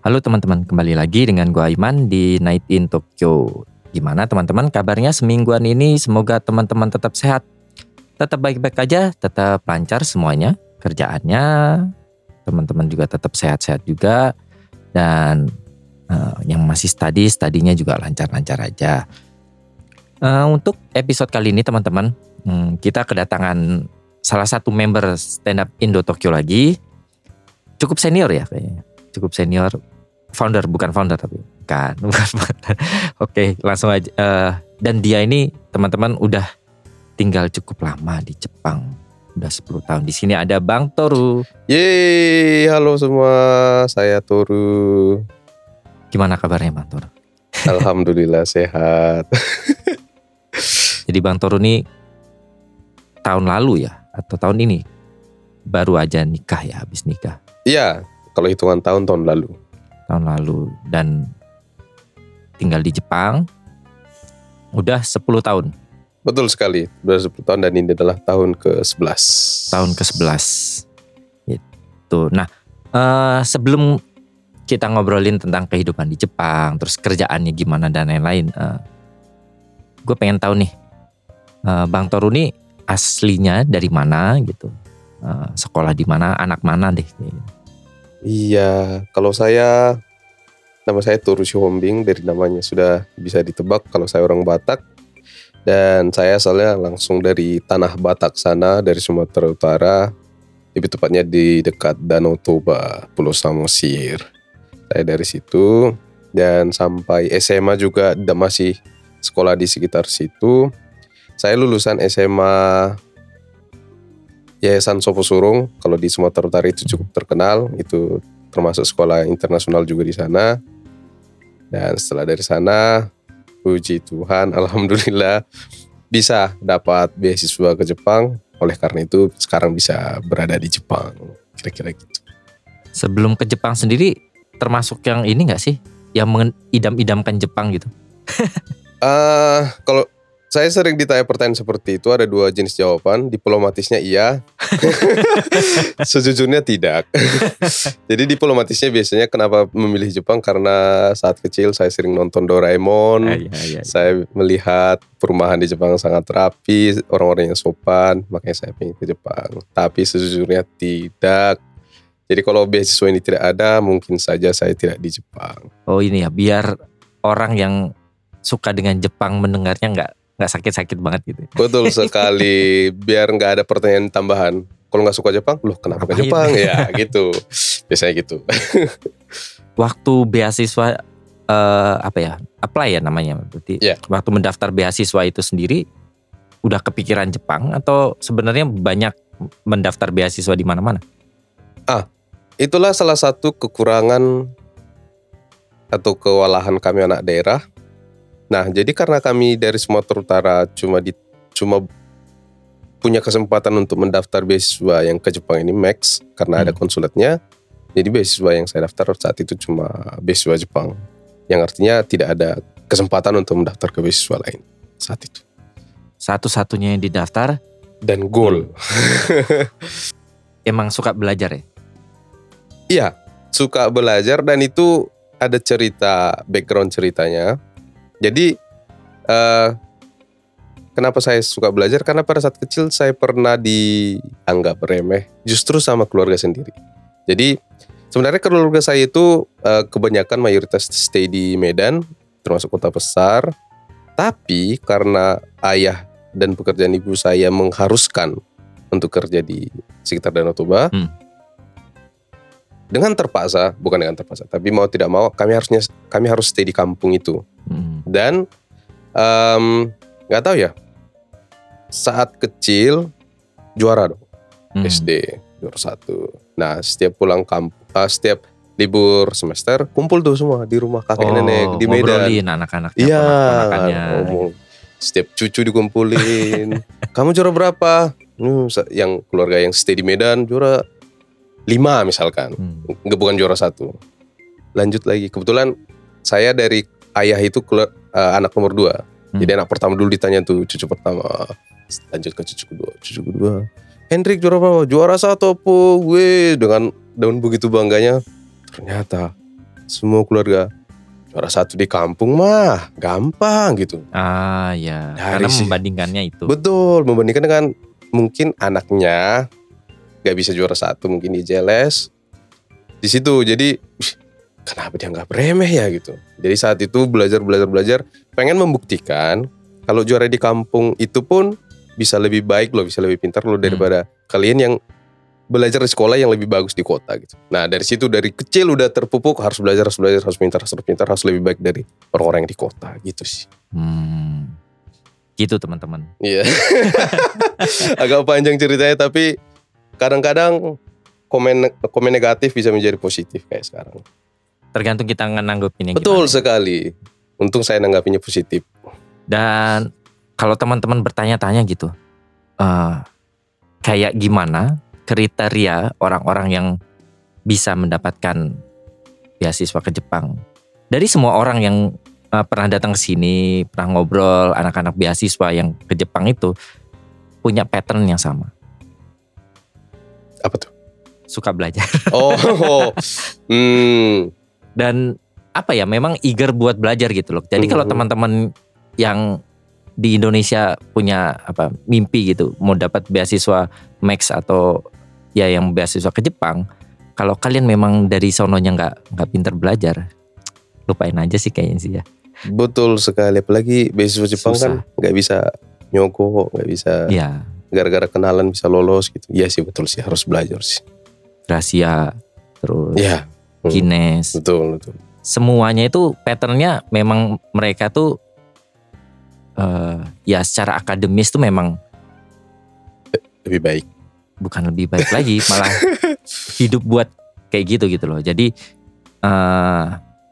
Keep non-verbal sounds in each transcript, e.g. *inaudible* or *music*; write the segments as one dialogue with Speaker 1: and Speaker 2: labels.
Speaker 1: Halo teman-teman, kembali lagi dengan gua Aiman di Night in Tokyo. Gimana teman-teman kabarnya semingguan ini? Semoga teman-teman tetap sehat, tetap baik-baik aja, tetap lancar semuanya kerjaannya. Teman-teman juga tetap sehat-sehat juga dan eh, yang masih study, studinya juga lancar-lancar aja. Eh, untuk episode kali ini teman-teman, hmm, kita kedatangan salah satu member stand up Indo Tokyo lagi. Cukup senior ya kayaknya. Cukup senior founder bukan founder tapi bukan *laughs* bukan founder. Oke, langsung aja eh, dan dia ini teman-teman udah tinggal cukup lama di Jepang. Udah 10 tahun. Di sini ada Bang Toru.
Speaker 2: Yeay, halo semua, saya Toru.
Speaker 1: Gimana kabarnya Bang Toru?
Speaker 2: Alhamdulillah *laughs* sehat.
Speaker 1: Jadi Bang Toru ini tahun lalu ya atau tahun ini baru aja nikah ya habis nikah
Speaker 2: Iya, kalau hitungan tahun tahun lalu.
Speaker 1: tahun lalu dan tinggal di Jepang udah 10 tahun
Speaker 2: Betul sekali, sudah 10 tahun dan ini adalah tahun ke-11.
Speaker 1: tahun ke-11 gitu. Nah, eh, sebelum kita ngobrolin tentang kehidupan di Jepang, terus kerjaannya gimana dan lain-lain, gue pengen tahu nih, eh, Bang Toru ini aslinya dari mana gitu, Eh, sekolah di mana, anak mana deh.
Speaker 2: Iya, kalau saya nama saya Toru Sihombing dari namanya sudah bisa ditebak kalau saya orang Batak. Dan saya soalnya langsung dari tanah Batak sana dari Sumatera Utara. Lebih tepatnya di dekat Danau Toba, Pulau Samosir. Saya dari situ dan sampai SMA juga dan masih sekolah di sekitar situ. Saya lulusan SMA Yayasan Sopo Surung kalau di Sumatera Utara itu cukup terkenal itu termasuk sekolah internasional juga di sana dan setelah dari sana puji Tuhan *laughs* alhamdulillah bisa dapat beasiswa ke Jepang oleh karena itu sekarang bisa berada di Jepang kira-kira gitu
Speaker 1: Sebelum ke Jepang sendiri, termasuk yang ini nggak sih, yang mengidam-idamkan Jepang gitu?
Speaker 2: Eh, kalau saya sering ditanya pertanyaan seperti itu ada dua jenis jawaban diplomatisnya iya sejujurnya tidak jadi diplomatisnya biasanya kenapa memilih Jepang karena saat kecil saya sering nonton Doraemon
Speaker 1: Iya,
Speaker 2: saya melihat perumahan di Jepang sangat rapi, orang-orang yang sopan, makanya saya pengen ke Jepang. Tapi sejujurnya tidak. Jadi kalau beasiswa ini tidak ada, mungkin saja saya tidak di Jepang.
Speaker 1: Oh ini ya, biar orang yang suka dengan Jepang mendengarnya nggak nggak sakit-sakit banget gitu.
Speaker 2: Betul sekali. Biar nggak ada pertanyaan tambahan. Kalau nggak suka Jepang, loh kenapa
Speaker 1: Ngapain?
Speaker 2: ke Jepang? Ya gitu. Biasanya gitu.
Speaker 1: Waktu beasiswa eh, apa ya, apply ya namanya, berarti
Speaker 2: Iya.
Speaker 1: waktu mendaftar beasiswa itu sendiri udah kepikiran Jepang atau sebenarnya banyak mendaftar beasiswa di mana-mana?
Speaker 2: Itulah salah satu kekurangan atau kewalahan kami anak daerah. Nah, jadi karena kami dari Sumatera Utara cuma di cuma punya kesempatan untuk mendaftar beasiswa yang ke Jepang ini max karena ada konsulatnya. Jadi beasiswa yang saya daftar saat itu cuma beasiswa Jepang. Yang artinya tidak ada kesempatan untuk mendaftar ke beasiswa lain saat itu.
Speaker 1: Satu-satunya yang didaftar
Speaker 2: Dan goal
Speaker 1: emang suka belajar ya.
Speaker 2: Iya, suka belajar dan itu ada cerita background ceritanya. Jadi eh, kenapa saya suka belajar? Karena pada saat kecil saya pernah dianggap remeh justru sama keluarga sendiri. Jadi sebenarnya keluarga saya itu eh, kebanyakan mayoritas stay di Medan, termasuk kota besar. Tapi karena ayah dan pekerjaan ibu saya mengharuskan untuk kerja di sekitar Danau Toba,
Speaker 1: Hmm.
Speaker 2: dengan terpaksa, bukan dengan terpaksa, tapi mau tidak mau kami harusnya kami harus stay di kampung itu
Speaker 1: Hmm.
Speaker 2: dan em, nggak tahu ya saat kecil juara dong
Speaker 1: Hmm.
Speaker 2: SD juara satu nah setiap pulang kampung setiap libur semester kumpul tuh semua di rumah
Speaker 1: Oh,
Speaker 2: kakek nenek di Medan
Speaker 1: Ngobrolin anak-anaknya,
Speaker 2: Iya,
Speaker 1: ponak-ponakannya.
Speaker 2: ngomong. setiap cucu dikumpulin. Kamu juara berapa? Hmm, sa- Yang keluarga yang stay di Medan juara lima misalkan,
Speaker 1: Hmm.
Speaker 2: nggak bukan juara satu. Lanjut lagi, kebetulan saya dari ayah itu keluar, eh, anak nomor dua.
Speaker 1: Hmm.
Speaker 2: Jadi anak pertama dulu ditanya tuh cucu pertama, lanjut ke cucu kedua, cucu kedua. Hendrik juara berapa? Juara satu po, gue dengan daun begitu bangganya. Ternyata semua keluarga juara satu di kampung mah gampang gitu.
Speaker 1: Ah ya,
Speaker 2: Dari
Speaker 1: karena
Speaker 2: si-
Speaker 1: membandingkannya itu.
Speaker 2: Betul, membandingkan dengan mungkin anaknya gak bisa juara satu, mungkin dia jealous. Di situ jadi "Ih, kenapa dia nggak remeh ya gitu. Jadi saat itu belajar belajar belajar pengen membuktikan kalau juara di kampung itu pun bisa lebih baik loh, bisa lebih pintar loh daripada kalian yang belajar di sekolah yang lebih bagus di kota gitu. Nah dari situ dari kecil udah terpupuk harus belajar harus belajar harus pintar harus pintar harus lebih baik dari orang-orang yang di kota gitu sih.
Speaker 1: Hmm. Gitu teman-teman.
Speaker 2: Iya. *laughs* Agak panjang ceritanya tapi kadang-kadang komen komen negatif bisa menjadi positif kayak sekarang.
Speaker 1: Tergantung kita nanggepinnya
Speaker 2: Betul
Speaker 1: gimana.
Speaker 2: sekali. Untung saya nanggapinya positif.
Speaker 1: Dan kalau teman-teman bertanya-tanya gitu, eh, kayak gimana kriteria orang-orang yang bisa mendapatkan beasiswa ke Jepang? Dari semua orang yang eh, pernah datang ke sini, pernah ngobrol anak-anak beasiswa yang ke Jepang itu punya pattern yang sama,
Speaker 2: Apa tuh?
Speaker 1: suka belajar.
Speaker 2: Oh. hmm.
Speaker 1: dan apa ya memang eager buat belajar gitu loh. Jadi kalau
Speaker 2: Mhm.
Speaker 1: teman-teman yang di Indonesia punya apa mimpi gitu mau dapat beasiswa Max atau ya yang beasiswa ke Jepang, kalau kalian memang dari sononya nggak nggak pinter belajar, lupain aja sih kayaknya sih ya.
Speaker 2: Betul sekali apalagi beasiswa Jepang
Speaker 1: Susah.
Speaker 2: kan nggak bisa nyogok, nggak bisa
Speaker 1: Iya,
Speaker 2: gara-gara kenalan bisa lolos gitu. Iya sih betul sih harus belajar sih.
Speaker 1: Gracia terus
Speaker 2: Iya, Hmm.
Speaker 1: Kines,
Speaker 2: betul betul.
Speaker 1: semuanya itu patternnya memang mereka tuh eh, ya secara akademis tuh memang
Speaker 2: Lebih baik.
Speaker 1: bukan lebih baik lagi malah hidup buat kayak gitu gitu loh jadi eh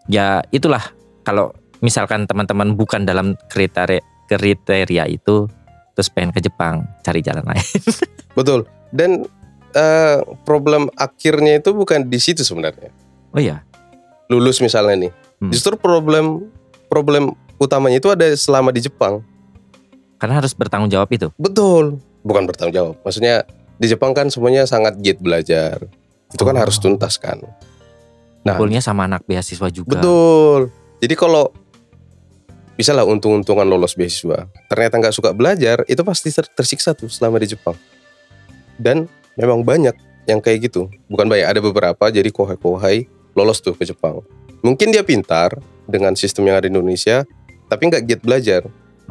Speaker 1: ya itulah kalau misalkan teman-teman bukan dalam kriteria kriteria itu terus pengen ke Jepang cari jalan lain *laughs*
Speaker 2: Betul. Dan eh, problem akhirnya itu bukan di situ sebenarnya.
Speaker 1: oh ya
Speaker 2: lulus misalnya nih.
Speaker 1: Hmm.
Speaker 2: Justru problem problem utamanya itu ada selama di Jepang.
Speaker 1: karena harus bertanggung jawab itu
Speaker 2: Betul. Bukan bertanggung jawab. Maksudnya di Jepang kan semuanya sangat giat belajar. Itu
Speaker 1: Oh.
Speaker 2: kan harus tuntas kan. Nah.
Speaker 1: kumpulnya sama anak beasiswa juga
Speaker 2: Betul. Jadi kalau misalnya untung-untungan lolos beasiswa, ternyata nggak suka belajar, itu pasti ter- tersiksa tuh selama di Jepang. Dan memang banyak yang kayak gitu. Bukan banyak, ada beberapa jadi kohai-kohai lolos tuh ke Jepang. Mungkin dia pintar dengan sistem yang ada di Indonesia, tapi nggak giat belajar.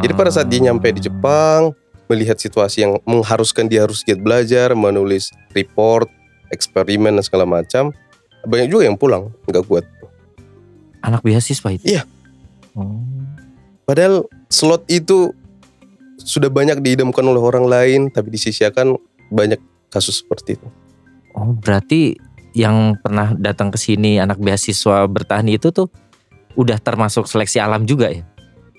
Speaker 2: Jadi pada saat dia nyampe di Jepang, melihat situasi yang mengharuskan dia harus giat belajar, menulis report, eksperimen dan segala macam, banyak juga yang pulang nggak kuat.
Speaker 1: anak beasiswa itu
Speaker 2: Iya.
Speaker 1: Oh.
Speaker 2: Padahal slot itu sudah banyak diidamkan oleh orang lain, tapi disisiakan banyak kasus seperti itu.
Speaker 1: Oh, berarti yang pernah datang ke sini anak beasiswa bertahan itu tuh udah termasuk seleksi alam juga ya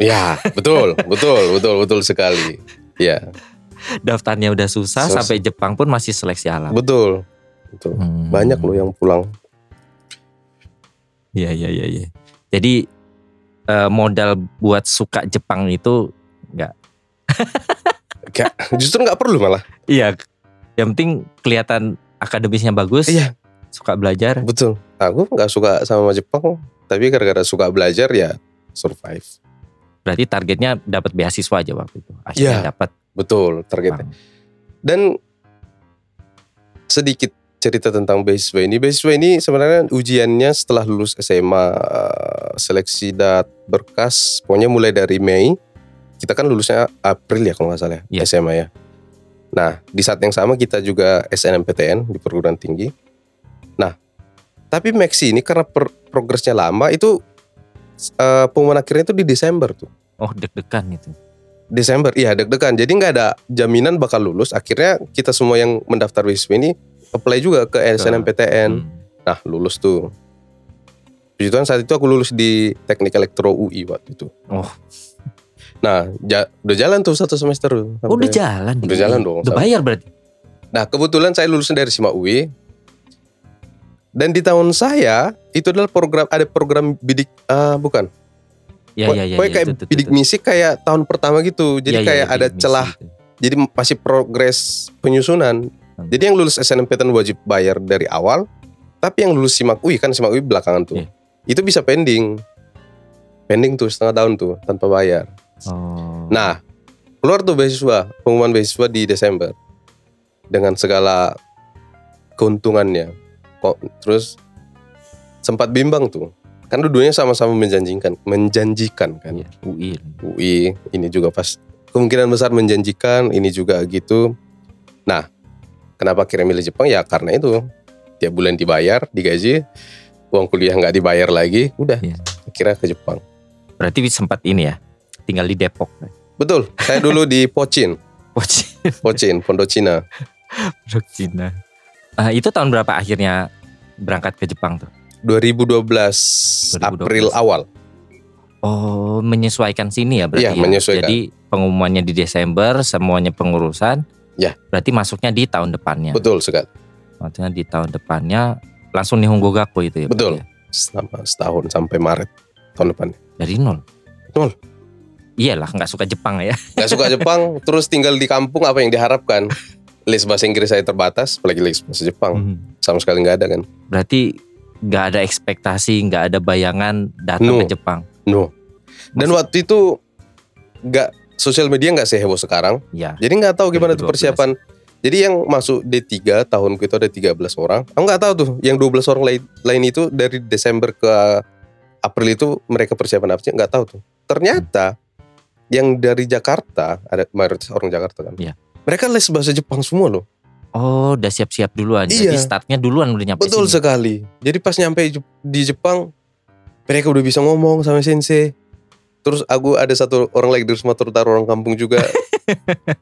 Speaker 2: Ya, *laughs* betul, betul, betul, betul sekali. Ya,
Speaker 1: daftarnya udah susah
Speaker 2: Sus-
Speaker 1: sampai Jepang pun masih seleksi alam.
Speaker 2: betul. Betul.
Speaker 1: Hmm.
Speaker 2: Banyak loh ya. yang pulang. *laughs*
Speaker 1: Iya iya iya. iya. Jadi eh, modal buat suka Jepang itu
Speaker 2: Justru nggak perlu malah.
Speaker 1: iya yang penting kelihatan akademisnya bagus.
Speaker 2: Iya.
Speaker 1: Suka belajar.
Speaker 2: Betul. Aku nggak suka sama Jepang, tapi gara-gara suka belajar ya survive.
Speaker 1: Berarti targetnya dapat beasiswa aja waktu itu. Akhirnya
Speaker 2: Iya.
Speaker 1: dapat.
Speaker 2: Betul, targetnya. Dan sedikit cerita tentang beasiswa ini. Beasiswa ini sebenarnya ujiannya setelah lulus SMA eh, seleksi dat berkas, pokoknya mulai dari Mei. Kita kan lulusnya April ya kalau nggak salah ya,
Speaker 1: Iya.
Speaker 2: SMA ya. Nah di saat yang sama kita juga SNMPTN di perguruan tinggi. Nah tapi Maxi ini karena per- progresnya lama itu eh, pengumuman akhirnya itu di Desember tuh.
Speaker 1: Oh deg-degan itu.
Speaker 2: Desember, iya deg-degan. Jadi nggak ada jaminan bakal lulus. Akhirnya kita semua yang mendaftar beasiswa ini apply juga ke SNMPTN.
Speaker 1: Hmm.
Speaker 2: Nah lulus tuh. Puji Tuhan saat itu aku lulus di Teknik Elektro UI waktu itu.
Speaker 1: Oh.
Speaker 2: Nah, ja- udah jalan tuh satu semester. tuh,
Speaker 1: Oh, udah
Speaker 2: sampai-
Speaker 1: jalan. di
Speaker 2: Udah
Speaker 1: UI.
Speaker 2: jalan dong,
Speaker 1: Udah
Speaker 2: sama.
Speaker 1: bayar berarti.
Speaker 2: Nah, kebetulan saya lulusan dari SIMA UI. Dan di tahun saya itu adalah program ada program bidik ah, bukan.
Speaker 1: Ya, ya, ya.
Speaker 2: Pokoknya
Speaker 1: ya,
Speaker 2: kayak
Speaker 1: itu, itu,
Speaker 2: bidik
Speaker 1: itu.
Speaker 2: misi kayak tahun pertama gitu.
Speaker 1: Ya,
Speaker 2: Jadi
Speaker 1: ya,
Speaker 2: kayak
Speaker 1: bidik
Speaker 2: ada
Speaker 1: misi
Speaker 2: celah.
Speaker 1: gitu.
Speaker 2: Jadi masih progres penyusunan.
Speaker 1: Hmm.
Speaker 2: Jadi yang lulus SNMPTN wajib bayar dari awal. Tapi yang lulus SIMAK UI kan SIMAK UI belakangan tuh.
Speaker 1: Iya.
Speaker 2: Itu bisa pending. Pending tuh setengah tahun tuh tanpa bayar.
Speaker 1: Oh.
Speaker 2: Nah, keluar tuh beasiswa, pengumuman beasiswa di Desember dengan segala keuntungannya. Kok terus sempat bimbang tuh. Kan dua-duanya sama-sama menjanjikan, menjanjikan kan.
Speaker 1: Iya, UI.
Speaker 2: UI ini juga pas kemungkinan besar menjanjikan, ini juga gitu. Nah, kenapa akhirnya milih Jepang? Ya karena itu. Tiap bulan dibayar, digaji, uang kuliah nggak dibayar lagi, udah.
Speaker 1: Iya.
Speaker 2: Akhirnya ke Jepang.
Speaker 1: Berarti sempat ini ya. Tinggal di Depok.
Speaker 2: Betul, saya dulu di Pocin,
Speaker 1: Pojok
Speaker 2: Pocin, Pondok Cina.
Speaker 1: Cina. Ah, itu tahun berapa akhirnya berangkat ke Jepang tuh?
Speaker 2: 2012,
Speaker 1: 2012.
Speaker 2: April awal.
Speaker 1: Oh, menyesuaikan sini ya berarti.
Speaker 2: Iya,
Speaker 1: ya?
Speaker 2: menyesuaikan.
Speaker 1: Jadi pengumumannya di Desember, semuanya pengurusan.
Speaker 2: Ya.
Speaker 1: Berarti masuknya di tahun depannya.
Speaker 2: Betul sekali.
Speaker 1: Maksudnya di tahun depannya langsung nih Hunggogaku itu ya. berarti
Speaker 2: Betul.
Speaker 1: ya?
Speaker 2: Selama setahun sampai Maret tahun depan.
Speaker 1: Dari nol.
Speaker 2: Nol.
Speaker 1: Iyalah, nggak suka Jepang ya.
Speaker 2: Gak suka Jepang, terus tinggal di kampung apa yang diharapkan? Les bahasa Inggris saya terbatas, apalagi les bahasa Jepang.
Speaker 1: Hmm.
Speaker 2: Sama sekali nggak ada kan?
Speaker 1: Berarti nggak ada ekspektasi, nggak ada bayangan datang
Speaker 2: No.
Speaker 1: ke Jepang.
Speaker 2: No. Dan waktu itu nggak sosial media nggak seheboh sekarang.
Speaker 1: Ya.
Speaker 2: Jadi nggak tahu gimana
Speaker 1: 2012.
Speaker 2: tuh persiapan. Jadi yang masuk D3 tahun itu ada 13 orang. Aku nggak tahu tuh yang 12 orang lain, lain itu dari Desember ke April itu mereka persiapan apa sih nggak tahu tuh. Ternyata yang dari Jakarta ada mayoritas orang Jakarta kan.
Speaker 1: Iya.
Speaker 2: Mereka les bahasa Jepang semua loh.
Speaker 1: Oh, udah siap-siap duluan. Jadi
Speaker 2: Iya.
Speaker 1: startnya duluan udah nyampe sini.
Speaker 2: Betul
Speaker 1: ya?
Speaker 2: sekali. Jadi pas nyampe Jep- di Jepang mereka udah bisa ngomong sama sensei. Terus aku ada satu orang lagi dari Sumatera Utara orang kampung
Speaker 1: *laughs*
Speaker 2: juga.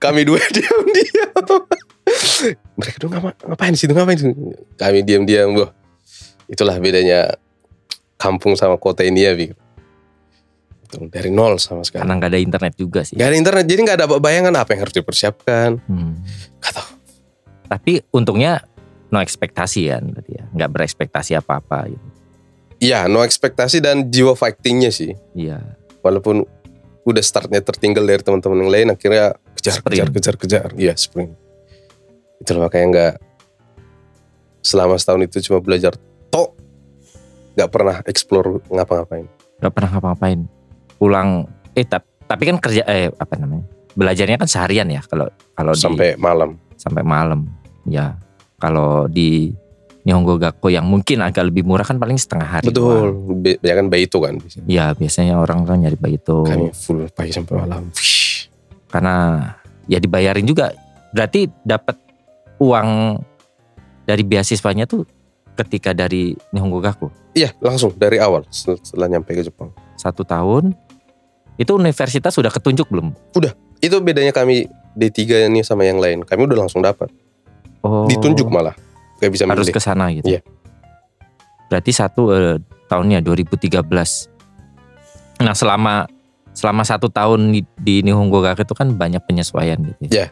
Speaker 2: Kami dua *laughs* diam-diam. mereka tuh ngapa, ngapain sih ngapain sih? Kami diam-diam, wah. Itulah bedanya kampung sama kota ini ya, Bi. Itu dari nol sama sekali.
Speaker 1: Karena nggak ada internet juga sih.
Speaker 2: Gak ada internet, jadi gak ada bayangan apa yang harus dipersiapkan.
Speaker 1: Hmm.
Speaker 2: Gak tahu.
Speaker 1: Tapi untungnya no ekspektasi kan berarti ya. Nggak berekspektasi apa-apa gitu.
Speaker 2: Iya, no ekspektasi dan jiwa fightingnya sih.
Speaker 1: Iya.
Speaker 2: walaupun udah startnya tertinggal dari teman-teman yang lain akhirnya kejar
Speaker 1: Sprint.
Speaker 2: kejar kejar kejar iya sprint itulah makanya nggak selama setahun itu cuma belajar tok nggak pernah explore ngapa-ngapain
Speaker 1: Gak pernah ngapa-ngapain. Pulang eh tap- tapi kan kerja eh apa namanya? Belajarnya kan seharian ya kalau kalau di-
Speaker 2: sampai malam
Speaker 1: sampai malam. Ya. Kalau di Nihongo Gakko yang mungkin agak lebih murah kan paling setengah hari. doang.
Speaker 2: betul Be- ya kan bayi itu kan biasanya.
Speaker 1: Ya biasanya orang kan nyari begitu.
Speaker 2: kami full pagi sampai malam Fish.
Speaker 1: karena ya dibayarin juga berarti dapat uang dari beasiswanya tuh ketika dari Nihongo Gaku
Speaker 2: iya langsung dari awal setel- setelah nyampe ke Jepang
Speaker 1: satu tahun itu universitas sudah ketunjuk belum
Speaker 2: itu bedanya kami D3 ini sama yang lain kami udah langsung dapat
Speaker 1: oh
Speaker 2: ditunjuk malah nggak bisa
Speaker 1: harus
Speaker 2: milih
Speaker 1: ke sana gitu
Speaker 2: Iya.
Speaker 1: berarti satu eh, tahunnya 2013 nah selama selama satu tahun di, di Nihongo Gaku itu kan banyak penyesuaian gitu
Speaker 2: Iya.
Speaker 1: ya.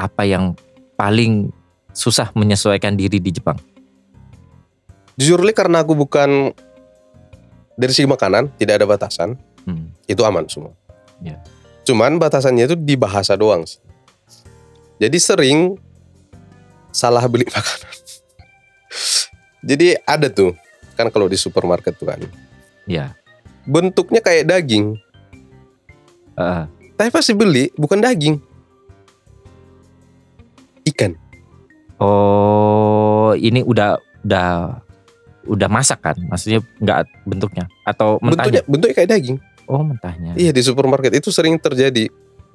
Speaker 1: apa yang paling susah menyesuaikan diri di Jepang
Speaker 2: jujur li karena aku bukan dari segi makanan tidak ada batasan
Speaker 1: Hmm.
Speaker 2: itu aman semua.
Speaker 1: Ya.
Speaker 2: Cuman batasannya itu di bahasa doang sih. Jadi sering salah beli *laughs* makanan. Jadi ada tuh kan kalau di supermarket tuh kan
Speaker 1: ya
Speaker 2: bentuknya kayak daging,
Speaker 1: Heeh.
Speaker 2: tapi pasti beli bukan daging. Ikan.
Speaker 1: Oh, ini udah udah udah masak kan? Maksudnya nggak bentuknya atau mentahnya?
Speaker 2: Bentuknya bentuknya kayak daging.
Speaker 1: Oh, mentahnya.
Speaker 2: Iya di supermarket itu sering terjadi.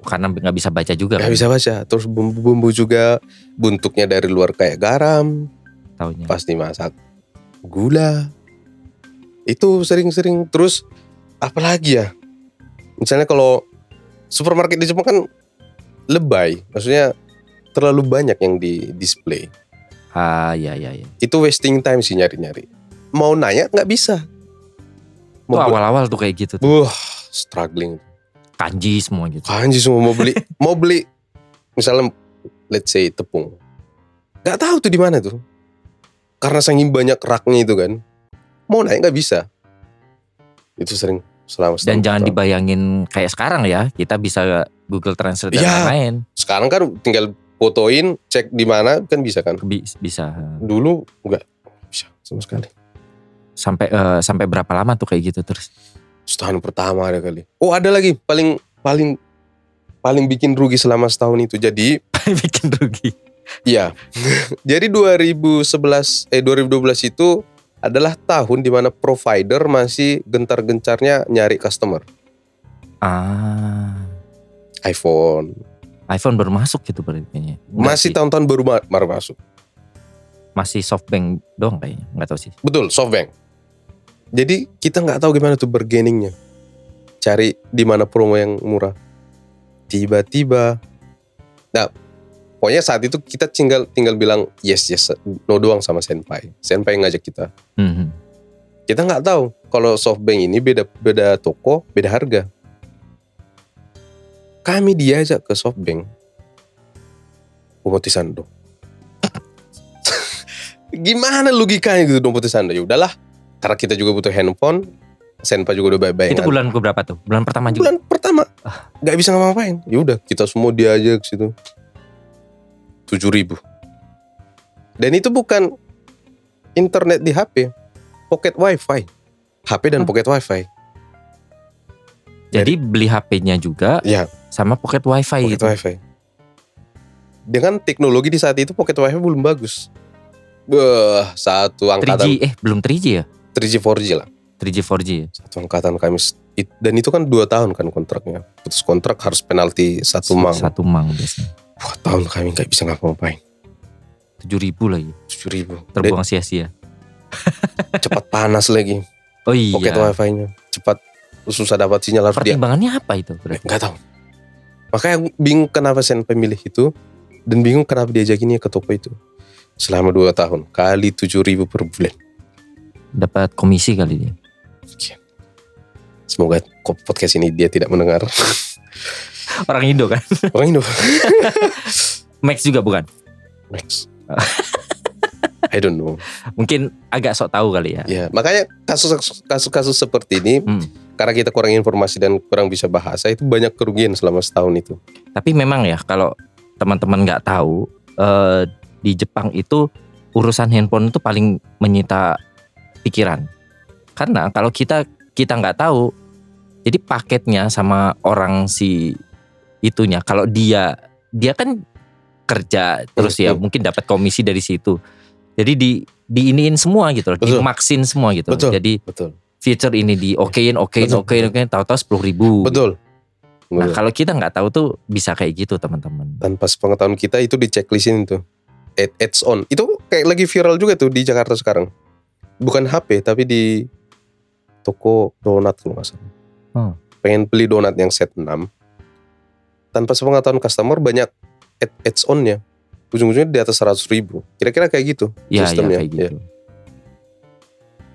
Speaker 1: Karena nggak bisa baca juga.
Speaker 2: Gak
Speaker 1: kan
Speaker 2: Ya, bisa baca. Terus bumbu-bumbu juga bentuknya dari luar kayak garam,
Speaker 1: Taunya.
Speaker 2: pas dimasak gula itu sering-sering terus apalagi ya misalnya kalau supermarket di Jepang kan lebay maksudnya terlalu banyak yang di display
Speaker 1: Ah, ya ya ya.
Speaker 2: itu wasting time sih nyari-nyari mau nanya nggak bisa
Speaker 1: Tuh
Speaker 2: Mau beli-
Speaker 1: awal-awal tuh kayak gitu. Tuh.
Speaker 2: Buh, struggling.
Speaker 1: Kanji semua gitu.
Speaker 2: Kanji semua mau
Speaker 1: *laughs*
Speaker 2: beli, mau beli misalnya let's say tepung. Gak tahu tuh di mana tuh. Karena saking banyak raknya itu kan. Mau naik nggak bisa. Itu sering selama
Speaker 1: Dan
Speaker 2: setahun-
Speaker 1: jangan dibayangin kayak sekarang ya. Kita bisa Google Translate dan
Speaker 2: Iya.
Speaker 1: lain-lain.
Speaker 2: Sekarang kan tinggal fotoin, cek di mana kan bisa kan.
Speaker 1: Bi- Bisa
Speaker 2: Dulu nggak bisa sama sekali.
Speaker 1: sampai eh, sampai berapa lama tuh kayak gitu terus. *laughs*
Speaker 2: Setahun pertama ada kali. Oh ada lagi paling paling paling bikin rugi selama setahun itu. Jadi
Speaker 1: Bikin rugi.
Speaker 2: Iya. *laughs* Jadi 2011 eh 2012 itu adalah tahun di mana provider masih gencar-gencarnya nyari customer.
Speaker 1: Ah,
Speaker 2: iPhone
Speaker 1: iPhone baru masuk gitu berarti kayaknya. Enggak
Speaker 2: masih
Speaker 1: sih,
Speaker 2: tahun-tahun baru ma- baru masuk.
Speaker 1: masih softbank doang kayaknya. Enggak tahu sih.
Speaker 2: Betul, softbank. Jadi kita nggak tahu gimana tuh bargainingnya. Cari di mana promo yang murah. Tiba-tiba, nah pokoknya saat itu kita tinggal tinggal bilang yes yes no doang sama senpai. Senpai ngajak kita.
Speaker 1: Mhm.
Speaker 2: kita nggak tahu kalau softbank ini beda beda toko beda harga kami diajak ke softbank Domotis Sando *laughs* gimana logikanya gitu Domotis Sando ya udahlah karena kita juga butuh handphone Senpa juga udah baik-baik
Speaker 1: Itu bulan keberapa tuh? Bulan pertama juga.
Speaker 2: bulan pertama nggak bisa ngapa-ngapain ya udah kita semua diajak ke situ tujuh ribu dan itu bukan internet di HP pocket wifi HP dan
Speaker 1: Hmm.
Speaker 2: pocket wifi
Speaker 1: Jadi beli HP-nya juga
Speaker 2: Iya.
Speaker 1: sama pocket wifi
Speaker 2: pocket
Speaker 1: gitu.
Speaker 2: wifi dengan teknologi di saat itu pocket wifi belum bagus Beuh, satu
Speaker 1: 3G
Speaker 2: angkatan
Speaker 1: eh belum 3G ya?
Speaker 2: 3G 4G lah
Speaker 1: 3G 4G ya?
Speaker 2: satu angkatan kami s- it- dan itu kan dua tahun kan kontraknya putus kontrak harus penalti satu mang
Speaker 1: Satu mang biasanya.
Speaker 2: dua tahun kami nggak bisa ngapa-ngapain
Speaker 1: 7 ribu lagi.
Speaker 2: tujuh ribu
Speaker 1: Terbuang sia-sia.
Speaker 2: cepat panas lagi
Speaker 1: Oh iya.
Speaker 2: pocket wifi-nya cepat susah dapat sinyal harus dia
Speaker 1: Pertimbangannya apa itu? berarti?
Speaker 2: nggak tahu makanya aku bingung kenapa sen pemilih itu dan bingung kenapa diajakinnya ke toko itu selama 2 tahun kali 7000 ribu per bulan
Speaker 1: Dapat komisi kali dia.
Speaker 2: semoga ko- podcast ini dia tidak *laughs* mendengar
Speaker 1: Orang Indo kan?
Speaker 2: orang Indo
Speaker 1: Max juga bukan?
Speaker 2: next I don't know
Speaker 1: Mungkin agak sok tahu kali ya.
Speaker 2: ya makanya kasus kasus kasus seperti ini
Speaker 1: Hmm.
Speaker 2: karena kita kurang informasi dan kurang bisa bahasa itu banyak kerugian selama setahun itu
Speaker 1: Tapi memang ya kalau teman-teman nggak tahu eh, di Jepang itu urusan handphone itu paling menyita pikiran. Karena kalau kita kita nggak tahu, jadi paketnya sama orang si itunya. Kalau dia dia kan kerja terus ya
Speaker 2: Betul.
Speaker 1: mungkin dapat komisi dari situ. Jadi di diiniin semua gitu loh,
Speaker 2: Betul.
Speaker 1: dimaksin semua gitu.
Speaker 2: Betul.
Speaker 1: Jadi
Speaker 2: betul
Speaker 1: feature ini di okein, okein,
Speaker 2: Betul.
Speaker 1: okein, okein, tahu-tahu sepuluh ribu.
Speaker 2: betul
Speaker 1: Nah
Speaker 2: Iya.
Speaker 1: kalau kita nggak tahu tuh bisa kayak gitu teman-teman.
Speaker 2: tanpa sepengetahuan kita itu di checklistin itu Ad- ads on itu kayak lagi viral juga tuh di Jakarta sekarang bukan HP tapi di toko donat kalau nggak salah
Speaker 1: Hmm.
Speaker 2: pengen beli donat yang set 6 tanpa sepengetahuan customer banyak ad- ads onnya ujung-ujungnya di atas 100 ribu kira-kira kayak gitu
Speaker 1: Iya, iya
Speaker 2: sistemnya.
Speaker 1: kayak gitu.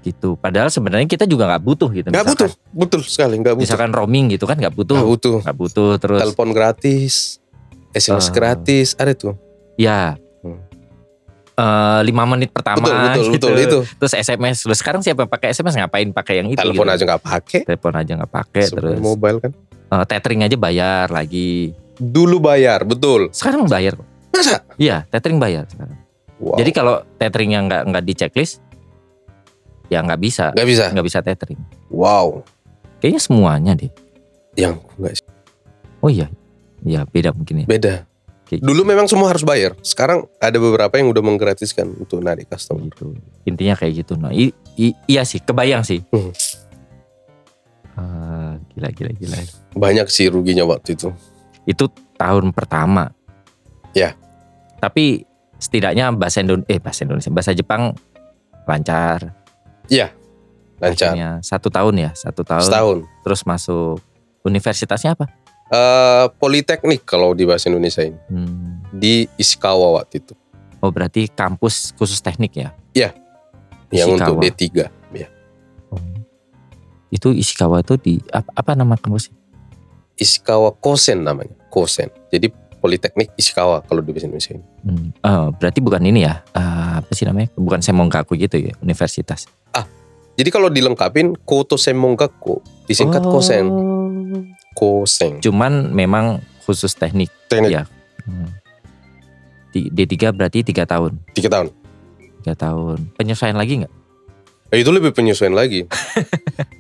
Speaker 1: Gitu. Padahal sebenarnya kita juga nggak butuh gitu.
Speaker 2: nggak
Speaker 1: Misalkan-
Speaker 2: butuh betul sekali nggak butuh
Speaker 1: Misalkan roaming gitu kan nggak butuh.
Speaker 2: nggak butuh
Speaker 1: Nggak butuh terus.
Speaker 2: telepon gratis SMS
Speaker 1: Ah.
Speaker 2: gratis ada tuh
Speaker 1: Ya.
Speaker 2: Hmm.
Speaker 1: Eh, lima menit pertama
Speaker 2: betul betul
Speaker 1: gitu.
Speaker 2: betul itu
Speaker 1: Terus SMS. Terus sekarang siapa yang pakai SMS ngapain pakai yang itu?
Speaker 2: telepon
Speaker 1: gitu.
Speaker 2: aja nggak pakai
Speaker 1: Telepon aja nggak pakai
Speaker 2: Semua
Speaker 1: terus.
Speaker 2: mobile kan
Speaker 1: Eh, tethering aja bayar lagi.
Speaker 2: dulu bayar betul
Speaker 1: Sekarang bayar. kok.
Speaker 2: masa
Speaker 1: Iya, tethering bayar sekarang.
Speaker 2: Wow.
Speaker 1: Jadi kalau tetheringnya nggak nggak di checklist, ya nggak bisa,
Speaker 2: nggak bisa.
Speaker 1: nggak bisa tethering.
Speaker 2: Wow.
Speaker 1: Kayaknya semuanya deh.
Speaker 2: Yang nggak sih.
Speaker 1: Oh iya, ya beda mungkin ya.
Speaker 2: beda.
Speaker 1: Kayak gitu.
Speaker 2: Dulu memang semua harus bayar. Sekarang ada beberapa yang udah menggratiskan untuk narik customer.
Speaker 1: gitu intinya kayak gitu nah i- i- iya sih kebayang sih
Speaker 2: Hmm.
Speaker 1: Eh, gila gila gila
Speaker 2: Banyak sih ruginya waktu itu.
Speaker 1: itu tahun pertama
Speaker 2: Ya.
Speaker 1: tapi setidaknya bahasa Indonesia eh bahasa Indonesia bahasa Jepang lancar
Speaker 2: Lancar.
Speaker 1: Akhirnya satu tahun ya satu tahun
Speaker 2: Setahun.
Speaker 1: terus masuk universitasnya apa
Speaker 2: Eh, Politeknik kalau di bahasa Indonesia ini.
Speaker 1: Hmm.
Speaker 2: Di Ishikawa waktu itu.
Speaker 1: oh berarti kampus khusus teknik ya
Speaker 2: Yang untuk Hmm.
Speaker 1: Ishikawa.
Speaker 2: D3.
Speaker 1: itu Ishikawa itu di apa, apa nama kampus?
Speaker 2: Ishikawa Kosen namanya. Kosen. Jadi Politeknik Ishikawa kalau di bahasa Indonesia. ini.
Speaker 1: Hmm, eh, berarti bukan ini ya? Eh, apa sih namanya? Bukan Semongkaku gitu ya, universitas.
Speaker 2: Jadi kalau dilengkapin Koto Semongkaku disingkat
Speaker 1: Oh.
Speaker 2: Kosen. Kosen.
Speaker 1: Cuman memang khusus teknik.
Speaker 2: Teknik
Speaker 1: Ya. Hmm. Di- D3 berarti tiga tahun.
Speaker 2: tiga tahun.
Speaker 1: tiga tahun. Penyesuaian lagi nggak?
Speaker 2: Eh, itu lebih penyesuaian lagi.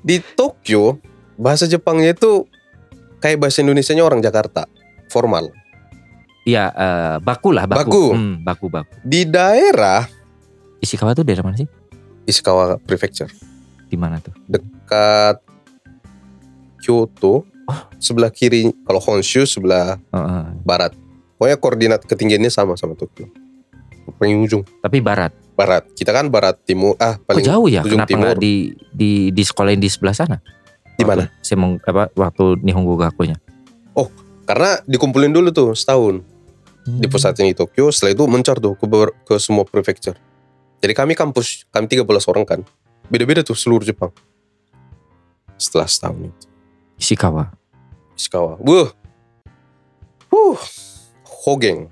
Speaker 2: di Tokyo bahasa Jepangnya itu kayak bahasa Indonesianya orang Jakarta formal.
Speaker 1: Iya, eh, baku lah, baku.
Speaker 2: Baku.
Speaker 1: Hmm, baku, baku.
Speaker 2: Di daerah
Speaker 1: Ishikawa tuh daerah mana sih?
Speaker 2: Ishikawa Prefecture
Speaker 1: Di mana tuh?
Speaker 2: dekat Kyoto sebelah kiri kalau Honshu sebelah
Speaker 1: Oh, oh.
Speaker 2: barat. Pokoknya koordinat ketinggiannya sama sama Tokyo. Paling ujung
Speaker 1: Tapi barat.
Speaker 2: barat. Kita kan barat timur ah
Speaker 1: Kok
Speaker 2: paling
Speaker 1: jauh ya?
Speaker 2: ujung
Speaker 1: Kenapa nggak di di di sekolahin di sebelah sana?
Speaker 2: di mana?
Speaker 1: Waktu Saya mau apa waktu Nihongo Gakunya.
Speaker 2: Karena dikumpulin dulu tuh setahun di pusatnya di Tokyo. Setelah itu mencar tuh ke, ber- ke semua prefecture. Jadi kami kampus, kami 13 orang kan. Beda-beda tuh seluruh Jepang. Setelah setahun itu.
Speaker 1: Ishikawa.
Speaker 2: Ishikawa. Wuh. Huh. Hogeng.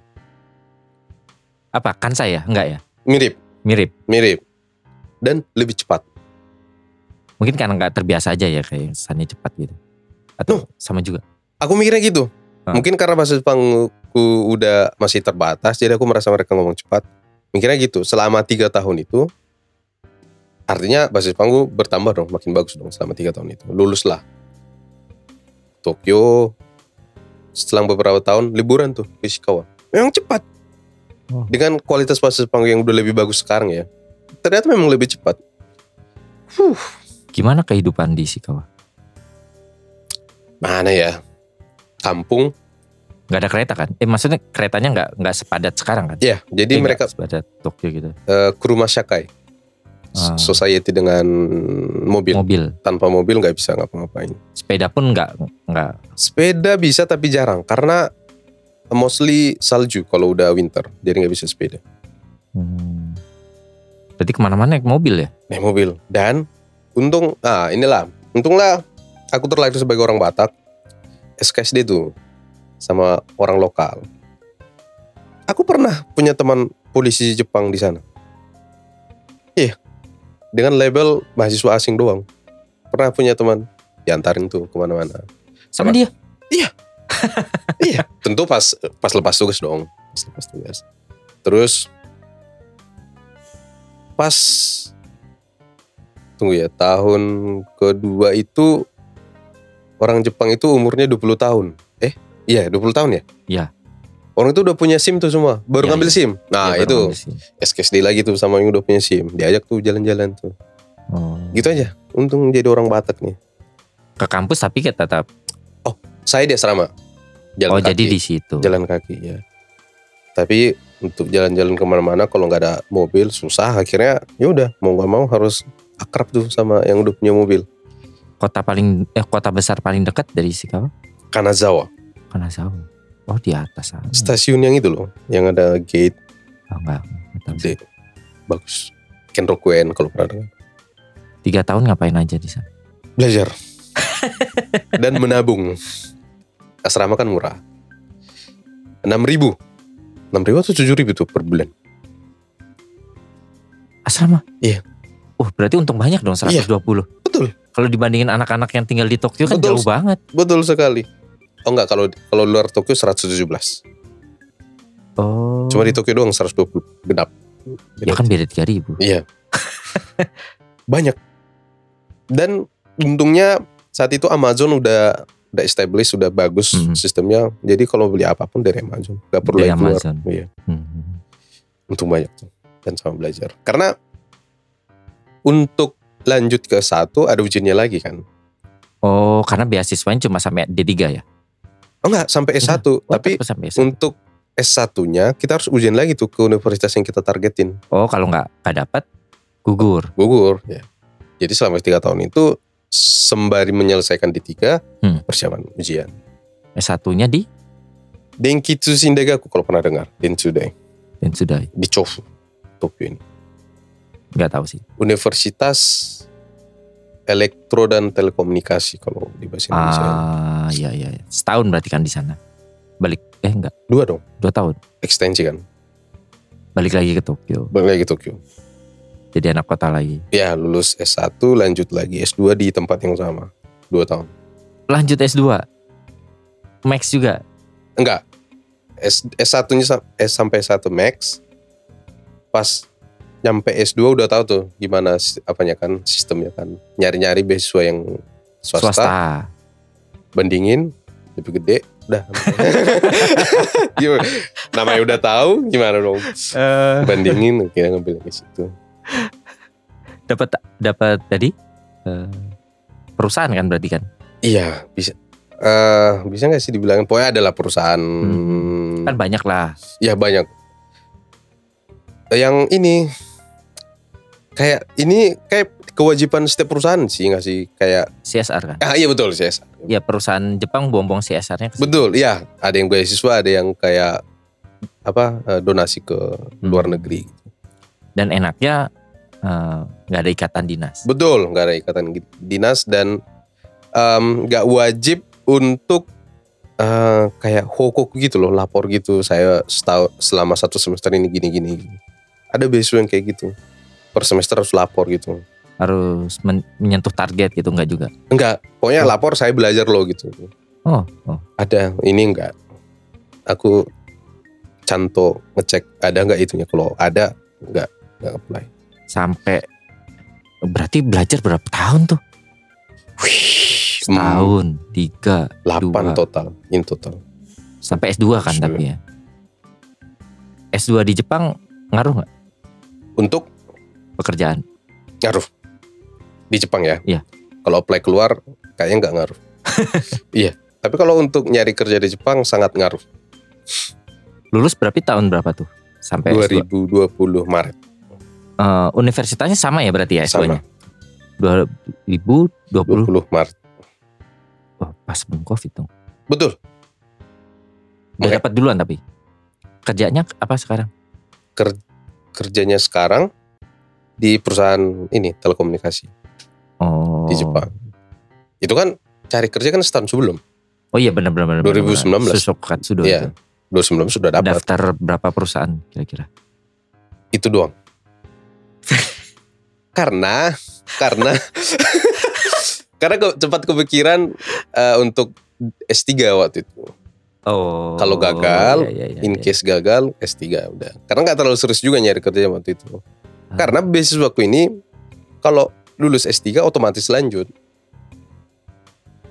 Speaker 1: Apa Kansai ya? Enggak ya?
Speaker 2: Mirip,
Speaker 1: Mirip.
Speaker 2: mirip. Dan lebih cepat.
Speaker 1: Mungkin karena nggak terbiasa aja ya kayak kesannya cepat gitu. Atau sama juga.
Speaker 2: Aku mikirnya gitu.
Speaker 1: Ah.
Speaker 2: Mungkin karena bahasa Jepangku udah masih terbatas, jadi aku merasa mereka ngomong cepat. Mikirnya gitu, selama tiga tahun itu, artinya bahasa Jepangku bertambah dong, makin bagus dong selama tiga tahun itu. Luluslah. Tokyo, setelah beberapa tahun, liburan tuh ke Ishikawa. Memang cepat.
Speaker 1: Oh.
Speaker 2: Dengan kualitas bahasa Jepang yang udah lebih bagus sekarang ya, ternyata memang lebih cepat. Huh,
Speaker 1: Gimana kehidupan di Ishikawa?
Speaker 2: mana ya? Kampung,
Speaker 1: Nggak ada kereta kan? Eh maksudnya keretanya nggak nggak sepadat sekarang kan?
Speaker 2: ya.
Speaker 1: Eh,
Speaker 2: Jadi
Speaker 1: nggak
Speaker 2: mereka
Speaker 1: sepadat Tokyo gitu.
Speaker 2: eh, kuruma shakai
Speaker 1: Ah.
Speaker 2: society dengan mobil
Speaker 1: Mobil.
Speaker 2: tanpa mobil nggak bisa ngapa-ngapain
Speaker 1: sepeda pun nggak nggak
Speaker 2: sepeda bisa tapi jarang karena mostly salju kalau udah winter jadi nggak bisa sepeda
Speaker 1: hmm. berarti kemana-mana naik mobil ya
Speaker 2: naik mobil dan untung ah inilah untunglah aku terlahir sebagai orang Batak SKSD tuh sama orang lokal aku pernah punya teman polisi Jepang di sana iya dengan label mahasiswa asing doang pernah punya teman diantarin tuh kemana-mana
Speaker 1: sama
Speaker 2: Apa?
Speaker 1: dia
Speaker 2: tentu pas pas lepas tugas dong pas lepas tugas terus pas tunggu ya tahun kedua itu orang Jepang itu umurnya 20 tahun eh iya 20 tahun ya
Speaker 1: Iya.
Speaker 2: orang itu udah punya SIM tuh semua baru
Speaker 1: Iya,
Speaker 2: ngambil SIM nah
Speaker 1: Dia
Speaker 2: itu
Speaker 1: baru ambil sih.
Speaker 2: SKSD lagi tuh sama yang udah punya SIM diajak tuh jalan-jalan tuh
Speaker 1: oh.
Speaker 2: gitu aja untung jadi orang Batak nih
Speaker 1: ke kampus tapi kita tetap
Speaker 2: saya di asrama
Speaker 1: oh
Speaker 2: jalan kaki.
Speaker 1: jadi di situ
Speaker 2: jalan kaki ya. Tapi untuk jalan-jalan kemana-mana kalau nggak ada mobil susah akhirnya ya udah mau nggak mau harus akrab tuh sama yang udah punya mobil.
Speaker 1: kota paling eh kota besar paling dekat dari Ishikawa
Speaker 2: Kanazawa
Speaker 1: Kanazawa oh di atas sana
Speaker 2: stasiun yang itu loh yang ada gate
Speaker 1: oh, enggak, enggak tahu sih.
Speaker 2: gede bagus. Kenrokuen kalau pernah dengar.
Speaker 1: tiga tahun ngapain aja di sana
Speaker 2: Belajar dan menabung. Asrama kan murah. 6.000 ribu. 6 ribu atau 7 ribu tuh per bulan.
Speaker 1: asrama
Speaker 2: Iya.
Speaker 1: oh berarti untung banyak dong 120
Speaker 2: Iya, betul.
Speaker 1: kalau dibandingin anak-anak yang tinggal di Tokyo kan jauh
Speaker 2: Betul.
Speaker 1: banget
Speaker 2: Betul sekali. Oh enggak kalau kalau luar Tokyo 117.
Speaker 1: oh
Speaker 2: Cuma di Tokyo doang 120 genap.
Speaker 1: ya kan beda tiga ribu
Speaker 2: Iya. Banyak. Dan untungnya saat itu Amazon udah udah established, udah bagus
Speaker 1: Mhm.
Speaker 2: sistemnya. Jadi kalau beli apapun dari Amazon, nggak perlu
Speaker 1: Dari
Speaker 2: lagi keluar.
Speaker 1: Amazon.
Speaker 2: Iya.
Speaker 1: Hmm.
Speaker 2: Untung banyak tuh. Dan sama belajar. Karena untuk lanjut ke satu ada ujiannya lagi kan.
Speaker 1: oh karena beasiswanya cuma sampai D3 ya
Speaker 2: Oh enggak, sampai S1,
Speaker 1: Oh,
Speaker 2: tapi
Speaker 1: tetap sampai S1.
Speaker 2: untuk S1-nya kita harus ujian lagi tuh ke universitas yang kita targetin.
Speaker 1: Oh kalau nggak nggak dapat gugur.
Speaker 2: gugur
Speaker 1: Iya.
Speaker 2: ya. Jadi selama tiga tahun itu sembari menyelesaikan di tiga
Speaker 1: Hmm.
Speaker 2: persiapan ujian.
Speaker 1: S satunya di
Speaker 2: Denkitsu Shindegaku kalau pernah dengar Densudai
Speaker 1: dan sudah
Speaker 2: di Chofu Tokyo ini.
Speaker 1: nggak tahu sih.
Speaker 2: Universitas elektro dan telekomunikasi kalau di bahasa Indonesia.
Speaker 1: Ah, iya iya. iya. Setahun berarti kan di sana. Balik eh enggak,
Speaker 2: Dua dong,
Speaker 1: dua tahun.
Speaker 2: ekstensi kan.
Speaker 1: Balik lagi ke Tokyo.
Speaker 2: Balik lagi Tokyo.
Speaker 1: Jadi anak kota lagi.
Speaker 2: Ya, lulus S1 lanjut lagi S2 di tempat yang sama. Dua tahun.
Speaker 1: Lanjut S2. Max juga.
Speaker 2: Enggak. S, S1-nya sam- S sampai S1 max. Pas nyampe S2 udah tahu tuh gimana si- apanya kan sistemnya kan. Nyari-nyari beasiswa yang
Speaker 1: Swasta.
Speaker 2: swasta, bandingin lebih gede udah. Gimana? Namanya udah tahu gimana dong.
Speaker 1: Eh,
Speaker 2: Bandingin akhirnya ngambil ke situ.
Speaker 1: dapat dapat tadi eh, perusahaan kan berarti kan?
Speaker 2: Iya, bisa eh bisa nggak sih dibilangin pokoknya adalah perusahaan
Speaker 1: Hmm.
Speaker 2: Iya.
Speaker 1: Kan banyak lah.
Speaker 2: Ya banyak. Yang ini kayak ini kayak kewajiban setiap perusahaan sih nggak sih kayak
Speaker 1: CSR kan.
Speaker 2: ah iya betul CSR.
Speaker 1: Ya perusahaan Jepang buang-buang CSR-nya ke
Speaker 2: Betul, iya ada yang beasiswa, ada yang kayak apa eh, donasi ke luar negeri.
Speaker 1: dan enaknya eh, nggak ada ikatan dinas.
Speaker 2: Betul, nggak ada ikatan gi- dinas dan em, nggak wajib untuk eh, kayak hokok gitu loh, lapor gitu. Saya setahun selama satu semester ini gini-gini. Ada beasiswa yang kayak gitu. Per semester harus lapor gitu.
Speaker 1: Harus men- menyentuh target gitu nggak juga.
Speaker 2: Enggak,
Speaker 1: Oh.
Speaker 2: pokoknya lapor saya belajar loh gitu.
Speaker 1: Oh, oh.
Speaker 2: Ada, ini enggak. Aku canto ngecek ada enggak itunya. Kalau ada, enggak, enggak apply.
Speaker 1: sampai berarti belajar berapa tahun tuh?
Speaker 2: Hmm,
Speaker 1: Tahun, tiga,
Speaker 2: Delapan
Speaker 1: dua.
Speaker 2: total, in total.
Speaker 1: sampai S2 kan
Speaker 2: Sudah.
Speaker 1: tapi ya. S2 di Jepang ngaruh nggak
Speaker 2: Untuk
Speaker 1: pekerjaan?
Speaker 2: ngaruh. Di Jepang ya.
Speaker 1: Iya.
Speaker 2: Kalau apply keluar, kayaknya enggak
Speaker 1: *laughs*
Speaker 2: ngaruh. iya, tapi kalau untuk nyari kerja di Jepang sangat ngaruh.
Speaker 1: Lulus berapa tahun berapa tuh? Sampai S2.
Speaker 2: 2020 Maret.
Speaker 1: Eh, universitasnya sama ya berarti ya S2-nya?
Speaker 2: Sama.
Speaker 1: 2020.
Speaker 2: 20 Maret.
Speaker 1: Wah, pas sebelum Covid dong.
Speaker 2: Betul,
Speaker 1: Udah
Speaker 2: Oke.
Speaker 1: dapat duluan tapi. Kerjanya apa sekarang?
Speaker 2: kerjanya sekarang di perusahaan ini telekomunikasi
Speaker 1: Oh.
Speaker 2: di Jepang. Itu kan cari kerja kan setahun sebelum.
Speaker 1: Oh iya benar benar benar.
Speaker 2: 2019.
Speaker 1: Susokatsu dong
Speaker 2: Iya,
Speaker 1: itu.
Speaker 2: 2019 sudah dapat.
Speaker 1: Daftar berapa perusahaan kira-kira?
Speaker 2: Itu
Speaker 1: *laughs*
Speaker 2: doang. karena karena *laughs* karena ke, cepat kepikiran eh, untuk S3 waktu itu.
Speaker 1: Oh.
Speaker 2: Kalau gagal,
Speaker 1: iya, iya,
Speaker 2: In
Speaker 1: iya.
Speaker 2: case gagal, S3 udah. Karena nggak terlalu serius juga nyari kerja waktu itu.
Speaker 1: Ah.
Speaker 2: Karena beasiswaku ini kalau lulus S3 otomatis lanjut.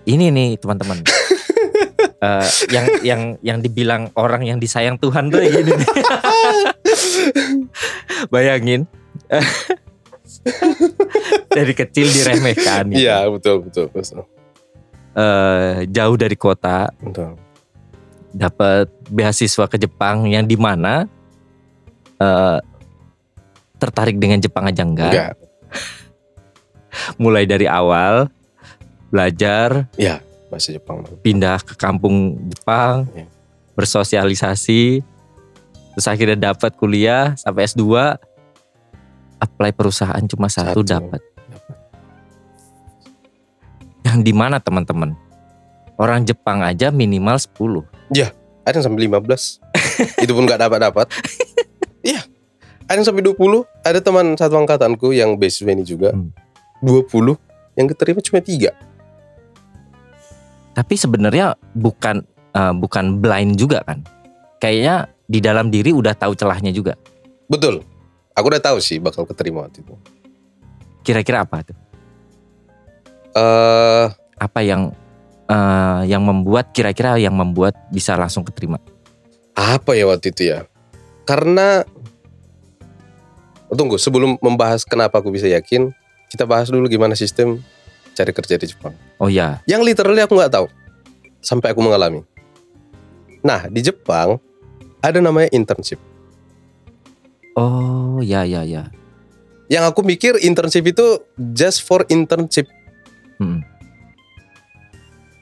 Speaker 1: ini nih
Speaker 2: *laughs*
Speaker 1: teman-teman. Eh, yang yang yang dibilang orang yang disayang Tuhan tuh gini
Speaker 2: *laughs*
Speaker 1: nih. Bayangin eh, dari kecil diremehkan gitu.
Speaker 2: Iya, betul betul betul.
Speaker 1: Eh, jauh dari kota
Speaker 2: Betul.
Speaker 1: dapat beasiswa ke Jepang yang di mana eh, tertarik dengan Jepang aja enggak,
Speaker 2: Enggak.
Speaker 1: mulai dari awal belajar
Speaker 2: Bahasa Jepang.
Speaker 1: pindah ke kampung Jepang
Speaker 2: Iya.
Speaker 1: bersosialisasi terus akhirnya dapat kuliah sampai S2 apply perusahaan cuma satu,
Speaker 2: Satu.
Speaker 1: dapat yang di mana teman-teman orang Jepang aja minimal 10
Speaker 2: ada yang sampai 15 itu pun nggak dapat dapat iya ada yang sampai 20 ada teman satu angkatanku yang beasiswa ini juga
Speaker 1: Hmm.
Speaker 2: 20 yang keterima cuma tiga
Speaker 1: tapi sebenarnya bukan eh, bukan blind juga kan kayaknya di dalam diri udah tahu celahnya juga
Speaker 2: betul aku udah tahu sih bakal keterima waktu itu
Speaker 1: kira-kira apa tuh
Speaker 2: eh
Speaker 1: apa yang eh, yang membuat kira-kira yang membuat bisa langsung keterima
Speaker 2: apa ya waktu itu ya karena Oh, tunggu sebelum membahas kenapa aku bisa yakin kita bahas dulu gimana sistem cari kerja di Jepang
Speaker 1: oh ya
Speaker 2: yang literally aku nggak tahu sampai aku mengalami. Nah di Jepang ada namanya internship.
Speaker 1: oh ya ya ya
Speaker 2: Yang aku mikir internship itu just for internship.
Speaker 1: Mm.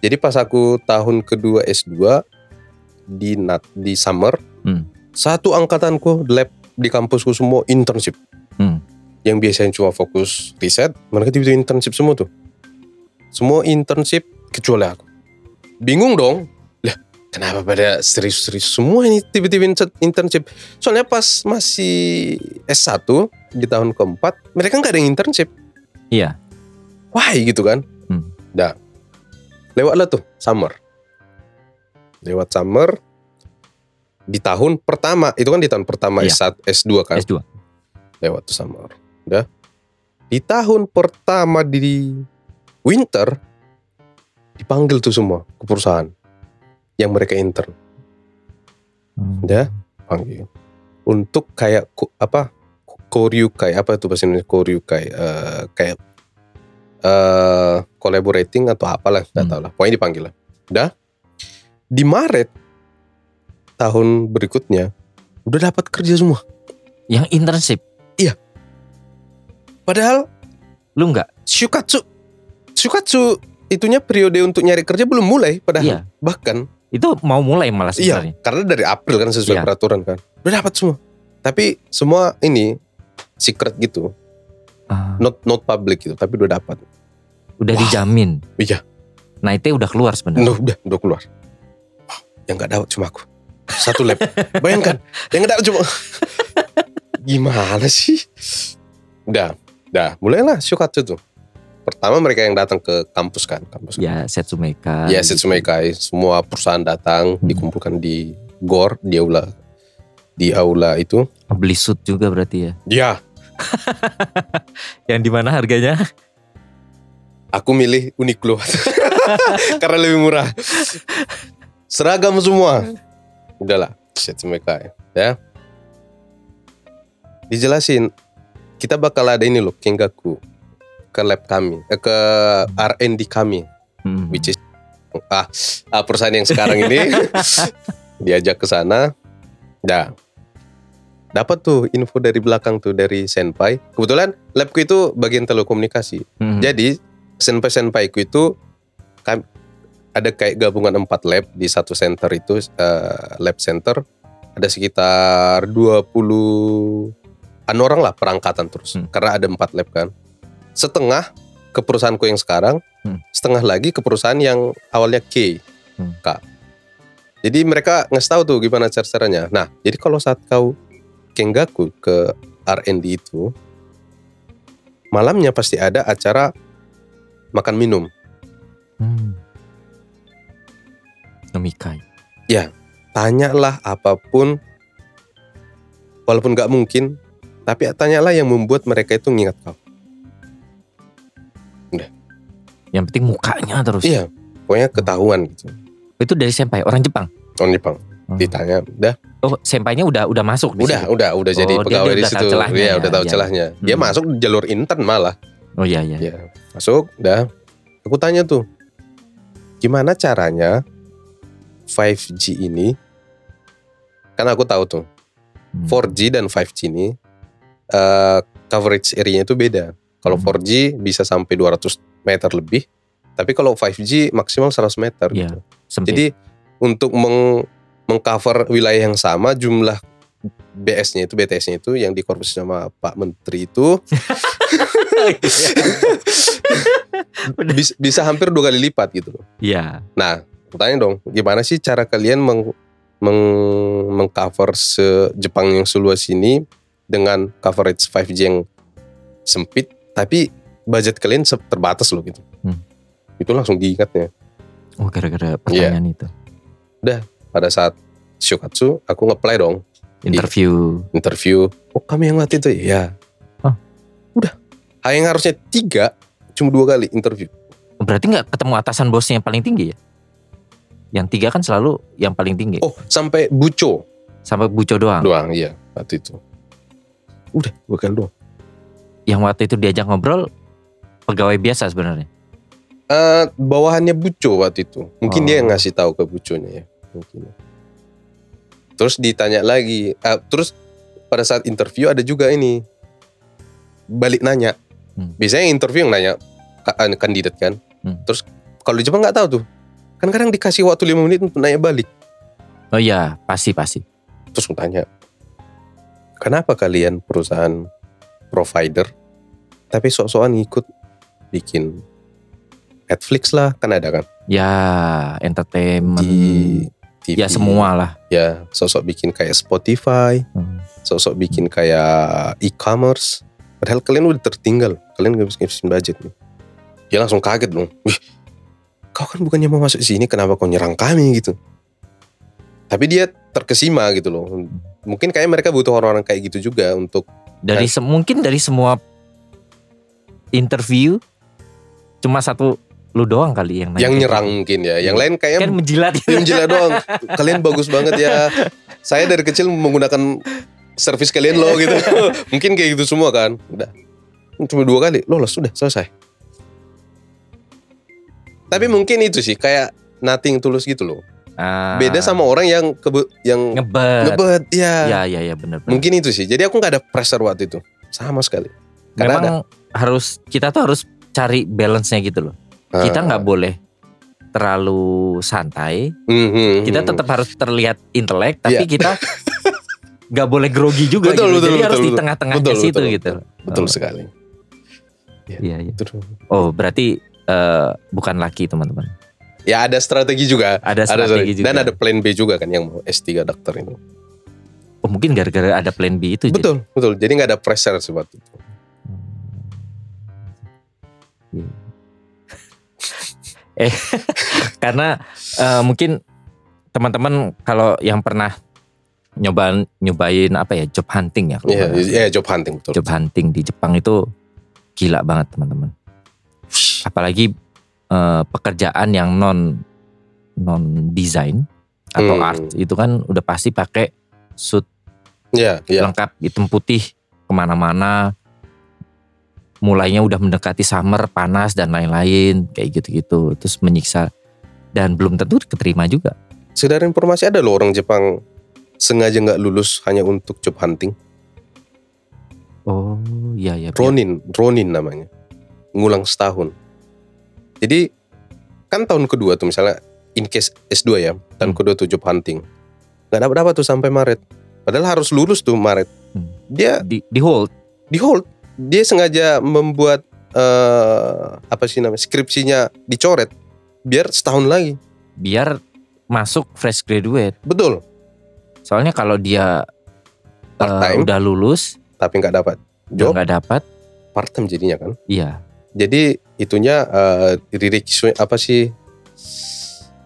Speaker 2: Jadi pas aku tahun kedua S2 di nat di summer,
Speaker 1: Hmm.
Speaker 2: satu angkatanku lab di kampusku semua internship.
Speaker 1: Hmm.
Speaker 2: Yang biasanya cuma fokus riset, mereka tiba-tiba internship semua tuh. Semua internship kecuali aku. Bingung dong. Lah, kenapa pada serius-serius semua ini tiba-tiba in- internship? Soalnya pas masih S1 di tahun keempat, mereka nggak ada yang internship.
Speaker 1: Iya.
Speaker 2: Why gitu kan?
Speaker 1: Hmm.
Speaker 2: Nah, lewatlah tuh summer. Lewat summer di tahun pertama, itu kan di tahun pertama
Speaker 1: Iya.
Speaker 2: S1, S2 kan?
Speaker 1: S2.
Speaker 2: lewat tuh summer. Udah. Di tahun pertama di winter dipanggil tuh semua ke perusahaan yang mereka intern,
Speaker 1: Hmm.
Speaker 2: Udah. panggil untuk kayak ku- apa koryukai apa itu bahasa Indonesia koryukai Eh, kayak eh collaborating atau apalah nggak
Speaker 1: Hmm.
Speaker 2: tahu lah pokoknya dipanggil lah udah di Maret tahun berikutnya udah dapat kerja semua
Speaker 1: Yang internship
Speaker 2: padahal
Speaker 1: lu nggak?
Speaker 2: Shukatsu Shukatsu itunya periode untuk nyari kerja belum mulai padahal
Speaker 1: Iya.
Speaker 2: bahkan
Speaker 1: Itu mau mulai malah
Speaker 2: iya
Speaker 1: sebenarnya.
Speaker 2: karena dari April kan
Speaker 1: Iya.
Speaker 2: sesuai peraturan kan udah dapat semua tapi semua ini secret gitu
Speaker 1: Ah,
Speaker 2: not not public gitu tapi udah dapat
Speaker 1: udah
Speaker 2: Wah.
Speaker 1: dijamin.
Speaker 2: Iya.
Speaker 1: Nah itu udah keluar sebenarnya.
Speaker 2: udah udah udah keluar Wah, yang nggak dapat cuma aku satu
Speaker 1: *laughs*
Speaker 2: lab bayangkan yang nggak dapat cuma gimana sih udah udah mulailah Shukatsu tuh pertama mereka yang datang ke kampus kan kampus
Speaker 1: Ya Setsumeka.
Speaker 2: Ya, Setsumekai. Semua perusahaan datang
Speaker 1: Hmm.
Speaker 2: dikumpulkan di GOR, di aula di aula itu.
Speaker 1: Beli suit juga berarti ya.
Speaker 2: Ya,
Speaker 1: Yang di mana harganya?
Speaker 2: aku milih Uniqlo *laughs* karena lebih murah. Seragam semua. Udahlah, Setsumekai, ya. Dijelasin kita bakal ada ini loh, Kengaku ke lab kami, eh, ke R&D kami,
Speaker 1: Hmm.
Speaker 2: which is ah, ah, perusahaan yang sekarang ini diajak ke sana. Nah, dapat tuh info dari belakang tuh dari senpai. Kebetulan labku itu bagian telekomunikasi.
Speaker 1: Hmm.
Speaker 2: Jadi senpai senpaiku itu kam- ada kayak gabungan empat lab di satu center itu eh, lab center ada sekitar 20 an orang lah perangkatan terus
Speaker 1: Hmm.
Speaker 2: karena ada empat lab kan setengah ke perusahaanku yang sekarang
Speaker 1: Hmm.
Speaker 2: setengah lagi ke perusahaan yang awalnya K
Speaker 1: Hmm.
Speaker 2: K jadi mereka ngasih tahu tuh gimana cara caranya nah jadi kalau saat kau kenggaku ke R&D itu malamnya pasti ada acara makan minum
Speaker 1: Hmm. Nomikai.
Speaker 2: tanyalah apapun walaupun nggak mungkin tapi tanyalah yang membuat mereka itu ngingat kau
Speaker 1: Yang penting mukanya terus.
Speaker 2: iya pokoknya ketahuan gitu
Speaker 1: Itu dari senpai orang Jepang.
Speaker 2: orang Jepang
Speaker 1: Hmm.
Speaker 2: ditanya udah
Speaker 1: Oh, senpainya udah udah masuk di
Speaker 2: udah
Speaker 1: situ.
Speaker 2: udah udah jadi
Speaker 1: Oh, dia-
Speaker 2: pegawai
Speaker 1: dia
Speaker 2: di
Speaker 1: udah tahu
Speaker 2: situ
Speaker 1: celahnya
Speaker 2: iya
Speaker 1: ya,
Speaker 2: udah tahu
Speaker 1: iya.
Speaker 2: celahnya dia
Speaker 1: Hmm.
Speaker 2: masuk jalur intern malah
Speaker 1: Oh iya iya.
Speaker 2: Iya. masuk udah aku tanya tuh gimana caranya 5G ini karena aku tahu tuh
Speaker 1: Hmm.
Speaker 2: 4G dan 5G ini eh, coverage area-nya itu beda. Kalau
Speaker 1: Hmm.
Speaker 2: 4G bisa sampai 200 meter lebih, tapi kalau 5G maksimal 100 meter.
Speaker 1: Iya,
Speaker 2: gitu.
Speaker 1: Sempit.
Speaker 2: Jadi untuk meng mengcover wilayah yang sama jumlah BS-nya itu BTS-nya itu yang dikorupsi sama Pak Menteri itu bis- bisa hampir dua kali lipat gitu. loh.
Speaker 1: *laughs* Iya.
Speaker 2: Nah, tanya dong, gimana sih cara kalian meng meng- mengcover se Jepang yang seluas ini dengan coverage 5G yang sempit, tapi budget kalian se- terbatas loh gitu.
Speaker 1: Hmm.
Speaker 2: Itu langsung diingatnya.
Speaker 1: Oh gara-gara
Speaker 2: Iya.
Speaker 1: pertanyaan itu.
Speaker 2: Pada saat Shokatsu, aku ngeplay dong
Speaker 1: Interview.
Speaker 2: interview. Oh kami yang latih itu ya.
Speaker 1: Hah?
Speaker 2: Udah. Hal yang harusnya tiga, cuma dua kali interview. Iya.
Speaker 1: Berarti nggak ketemu atasan bosnya yang paling tinggi ya? Yang tiga kan selalu yang paling tinggi.
Speaker 2: Oh sampai buco
Speaker 1: Sampai buco doang.
Speaker 2: doang, iya waktu itu. Udah dua kali doang.
Speaker 1: Yang waktu itu diajak ngobrol pegawai biasa sebenarnya.
Speaker 2: Eh, bawahannya Buco waktu itu. Mungkin
Speaker 1: Oh.
Speaker 2: dia yang ngasih tahu ke Buconya ya. Mungkin. Terus ditanya lagi. Eh, terus pada saat interview ada juga ini balik nanya.
Speaker 1: Hmm.
Speaker 2: Biasanya interview yang nanya ka- eh, kandidat kan.
Speaker 1: Hmm.
Speaker 2: Terus kalau di Jepang nggak tahu tuh. Kan kadang dikasih waktu 5 menit untuk nanya balik.
Speaker 1: Oh iya, pasti pasti.
Speaker 2: Terus aku tanya, kenapa kalian perusahaan provider tapi sok-sokan ngikut bikin Netflix lah kan ada kan
Speaker 1: Ya, entertainment.
Speaker 2: di TV.
Speaker 1: Ya semua lah.
Speaker 2: Ya sosok bikin kayak Spotify,
Speaker 1: Hmm.
Speaker 2: sosok bikin kayak e-commerce. Padahal kalian udah tertinggal, kalian gak bisa ngabisin budget nih. Dia langsung kaget dong. Wih, kau kan bukannya mau masuk sini, kenapa kau nyerang kami gitu? Tapi dia terkesima gitu loh. Mungkin kayak mereka butuh orang-orang kayak gitu juga untuk
Speaker 1: Dari se- mungkin dari semua interview cuma satu lu doang kali yang nanya.
Speaker 2: yang nyerang mungkin ya. Yang lain kayak
Speaker 1: Nah, gitu. Kan menjilat.
Speaker 2: *laughs* Tim Jela doang. Kalian bagus banget ya. Saya dari kecil menggunakan servis kalian loh
Speaker 1: *laughs*
Speaker 2: gitu. Mungkin kayak gitu semua kan. Udah. Cuma dua kali. Lolos sudah selesai. Tapi mungkin itu sih kayak nothing tulus gitu loh.
Speaker 1: Ah,
Speaker 2: Beda sama orang yang kebe- yang
Speaker 1: ngebet.
Speaker 2: ngebet ya.
Speaker 1: Ya, ya, ya benar.
Speaker 2: Mungkin itu sih. Jadi aku nggak ada pressure waktu itu. Sama sekali. Karena
Speaker 1: Memang harus kita tuh harus cari balance-nya gitu loh.
Speaker 2: ada-
Speaker 1: Kita nggak
Speaker 2: Ah.
Speaker 1: boleh terlalu santai.
Speaker 2: Hmm, hmm,
Speaker 1: Kita
Speaker 2: hmm.
Speaker 1: tetap harus terlihat intelek, tapi
Speaker 2: Iya. *laughs*
Speaker 1: kita nggak boleh grogi juga. gitu.
Speaker 2: Betul, betul,
Speaker 1: Jadi
Speaker 2: betul,
Speaker 1: harus di
Speaker 2: betul.
Speaker 1: tengah-tengahnya
Speaker 2: Betul,
Speaker 1: situ
Speaker 2: betul,
Speaker 1: gitu.
Speaker 2: betul
Speaker 1: Oh.
Speaker 2: sekali.
Speaker 1: Iya, iya.
Speaker 2: Itu dong.
Speaker 1: Oh, berarti eh, bukan laki teman-teman.
Speaker 2: Ya ada strategi juga.
Speaker 1: Ada
Speaker 2: ada
Speaker 1: strategi
Speaker 2: sorry.
Speaker 1: juga.
Speaker 2: Dan ada plan B juga kan yang mau S3 dokter itu.
Speaker 1: Oh, mungkin gara-gara ada plan B itu. jadi.
Speaker 2: Betul, betul. Jadi nggak ada pressure sebab itu.
Speaker 1: Hmm. eh, karena eh, mungkin teman-teman kalau yang pernah nyobain nyobain apa ya job hunting ya kalau
Speaker 2: Iya,
Speaker 1: nggak salah.
Speaker 2: iya, job hunting betul.
Speaker 1: job hunting di Jepang itu gila banget teman-teman. Apalagi eh, pekerjaan yang non non design atau
Speaker 2: Hmm.
Speaker 1: art itu kan udah pasti pakai suit
Speaker 2: Iya, iya.
Speaker 1: lengkap hitam putih kemana-mana. Mulainya udah mendekati summer panas dan lain-lain kayak gitu-gitu terus menyiksa dan belum tentu keterima juga.
Speaker 2: Sekedar informasi ada loh orang Jepang sengaja nggak lulus hanya untuk job hunting.
Speaker 1: Iya. Oh iya iya. biar-
Speaker 2: Ronin, Ronin namanya. Ngulang setahun. Jadi kan tahun kedua tuh misalnya in case S2 ya, tahun
Speaker 1: Hmm.
Speaker 2: kedua tuh job hunting. Nggak dapat apa tuh sampai Maret. Padahal harus lulus tuh Maret.
Speaker 1: Hmm.
Speaker 2: Dia
Speaker 1: Di, di hold.
Speaker 2: di hold dia sengaja membuat eh, apa sih namanya skripsinya dicoret biar setahun lagi
Speaker 1: biar masuk fresh graduate.
Speaker 2: betul
Speaker 1: Soalnya kalau dia eh,
Speaker 2: part time
Speaker 1: udah lulus
Speaker 2: tapi nggak dapat
Speaker 1: udah
Speaker 2: job
Speaker 1: nggak dapat,
Speaker 2: part time jadinya kan
Speaker 1: iya
Speaker 2: jadi itunya eh rirekisho apa sih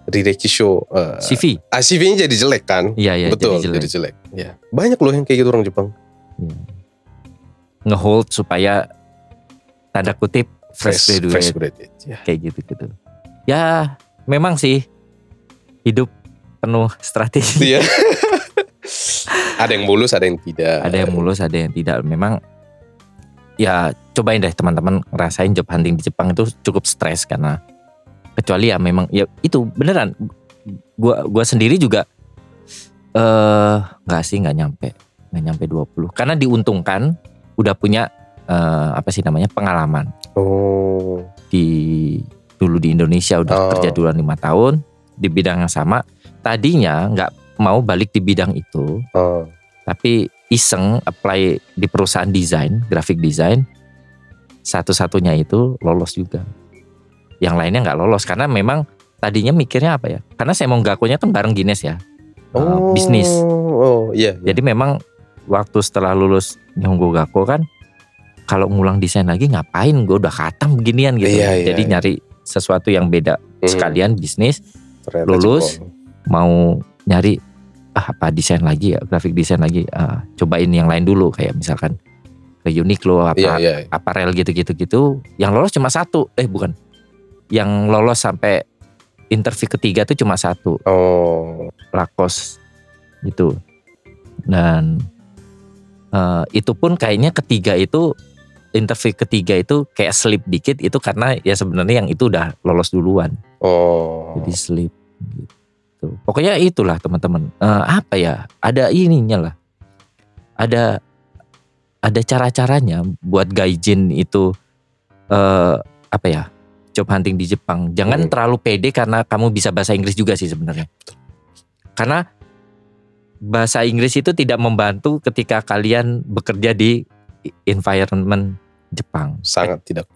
Speaker 2: rirekisho eh
Speaker 1: CV,
Speaker 2: ah, CV-nya jadi jelek kan
Speaker 1: iya iya
Speaker 2: betul
Speaker 1: jadi jelek.
Speaker 2: jadi jelek ya banyak loh yang kayak gitu orang Jepang
Speaker 1: ngehold supaya tanda kutip fresh, graduate
Speaker 2: fresh graduate ya.
Speaker 1: kayak gitu gitu. Ya memang sih hidup penuh
Speaker 2: Itu
Speaker 1: strategi.
Speaker 2: ya. *laughs* ada yang mulus ada yang tidak
Speaker 1: ada yang mulus, ada yang tidak. Memang ya cobain deh teman-teman ngerasain job hunting di Jepang itu cukup stres karena kecuali ya memang ya itu beneran gua gua sendiri juga eh nggak sih nggak nyampe nggak nyampe 20 karena diuntungkan udah punya eh, apa sih namanya pengalaman
Speaker 2: oh
Speaker 1: di dulu di Indonesia udah
Speaker 2: Oh.
Speaker 1: kerja duluan lima tahun di bidang yang sama tadinya nggak mau balik di bidang itu
Speaker 2: oh.
Speaker 1: tapi iseng apply di perusahaan desain graphic design satu-satunya itu lolos juga yang lainnya nggak lolos karena memang tadinya mikirnya apa ya karena saya mau ngakunya kan bareng Guinness ya eh, bisnis
Speaker 2: oh iya iya.
Speaker 1: jadi memang waktu setelah lulus Nyonggo Gakko kan kalau ngulang desain lagi ngapain gue udah khatam beginian gitu.
Speaker 2: Iya, iya,
Speaker 1: Jadi
Speaker 2: iya.
Speaker 1: nyari sesuatu yang beda
Speaker 2: Hmm,
Speaker 1: sekalian bisnis
Speaker 2: ternyata
Speaker 1: lulus.
Speaker 2: jebol.
Speaker 1: mau nyari ah, apa desain lagi ya, grafik desain lagi ah, cobain yang lain dulu kayak misalkan ke Uniqlo apa
Speaker 2: Iya iya.
Speaker 1: aparel gitu-gitu gitu. Yang lolos cuma satu. Eh bukan. Yang lolos sampai interview ketiga tuh cuma satu.
Speaker 2: Oh.
Speaker 1: Lacoste gitu dan eh, itu pun kayaknya ketiga itu interview ketiga itu kayak slip dikit itu karena ya sebenarnya yang itu udah lolos duluan
Speaker 2: Oh.
Speaker 1: jadi slip gitu pokoknya itulah teman-teman Eh, apa ya ada ininya lah ada ada cara-caranya buat gaijin itu eh apa ya job hunting di Jepang jangan
Speaker 2: Hmm.
Speaker 1: terlalu pede karena kamu bisa bahasa Inggris juga sih sebenarnya karena bahasa Inggris itu tidak membantu ketika kalian bekerja di environment Jepang
Speaker 2: sangat tidak.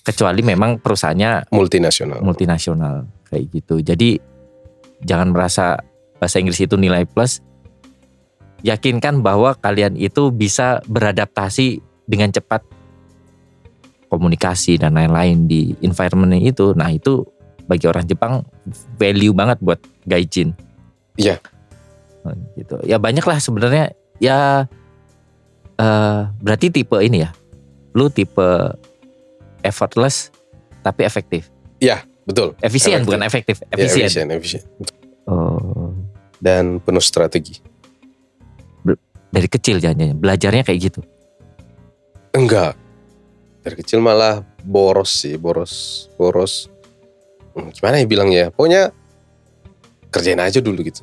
Speaker 1: Kecuali memang perusahaannya
Speaker 2: multinasional.
Speaker 1: multinasional kayak gitu. Jadi jangan merasa bahasa Inggris itu nilai plus. Yakinkan bahwa kalian itu bisa beradaptasi dengan cepat komunikasi dan lain-lain di environment itu. Nah, itu bagi orang Jepang value banget buat gaijin.
Speaker 2: Iya.
Speaker 1: Nah, Gitu. Ya banyak lah sebenarnya ya eh, berarti tipe ini ya. Lu tipe effortless tapi efektif.
Speaker 2: Betul.
Speaker 1: Efisien
Speaker 2: Efektif.
Speaker 1: bukan efektif,
Speaker 2: Ya,
Speaker 1: efisien.
Speaker 2: efisien, efisien.
Speaker 1: Oh,
Speaker 2: Dan penuh strategi.
Speaker 1: dari kecil jangan belajarnya kayak gitu.
Speaker 2: Enggak. Dari kecil malah boros sih, boros, boros. Hmm, Gimana ya bilang ya? Pokoknya kerjain aja dulu gitu.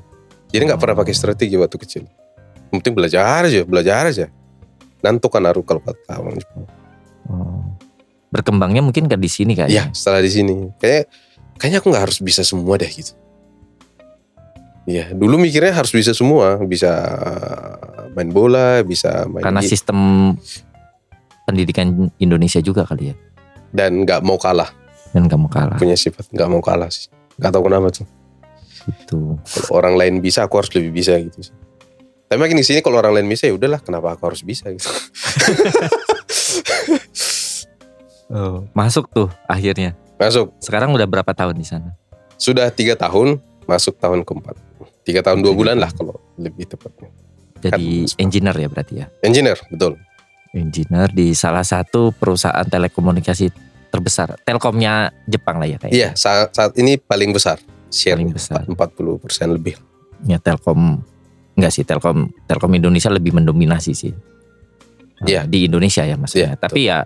Speaker 2: Jadi nggak pernah pakai strategi waktu kecil. Yang penting belajar aja, belajar aja. Nanti kan aru kalau kata orang Jepang.
Speaker 1: Oh. Berkembangnya mungkin ke di sini
Speaker 2: Iya,
Speaker 1: kayaknya.
Speaker 2: setelah di sini. Kayak kayaknya aku nggak harus bisa semua deh gitu. Iya, dulu mikirnya harus bisa semua, bisa main bola, bisa main
Speaker 1: ya, Karena
Speaker 2: gi-
Speaker 1: sistem pendidikan Indonesia juga kali ya.
Speaker 2: dan nggak mau kalah,
Speaker 1: Dan kamu kalah
Speaker 2: punya sifat nggak mau kalah sih. Gak tahu kenapa tuh.
Speaker 1: gitu.
Speaker 2: Kalau orang lain bisa, aku harus lebih bisa gitu sih. Tapi makin di sini kalau orang lain bisa ya udahlah, kenapa aku harus bisa
Speaker 1: *laughs*
Speaker 2: gitu.
Speaker 1: Oh. Masuk tuh akhirnya.
Speaker 2: Masuk
Speaker 1: Sekarang udah berapa tahun di sana?
Speaker 2: sudah tiga tahun, masuk tahun keempat. Tiga tahun dua bulan lah kalau lebih tepatnya.
Speaker 1: Jadi
Speaker 2: Kan-
Speaker 1: engineer ya berarti ya.
Speaker 2: Engineer, betul.
Speaker 1: Engineer di salah satu perusahaan telekomunikasi terbesar. Telkomnya Jepang lah ya kayaknya.
Speaker 2: Iya, saat, saat ini paling besar share
Speaker 1: Paling besar.
Speaker 2: 40 persen lebih.
Speaker 1: Ya Telkom enggak sih Telkom Telkom Indonesia lebih mendominasi sih. Nah,
Speaker 2: Iya.
Speaker 1: di Indonesia ya maksudnya.
Speaker 2: Iya, betul.
Speaker 1: Tapi ya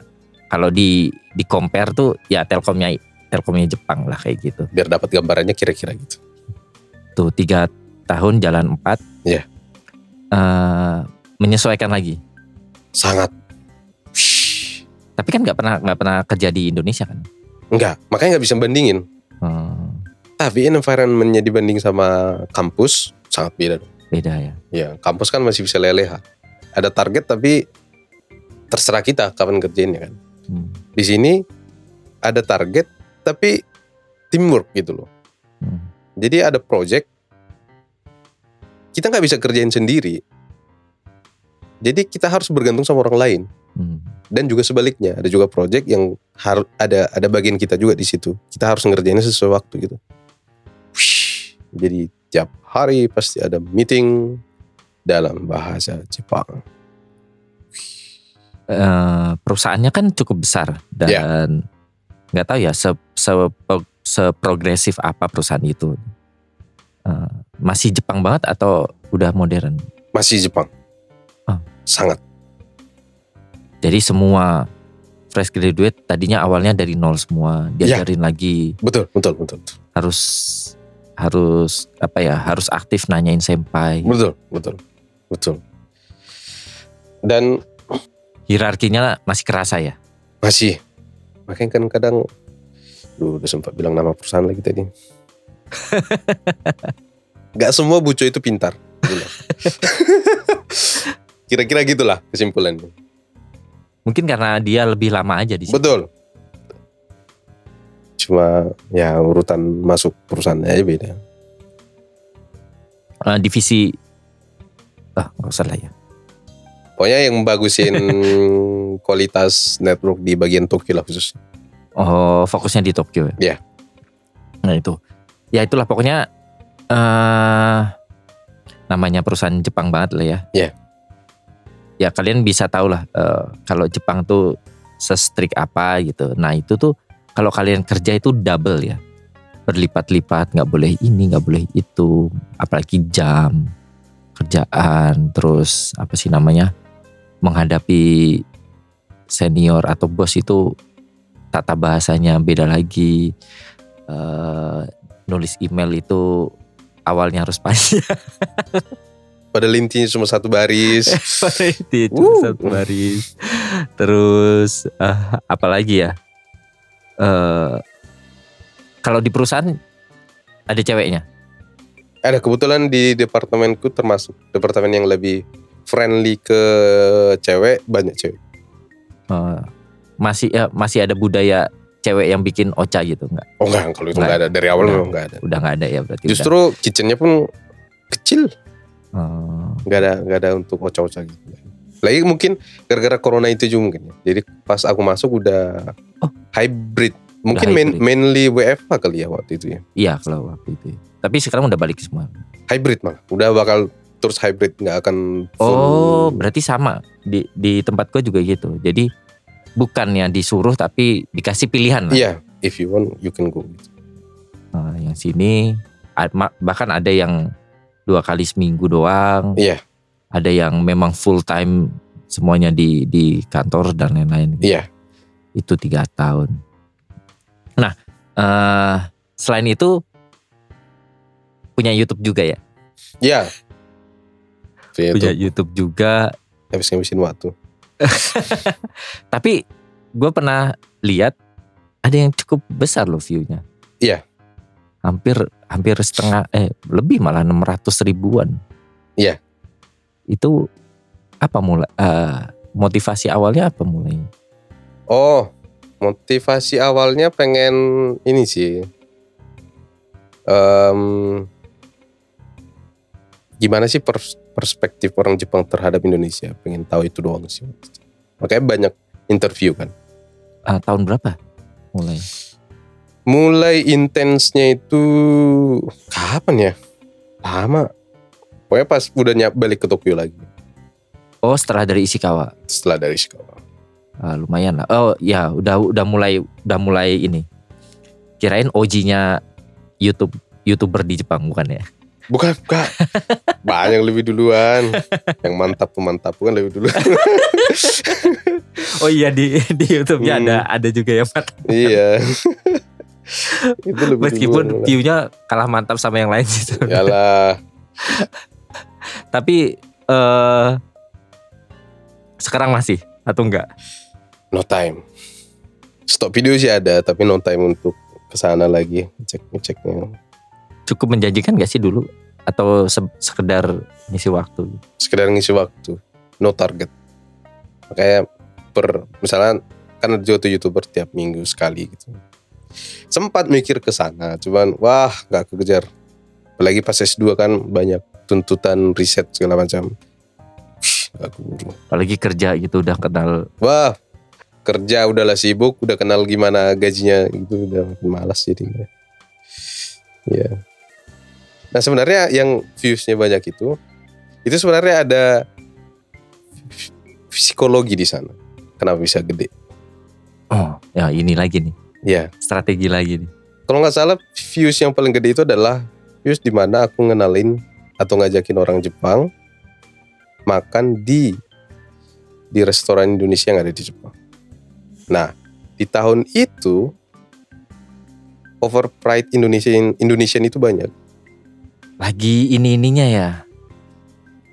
Speaker 1: kalau di di compare tuh ya Telkomnya Telkomnya Jepang lah kayak gitu.
Speaker 2: Biar dapat gambarannya kira-kira gitu.
Speaker 1: Tuh tiga tahun jalan empat.
Speaker 2: Iya.
Speaker 1: Eh, menyesuaikan lagi.
Speaker 2: Sangat.
Speaker 1: Tapi kan nggak pernah nggak pernah kerja di Indonesia kan.
Speaker 2: Enggak, makanya nggak bisa bandingin.
Speaker 1: Hmm,
Speaker 2: Tapi Ah, environmentnya dibanding sama kampus sangat beda. dong.
Speaker 1: beda ya.
Speaker 2: Ya, kampus kan masih bisa leleha. Ada target tapi terserah kita kapan kerjainnya kan.
Speaker 1: Hmm,
Speaker 2: Di sini ada target tapi teamwork gitu loh.
Speaker 1: hmm.
Speaker 2: Jadi ada project kita nggak bisa kerjain sendiri. Jadi kita harus bergantung sama orang lain.
Speaker 1: Hmm.
Speaker 2: dan juga sebaliknya ada juga project yang harus ada ada bagian kita juga di situ kita harus ngerjainnya sesuai waktu gitu Whoosh. jadi tiap hari pasti ada meeting dalam bahasa Jepang
Speaker 1: Eh, perusahaannya kan cukup besar dan
Speaker 2: Iya.
Speaker 1: nggak tahu ya se, se- pro- seprogresif apa perusahaan itu. Eh, masih Jepang banget atau udah modern?
Speaker 2: masih Jepang
Speaker 1: Ah.
Speaker 2: sangat
Speaker 1: Jadi semua fresh graduate tadinya awalnya dari nol semua, diajarin lagi
Speaker 2: betul betul betul betul
Speaker 1: harus harus apa ya harus aktif nanyain senpai
Speaker 2: betul betul, betul. dan
Speaker 1: hierarkinya masih kerasa ya
Speaker 2: masih makanya kan kadang Duh, udah sempat bilang nama perusahaan lagi tadi Gak semua buco itu pintar *laughs* bilang. kira-kira gitulah kesimpulannya
Speaker 1: mungkin karena dia lebih lama aja di sini
Speaker 2: betul cuma ya urutan masuk perusahaannya aja beda
Speaker 1: Eh, divisi ah nggak usah lah ya
Speaker 2: pokoknya yang bagusin kualitas network di bagian Tokyo lah khusus
Speaker 1: Oh, fokusnya di Tokyo ya?
Speaker 2: Iya.
Speaker 1: Nah itu, ya itulah pokoknya eh namanya perusahaan Jepang banget lah ya.
Speaker 2: Iya.
Speaker 1: Ya kalian bisa tahu lah eh, kalau Jepang tuh se-strict apa gitu. Nah itu tuh kalau kalian kerja itu double ya, berlipat-lipat, nggak boleh ini, nggak boleh itu, apalagi jam kerjaan, terus apa sih namanya menghadapi senior atau bos itu tata bahasanya beda lagi Eh, nulis email itu awalnya harus panjang *laughs*
Speaker 2: pada intinya cuma satu baris
Speaker 1: *laughs* itu
Speaker 2: Wuh.
Speaker 1: satu baris terus eh, apalagi ya Eh, kalau di perusahaan ada ceweknya
Speaker 2: ada kebetulan di departemenku termasuk departemen yang lebih friendly ke cewek banyak cewek
Speaker 1: Eh, masih eh, masih ada budaya cewek yang bikin oca gitu nggak?
Speaker 2: Oh enggak, kalau itu
Speaker 1: Nggak.
Speaker 2: enggak ada dari awal
Speaker 1: Nggak.
Speaker 2: memang enggak ada.
Speaker 1: Udah nggak ada ya berarti. udah.
Speaker 2: Justru kitchennya pun kecil,
Speaker 1: Hmm.
Speaker 2: enggak ada enggak ada untuk oca-oca gitu. Lagi mungkin gara-gara corona itu juga mungkin. ya. Jadi pas aku masuk udah
Speaker 1: Oh.
Speaker 2: hybrid. Mungkin
Speaker 1: Udah
Speaker 2: main,
Speaker 1: hybrid.
Speaker 2: mainly WFH kali ya waktu itu ya.
Speaker 1: Iya kalau waktu itu. Tapi sekarang udah balik semua.
Speaker 2: Hybrid malah. Udah bakal terus hybrid nggak akan full.
Speaker 1: Oh, berarti sama di di tempat gue juga gitu. Jadi bukannya disuruh tapi dikasih pilihan lah.
Speaker 2: Iya, if you want you can go.
Speaker 1: Nah, yang sini a- ma- bahkan ada yang dua kali seminggu doang.
Speaker 2: Iya.
Speaker 1: Ada yang memang full time semuanya di di kantor dan lain-lain.
Speaker 2: Iya.
Speaker 1: Itu tiga tahun. Nah, eh selain itu punya YouTube juga ya.
Speaker 2: Iya. Punya
Speaker 1: Punya
Speaker 2: itu
Speaker 1: YouTube juga.
Speaker 2: habis ngabisin waktu.
Speaker 1: Tapi gue pernah lihat ada yang cukup besar loh view-nya.
Speaker 2: Iya.
Speaker 1: Hampir hampir setengah eh lebih malah 600 ribuan.
Speaker 2: Iya.
Speaker 1: Itu apa mulai eh, motivasi awalnya apa mulainya?
Speaker 2: Oh, motivasi awalnya pengen ini sih. Em, gimana sih pers- perspektif orang Jepang terhadap Indonesia? Pengen tahu itu doang sih. Makanya banyak interview kan.
Speaker 1: Eh, tahun berapa mulai?
Speaker 2: Mulai intensnya itu kapan ya? Lama. Pokoknya pas udah nyap balik ke Tokyo lagi
Speaker 1: Oh, setelah dari Ishikawa.
Speaker 2: setelah dari sekolah.
Speaker 1: Ah, lumayan lah. Oh, ya udah udah mulai udah mulai ini. Kirain OG-nya YouTube YouTuber di Jepang bukan ya?
Speaker 2: Bukan, bukan. Banyak lebih duluan. Yang mantap mantap bukan lebih duluan.
Speaker 1: Oh iya di di YouTube-nya
Speaker 2: Hmm.
Speaker 1: ada ada juga ya Pak.
Speaker 2: iya itu lebih
Speaker 1: Meskipun
Speaker 2: duluan.
Speaker 1: view-nya kalah mantap sama yang lain *laughs* gitu.
Speaker 2: Yalah,
Speaker 1: Tapi eh sekarang masih atau enggak?
Speaker 2: no time stop video sih ada tapi no time untuk kesana lagi cek ngeceknya
Speaker 1: Cukup menjanjikan gak sih dulu atau se- sekedar ngisi waktu?
Speaker 2: sekedar ngisi waktu no target makanya per misalnya kan ada juga tuh youtuber tiap minggu sekali gitu sempat mikir ke sana cuman wah nggak kekejar apalagi pas S2 kan banyak tuntutan riset segala macam gak keburu
Speaker 1: Apalagi kerja gitu udah kenal
Speaker 2: Wah, kerja udahlah sibuk, udah kenal gimana gajinya gitu, udah makin malas jadinya. Iya. Nah sebenarnya yang viewsnya banyak itu, itu sebenarnya ada psikologi di sana. Kenapa bisa gede?
Speaker 1: oh ya ini lagi nih
Speaker 2: Iya.
Speaker 1: strategi lagi nih.
Speaker 2: Kalau nggak salah views yang paling gede itu adalah views di mana aku ngenalin atau ngajakin orang Jepang makan di di restoran Indonesia yang ada di Jepang. Nah, di tahun itu overpriced Indonesian Indonesian itu banyak.
Speaker 1: Lagi ini ininya ya.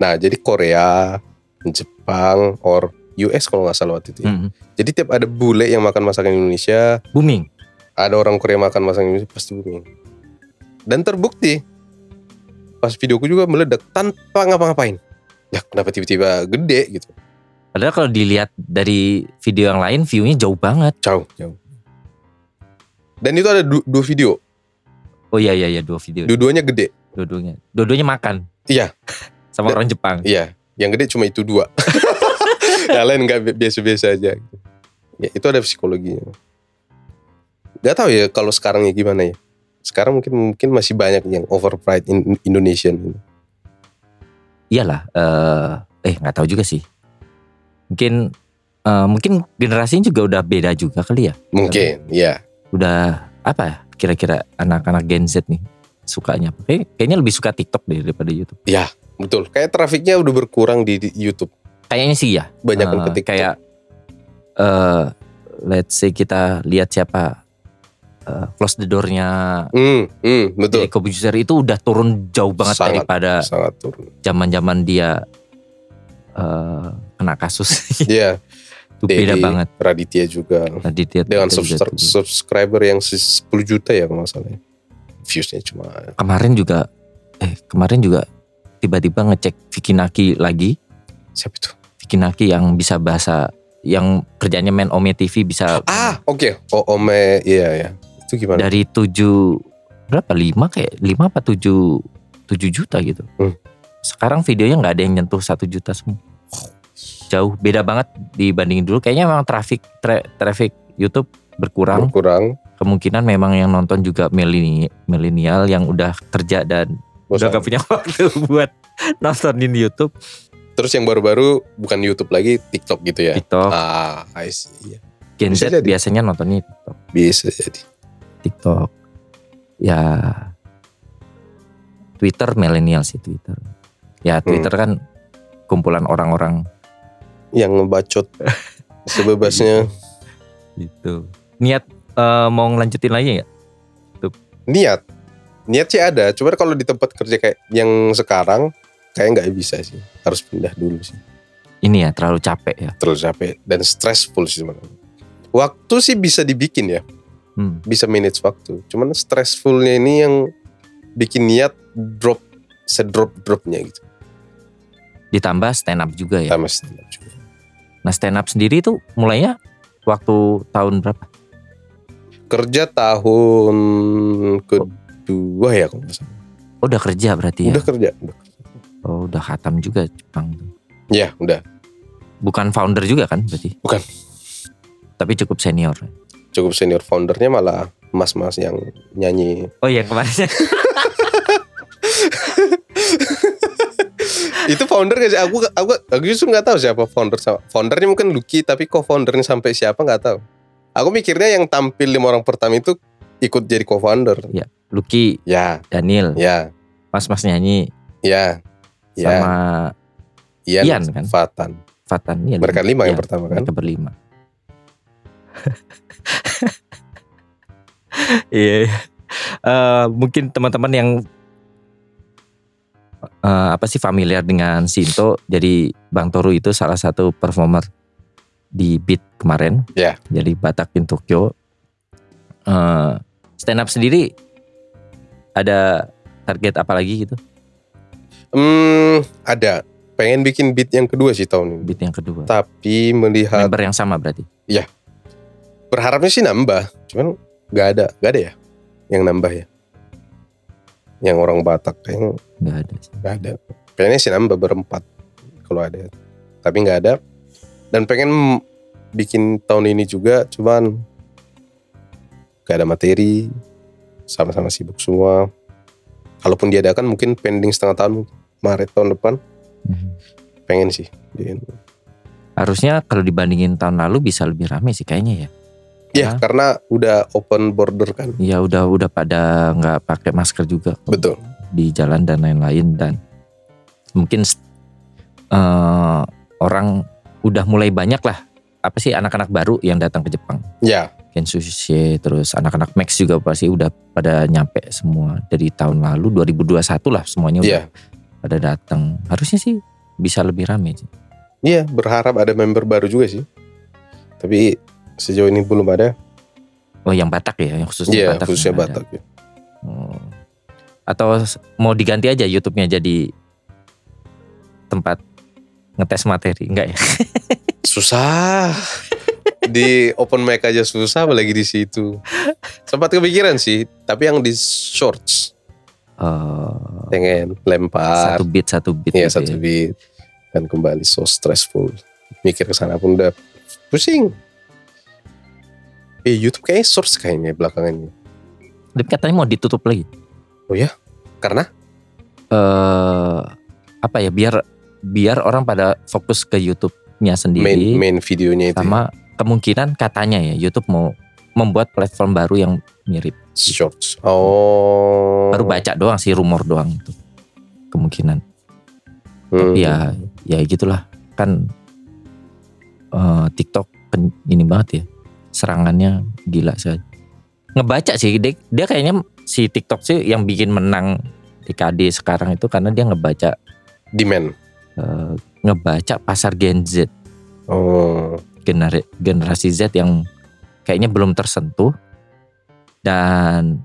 Speaker 2: Nah, jadi Korea, Jepang, or US kalau nggak salah waktu itu. ya.
Speaker 1: Mm.
Speaker 2: Jadi tiap ada bule yang makan masakan Indonesia,
Speaker 1: Booming.
Speaker 2: ada orang Korea makan masakan Indonesia pasti booming. Dan terbukti pas videoku juga meledak tanpa ngapa-ngapain. Ya kenapa tiba-tiba gede gitu?
Speaker 1: Padahal kalau dilihat dari video yang lain view-nya jauh banget.
Speaker 2: Jauh, jauh. Dan itu ada du- dua video,
Speaker 1: Oh iya iya iya dua video.
Speaker 2: dua-duanya gede.
Speaker 1: Dua-duanya. Dua-duanya makan.
Speaker 2: Iya.
Speaker 1: *laughs* Sama
Speaker 2: Dan-
Speaker 1: orang Jepang.
Speaker 2: Iya, yang gede cuma itu dua. *laughs* yang lain nggak bi- biasa-biasa aja. gitu. Ya itu ada psikologinya. Gak tahu ya kalau sekarang ya gimana ya. Sekarang mungkin mungkin masih banyak yang overpriced in Indonesian ini.
Speaker 1: iyalah eh eh nggak tahu juga sih mungkin eh, mungkin generasinya juga udah beda juga kali ya
Speaker 2: Mungkin, ya.
Speaker 1: udah apa ya, kira-kira anak-anak Gen Z nih sukanya apa? Kayak- kayaknya lebih suka TikTok deh daripada YouTube
Speaker 2: ya. Betul. Kayak trafiknya udah berkurang di, di YouTube.
Speaker 1: kayaknya sih ya
Speaker 2: Banyak yang
Speaker 1: Eh,
Speaker 2: ketik
Speaker 1: kayak eh let's say kita lihat siapa eh, close the door-nya
Speaker 2: Hmm, hmm, betul.
Speaker 1: Deddy Corbuzier itu udah turun jauh banget
Speaker 2: Sangat.
Speaker 1: daripada
Speaker 2: Sangat turun.
Speaker 1: zaman-zaman dia eh kena kasus *laughs*
Speaker 2: Iya,
Speaker 1: itu beda
Speaker 2: Deddy.
Speaker 1: banget
Speaker 2: Raditya juga
Speaker 1: tadi dia dia
Speaker 2: dengan
Speaker 1: udah
Speaker 2: subscri-
Speaker 1: turun.
Speaker 2: subscriber yang se- 10 juta ya kalau nggak salah. ya. Viewsnya cuma
Speaker 1: kemarin juga eh kemarin juga tiba-tiba ngecek Vicky Naki lagi
Speaker 2: siapa itu?
Speaker 1: Vicky Naki yang bisa bahasa yang kerjanya main Ome TV bisa
Speaker 2: Ah, oke. Oh, Ome, iya ya. Itu gimana?
Speaker 1: dari tujuh berapa lima kayak lima apa tujuh tujuh juta gitu.
Speaker 2: Hmm.
Speaker 1: Sekarang videonya nggak ada yang nyentuh satu juta semua. Jauh beda banget dibandingin dulu. Kayaknya memang traffic tra- traffic YouTube berkurang.
Speaker 2: Kurang.
Speaker 1: Kemungkinan memang yang nonton juga mileni- milenial yang udah kerja dan udah gak punya *laughs* waktu buat nontonin YouTube,
Speaker 2: Terus yang baru-baru bukan YouTube lagi, TikTok gitu ya.
Speaker 1: TikTok,
Speaker 2: Ah, I see. Iya.
Speaker 1: Gen
Speaker 2: bisa
Speaker 1: Z
Speaker 2: jadi.
Speaker 1: biasanya nontonnya TikTok.
Speaker 2: Bisa jadi.
Speaker 1: TikTok. Ya Twitter milenial sih Twitter. Ya
Speaker 2: Hmm.
Speaker 1: Twitter kan kumpulan orang-orang
Speaker 2: Yang
Speaker 1: *laughs*
Speaker 2: ngebacot sebebasnya.
Speaker 1: gitu. Niat eh, mau ngelanjutin lagi nggak?
Speaker 2: Niat. Niat sih ada. Cuma kalau di tempat kerja kayak yang sekarang, kayak nggak bisa sih. Harus pindah dulu sih.
Speaker 1: Ini ya terlalu capek ya.
Speaker 2: Terlalu capek dan stressful sih sebenarnya. Waktu sih bisa dibikin ya.
Speaker 1: Hmm.
Speaker 2: bisa manage waktu. Cuman stressfulnya ini yang bikin niat drop sedrop dropnya gitu.
Speaker 1: Ditambah stand up juga ya.
Speaker 2: Sama stand up juga.
Speaker 1: Nah stand up sendiri itu mulainya waktu tahun berapa?
Speaker 2: Kerja tahun kedua ya kalau nggak salah.
Speaker 1: Oh, udah kerja berarti ya.
Speaker 2: Udah kerja. Udah.
Speaker 1: Oh udah khatam juga Jepang. tuh.
Speaker 2: Ya udah.
Speaker 1: Bukan founder juga kan berarti?
Speaker 2: Bukan.
Speaker 1: Tapi cukup senior.
Speaker 2: Cukup senior foundernya malah mas-mas yang nyanyi.
Speaker 1: Oh iya
Speaker 2: *laughs*
Speaker 1: kemarin
Speaker 2: Itu founder gak sih? Aku aku aku justru nggak tahu siapa founder. Foundernya mungkin Lucky tapi co-foundernya sampai siapa nggak tahu. Aku mikirnya yang tampil lima orang pertama itu ikut jadi co-founder.
Speaker 1: Lucky,
Speaker 2: Ya,
Speaker 1: Daniel,
Speaker 2: ya,
Speaker 1: mas-mas nyanyi
Speaker 2: ya. Ya,
Speaker 1: sama
Speaker 2: Ian,
Speaker 1: Ian kan?
Speaker 2: Fatan.
Speaker 1: Fatan ya.
Speaker 2: Mereka lima yang
Speaker 1: Iya,
Speaker 2: pertama kan?
Speaker 1: mereka berlima. *laughs* Iya. Eh, mungkin teman-teman yang eh, apa sih familiar dengan Sinto, jadi Bang Toru itu salah satu performer di Beat kemarin.
Speaker 2: Iya.
Speaker 1: Jadi Batak in Tokyo. Eh, stand up sendiri ada target apa lagi gitu?
Speaker 2: Hmm, ada. Pengen bikin beat yang kedua sih tahun ini.
Speaker 1: Beat yang kedua.
Speaker 2: Tapi melihat
Speaker 1: Member yang sama berarti.
Speaker 2: berharapnya sih nambah, cuman nggak ada, nggak ada ya yang nambah ya. Yang orang Batak kayaknya
Speaker 1: Enggak ada sih.
Speaker 2: nggak ada. Pengennya sih nambah berempat kalau ada, tapi nggak ada. Dan pengen m- bikin tahun ini juga, cuman nggak ada materi, sama-sama sibuk semua. Kalaupun diadakan mungkin pending setengah tahun, Maret tahun depan
Speaker 1: Mhm.
Speaker 2: pengen sih. Jadi,
Speaker 1: Harusnya kalau dibandingin tahun lalu bisa lebih rame sih kayaknya ya.
Speaker 2: Iya,
Speaker 1: Ya.
Speaker 2: karena udah open border kan.
Speaker 1: Ya udah udah pada nggak pakai masker juga
Speaker 2: Betul.
Speaker 1: di jalan dan lain-lain dan mungkin eh, orang udah mulai banyak lah apa sih anak-anak baru yang datang ke Jepang.
Speaker 2: Ya,
Speaker 1: Kensushi terus anak-anak Max juga pasti udah pada nyampe semua dari tahun lalu 2021 lah semuanya udah
Speaker 2: iya.
Speaker 1: pada datang. Harusnya sih bisa lebih rame sih.
Speaker 2: Iya, berharap ada member baru juga sih. Tapi sejauh ini belum ada.
Speaker 1: Oh yang Batak ya, yang khususnya
Speaker 2: Iya,
Speaker 1: Batak.
Speaker 2: khususnya
Speaker 1: nggak ada.
Speaker 2: Batak. ya.
Speaker 1: Hmm. Atau s- mau diganti aja YouTube-nya jadi tempat ngetes materi, enggak
Speaker 2: *laughs*
Speaker 1: ya? *laughs*
Speaker 2: Susah. di open mic aja susah apalagi di situ. Sempat kepikiran sih, tapi yang di shorts
Speaker 1: Eh,
Speaker 2: pengen lempar.
Speaker 1: satu beat satu beat.
Speaker 2: Oh. Iya,
Speaker 1: gitu
Speaker 2: satu
Speaker 1: ya.
Speaker 2: beat. Dan kembali so stressful. Mikir ke sana pun udah pusing. Eh, YouTube kayaknya shorts kayaknya belakangan ini.
Speaker 1: Tapi katanya mau ditutup lagi.
Speaker 2: Oh iya? Karena
Speaker 1: Eh apa ya? Biar biar orang pada fokus ke YouTube-nya
Speaker 2: main
Speaker 1: sendiri
Speaker 2: main videonya itu ya.
Speaker 1: sama kemungkinan katanya ya YouTube mau membuat platform baru yang mirip.
Speaker 2: shorts oh
Speaker 1: Baru baca doang sih rumor doang itu. Kemungkinan
Speaker 2: Hmm.
Speaker 1: ya ya gitulah kan eh, TikTok pen- ini banget ya serangannya gila sih ngebaca sih dia, dia kayaknya si TikTok sih yang bikin menang TKD sekarang itu karena dia ngebaca
Speaker 2: demand
Speaker 1: eh, ngebaca pasar Gen Z
Speaker 2: oh
Speaker 1: genera- generasi Z yang kayaknya belum tersentuh dan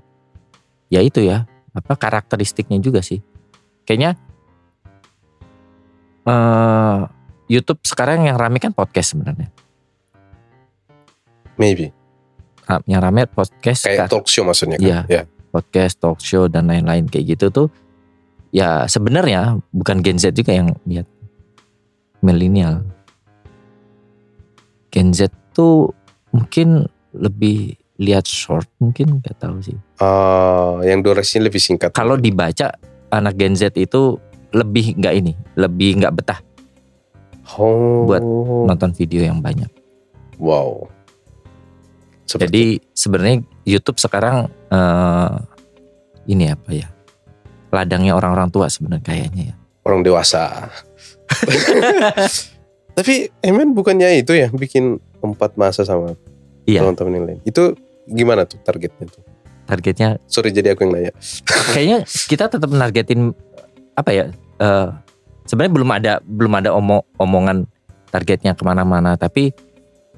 Speaker 1: ya itu ya apa karakteristiknya juga sih kayaknya eh, YouTube sekarang yang rame kan podcast sebenarnya
Speaker 2: Maybe.
Speaker 1: ra- Ah, yang rame podcast Kak.
Speaker 2: Kayak talk show maksudnya kan?
Speaker 1: Iya.
Speaker 2: Ya.
Speaker 1: podcast talk show dan lain-lain kayak gitu tuh ya sebenarnya bukan Gen Z juga yang lihat milenial Gen Z tuh mungkin lebih lihat short mungkin nggak tahu sih
Speaker 2: Ah, yang durasinya lebih singkat.
Speaker 1: kalau dibaca anak Gen Z itu lebih nggak ini lebih nggak betah
Speaker 2: oh.
Speaker 1: buat nonton video yang banyak
Speaker 2: Wow. Seperti,
Speaker 1: jadi sebenarnya YouTube sekarang eh, ini apa ya ladangnya orang-orang tua sebenarnya kayaknya ya
Speaker 2: orang
Speaker 1: *laughs*
Speaker 2: dewasa. Tapi Emen bukannya itu ya bikin empat masa sama
Speaker 1: Iya.
Speaker 2: teman-teman yang lain. Itu gimana tuh targetnya tuh?
Speaker 1: targetnya
Speaker 2: Sorry jadi aku yang nanya.
Speaker 1: kayaknya kita tetap nargetin apa ya eh, sebenarnya belum ada belum ada omo- omongan targetnya kemana-mana tapi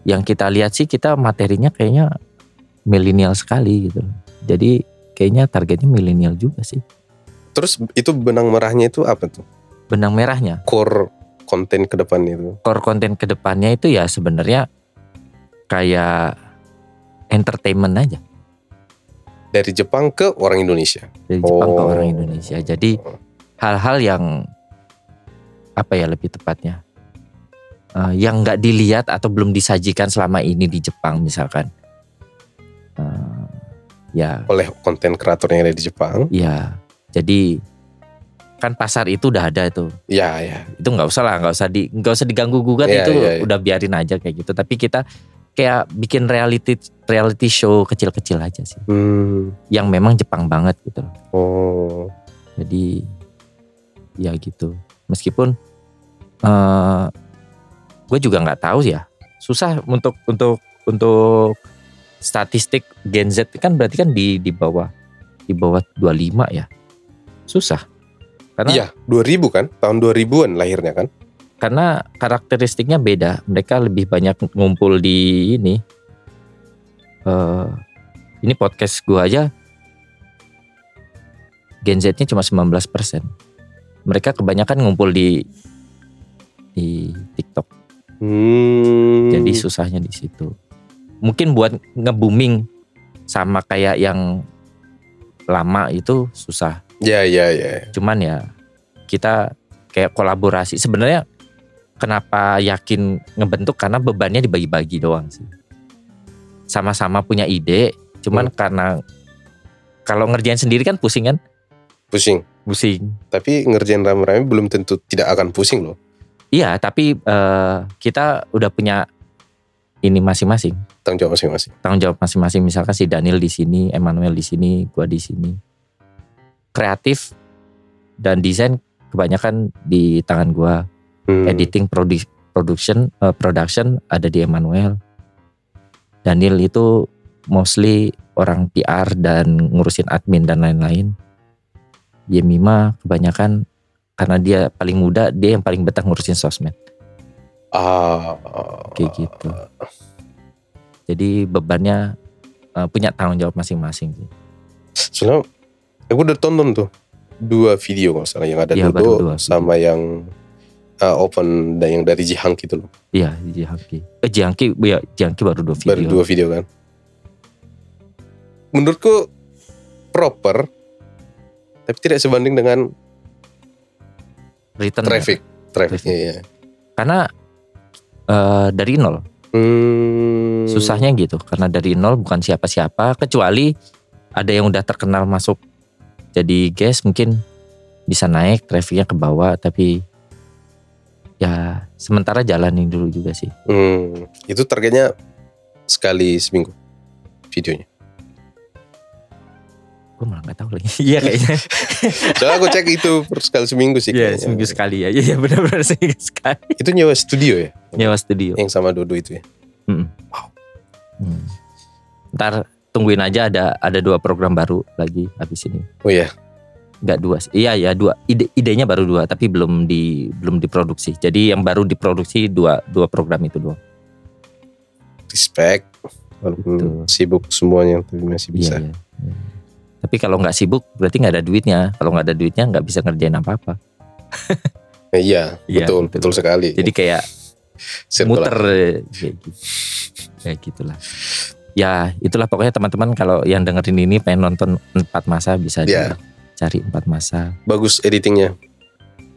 Speaker 1: yang kita lihat sih kita materinya kayaknya milenial sekali gitu jadi kayaknya targetnya milenial juga sih
Speaker 2: Terus itu benang merahnya itu apa tuh?
Speaker 1: benang merahnya
Speaker 2: Core konten ke depan itu.
Speaker 1: core konten kedepannya itu ya sebenarnya kayak entertainment aja
Speaker 2: Dari Jepang ke orang Indonesia.
Speaker 1: dari Jepang ke
Speaker 2: Oh.
Speaker 1: orang Indonesia jadi hal-hal yang apa ya lebih tepatnya eh, yang nggak dilihat atau belum disajikan selama ini di Jepang misalkan Eh, ya
Speaker 2: Oleh konten kreatornya yang ada di Jepang.
Speaker 1: ya jadi kan pasar itu udah ada itu
Speaker 2: Ya, ya.
Speaker 1: itu nggak usah lah nggak usah di nggak usah diganggu gugat
Speaker 2: Iya,
Speaker 1: itu
Speaker 2: iya, iya.
Speaker 1: udah biarin aja kayak gitu tapi kita kayak bikin reality reality show kecil-kecil aja sih
Speaker 2: Hmm.
Speaker 1: yang memang Jepang banget gitu loh.
Speaker 2: Oh.
Speaker 1: jadi ya gitu meskipun eh gue juga nggak tahu ya susah untuk untuk untuk statistik Gen Z kan berarti kan di di bawah di bawah 25 ya susah karena
Speaker 2: Iya, 2000 kan? Tahun 2000-an lahirnya kan?
Speaker 1: karena karakteristiknya beda mereka lebih banyak ngumpul di ini eh ini podcast gue aja Gen Z-nya cuma 19% mereka kebanyakan ngumpul di di TikTok
Speaker 2: Hmm.
Speaker 1: jadi susahnya di situ mungkin buat nge-booming sama kayak yang lama itu susah
Speaker 2: Ya, ya, ya.
Speaker 1: cuman ya kita kayak kolaborasi sebenarnya kenapa yakin ngebentuk karena bebannya dibagi-bagi doang sih sama-sama punya ide cuman karena kalau ngerjain sendiri kan pusing kan
Speaker 2: Pusing.
Speaker 1: pusing
Speaker 2: Tapi ngerjain rame-rame belum tentu tidak akan pusing loh.
Speaker 1: iya tapi eh, kita udah punya ini masing-masing
Speaker 2: Tanggung jawab masing-masing.
Speaker 1: tanggung jawab masing-masing misalkan si Daniel di sini Emmanuel di sini gua di sini kreatif dan desain kebanyakan di tangan gua
Speaker 2: Hmm.
Speaker 1: editing produ- production eh, production ada di Emmanuel. Daniel itu mostly orang PR dan ngurusin admin dan lain-lain. Yemima kebanyakan karena dia paling muda, dia yang paling betah ngurusin sosmed
Speaker 2: Ah.
Speaker 1: kayak gitu. Jadi bebannya eh, punya tanggung jawab masing-masing sih.
Speaker 2: Soalnya aku udah tonton tuh dua video kalau nggak salah yang ada
Speaker 1: Iya, baru
Speaker 2: Dodo
Speaker 1: dua video.
Speaker 2: sama yang uh, open dan yang dari Jihang gitu loh.
Speaker 1: Iya, Jiangki. Eh Jiangki, ya Jiangki baru dua video.
Speaker 2: Baru dua video kan. Menurutku proper tapi tidak sebanding dengan
Speaker 1: Return ya.
Speaker 2: traffic. Traffic.
Speaker 1: Traffic.
Speaker 2: Iya.
Speaker 1: Karena eh, dari nol.
Speaker 2: Hmm.
Speaker 1: susahnya gitu karena dari nol bukan siapa-siapa kecuali ada yang udah terkenal masuk jadi guys mungkin bisa naik trafficnya ke bawah tapi ya sementara jalanin dulu juga sih
Speaker 2: Hmm, itu targetnya sekali seminggu videonya.
Speaker 1: gue malah nggak tahu lagi *laughs* iya kayaknya
Speaker 2: Soalnya aku cek itu per- sekali seminggu sih.
Speaker 1: Iya,
Speaker 2: kayaknya.
Speaker 1: seminggu sekali ya iya benar-benar seminggu sekali
Speaker 2: Itu nyewa studio ya,
Speaker 1: nyewa studio
Speaker 2: yang sama Dodo itu ya.
Speaker 1: Hmm. ntar tungguin aja ada ada dua program baru lagi habis ini
Speaker 2: Oh iya,
Speaker 1: nggak dua sih. iya ya dua ide idenya baru dua tapi belum di belum diproduksi jadi yang baru diproduksi dua dua program itu doang
Speaker 2: respect. Walaupun
Speaker 1: Betul.
Speaker 2: sibuk semuanya tapi masih bisa.
Speaker 1: Iya, iya. Iya. tapi kalau nggak sibuk berarti nggak ada duitnya kalau nggak ada duitnya nggak bisa ngerjain apa apa
Speaker 2: Nah, Iya,
Speaker 1: Iya,
Speaker 2: betul,
Speaker 1: betul.
Speaker 2: betul, sekali.
Speaker 1: jadi kayak
Speaker 2: Circular.
Speaker 1: muter eh, kayak gitu. ya gitulah ya itulah pokoknya teman-teman kalau yang dengerin ini pengen nonton empat masa bisa juga
Speaker 2: Ya.
Speaker 1: cari empat masa
Speaker 2: Bagus editingnya.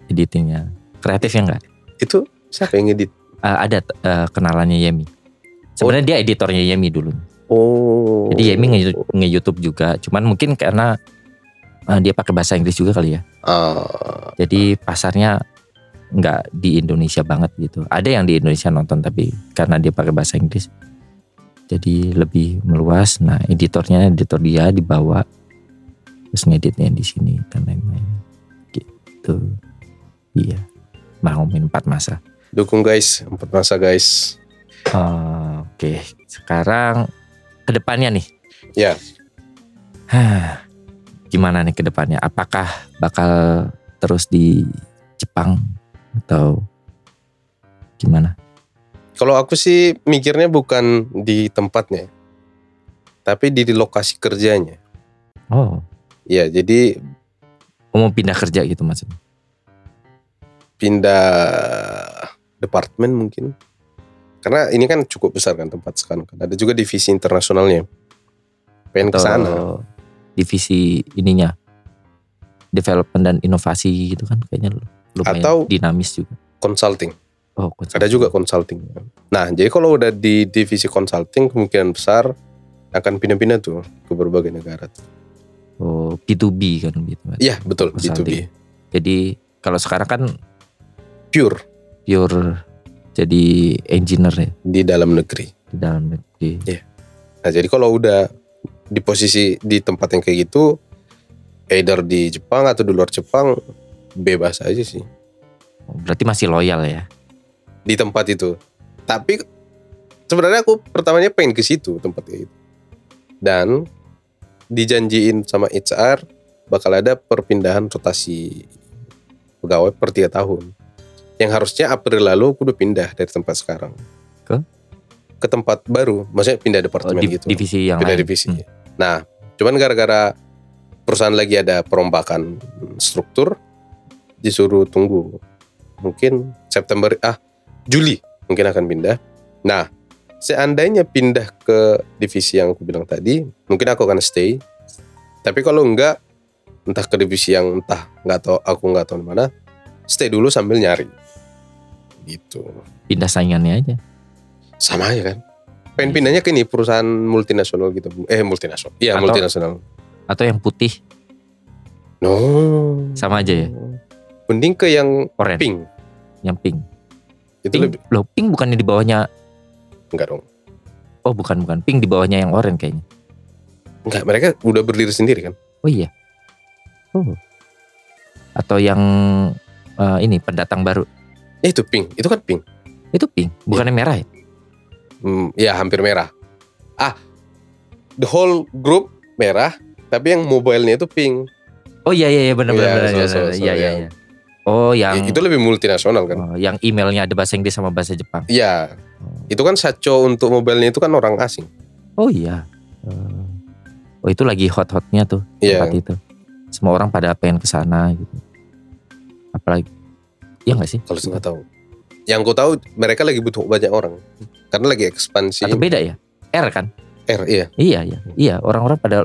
Speaker 1: editingnya kreatif ya enggak
Speaker 2: Itu siapa yang edit?
Speaker 1: Eh, ada eh, kenalannya Yemi sebenarnya dia editornya Yemi dulu
Speaker 2: Oh.
Speaker 1: jadi Yemi nge, YouTube juga cuman mungkin karena eh, dia pakai bahasa Inggris juga kali ya
Speaker 2: Ah,
Speaker 1: jadi pasarnya nggak di Indonesia banget gitu ada yang di Indonesia nonton tapi karena dia pakai bahasa Inggris jadi lebih meluas nah editornya editor dia dibawa terus ngeditnya di sini dan lain-lain gitu iya mau main empat masa
Speaker 2: dukung guys, empat masa guys.
Speaker 1: Eh, oke sekarang kedepannya nih
Speaker 2: Ya.
Speaker 1: Hah, gimana nih kedepannya apakah bakal terus di Jepang atau gimana
Speaker 2: Kalau aku sih mikirnya bukan di tempatnya, tapi di lokasi kerjanya.
Speaker 1: Oh,
Speaker 2: Ya, jadi
Speaker 1: mau pindah kerja gitu maksudnya.
Speaker 2: pindah departemen mungkin. Karena ini kan cukup besar kan tempat sekarang. kan. Ada juga divisi internasionalnya. Pengen ke
Speaker 1: Atau
Speaker 2: sana.
Speaker 1: divisi ininya. Development dan inovasi gitu kan kayaknya lumayan
Speaker 2: Atau-
Speaker 1: dinamis juga.
Speaker 2: Consulting.
Speaker 1: Oh, konsultan.
Speaker 2: Ada juga consulting. Nah, jadi kalau udah di divisi consulting kemungkinan besar akan pindah-pindah tuh ke berbagai negara.
Speaker 1: Oh, B2B kan gitu. kan.
Speaker 2: Iya, betul
Speaker 1: Consulting.
Speaker 2: B2B.
Speaker 1: Jadi kalau sekarang kan
Speaker 2: Pure
Speaker 1: pure jadi engineer ya
Speaker 2: di dalam negeri.
Speaker 1: di dalam negeri.
Speaker 2: Nah, jadi kalau udah di posisi di tempat yang kayak gitu either di Jepang atau di luar Jepang bebas aja sih
Speaker 1: Oh, Berarti masih loyal ya.
Speaker 2: di tempat itu. Tapi sebenarnya aku pertamanya pengen ke situ tempat kayak gitu. Dan dijanjiin sama HR bakal ada perpindahan rotasi pegawai per tiga tahun. Yang harusnya April lalu aku udah pindah dari tempat sekarang
Speaker 1: Ke?
Speaker 2: ke tempat baru, maksudnya pindah
Speaker 1: Oh,
Speaker 2: departemen
Speaker 1: di-
Speaker 2: gitu.
Speaker 1: divisi yang
Speaker 2: pindah
Speaker 1: lain.
Speaker 2: divisi.
Speaker 1: Hmm.
Speaker 2: Nah, cuman gara-gara perusahaan lagi ada perombakan struktur, disuruh tunggu. Mungkin September ah Juli mungkin akan pindah. Nah, seandainya pindah ke divisi yang aku bilang tadi, mungkin aku akan stay. Tapi kalau enggak, entah ke divisi yang entah nggak tahu aku nggak tahu di mana, stay dulu sambil nyari. Gitu.
Speaker 1: Pindah saingannya aja.
Speaker 2: Sama aja kan. Pengen pindahnya ke ini perusahaan multinasional gitu. Eh multinasional. Iya
Speaker 1: Atau-
Speaker 2: multinasional.
Speaker 1: Atau yang putih
Speaker 2: No.
Speaker 1: sama aja ya,
Speaker 2: Mending ke yang
Speaker 1: orange,
Speaker 2: pink.
Speaker 1: yang pink.
Speaker 2: Itu
Speaker 1: Pink,
Speaker 2: lebih
Speaker 1: loh pink bukannya di bawahnya
Speaker 2: enggak dong.
Speaker 1: Oh bukan bukan pink di bawahnya yang oranye kayaknya.
Speaker 2: Enggak, mereka udah berdiri sendiri kan.
Speaker 1: Oh iya. Oh. Atau yang eh, ini pendatang baru
Speaker 2: Ya itu pink. Itu kan pink.
Speaker 1: itu pink, bukannya
Speaker 2: Iya.
Speaker 1: merah ya?
Speaker 2: Hmm, ya hampir merah. Ah. The whole group merah, tapi yang mobile-nya itu pink.
Speaker 1: Oh iya iya iya benar
Speaker 2: Iya,
Speaker 1: benar benar
Speaker 2: so-
Speaker 1: benar,
Speaker 2: so-
Speaker 1: benar.
Speaker 2: so-
Speaker 1: iya iya
Speaker 2: yang-
Speaker 1: iya. Oh yang
Speaker 2: Ya, itu lebih multinasional kan.
Speaker 1: oh, yang emailnya ada bahasa Inggris sama bahasa Jepang.
Speaker 2: Iya. Itu kan Sacho untuk mobile-nya itu kan orang asing.
Speaker 1: Oh iya. Eh, Oh itu lagi hot-hotnya tuh
Speaker 2: Iya.
Speaker 1: tempat itu. Semua orang pada pengen ke sana gitu. Apalagi Iya gak sih?
Speaker 2: Kalau saya nggak tahu. Yang ku tahu mereka lagi butuh banyak orang. Karena lagi ekspansi
Speaker 1: Atau beda ya? R kan?
Speaker 2: R iya.
Speaker 1: Iya iya. Iya, orang-orang pada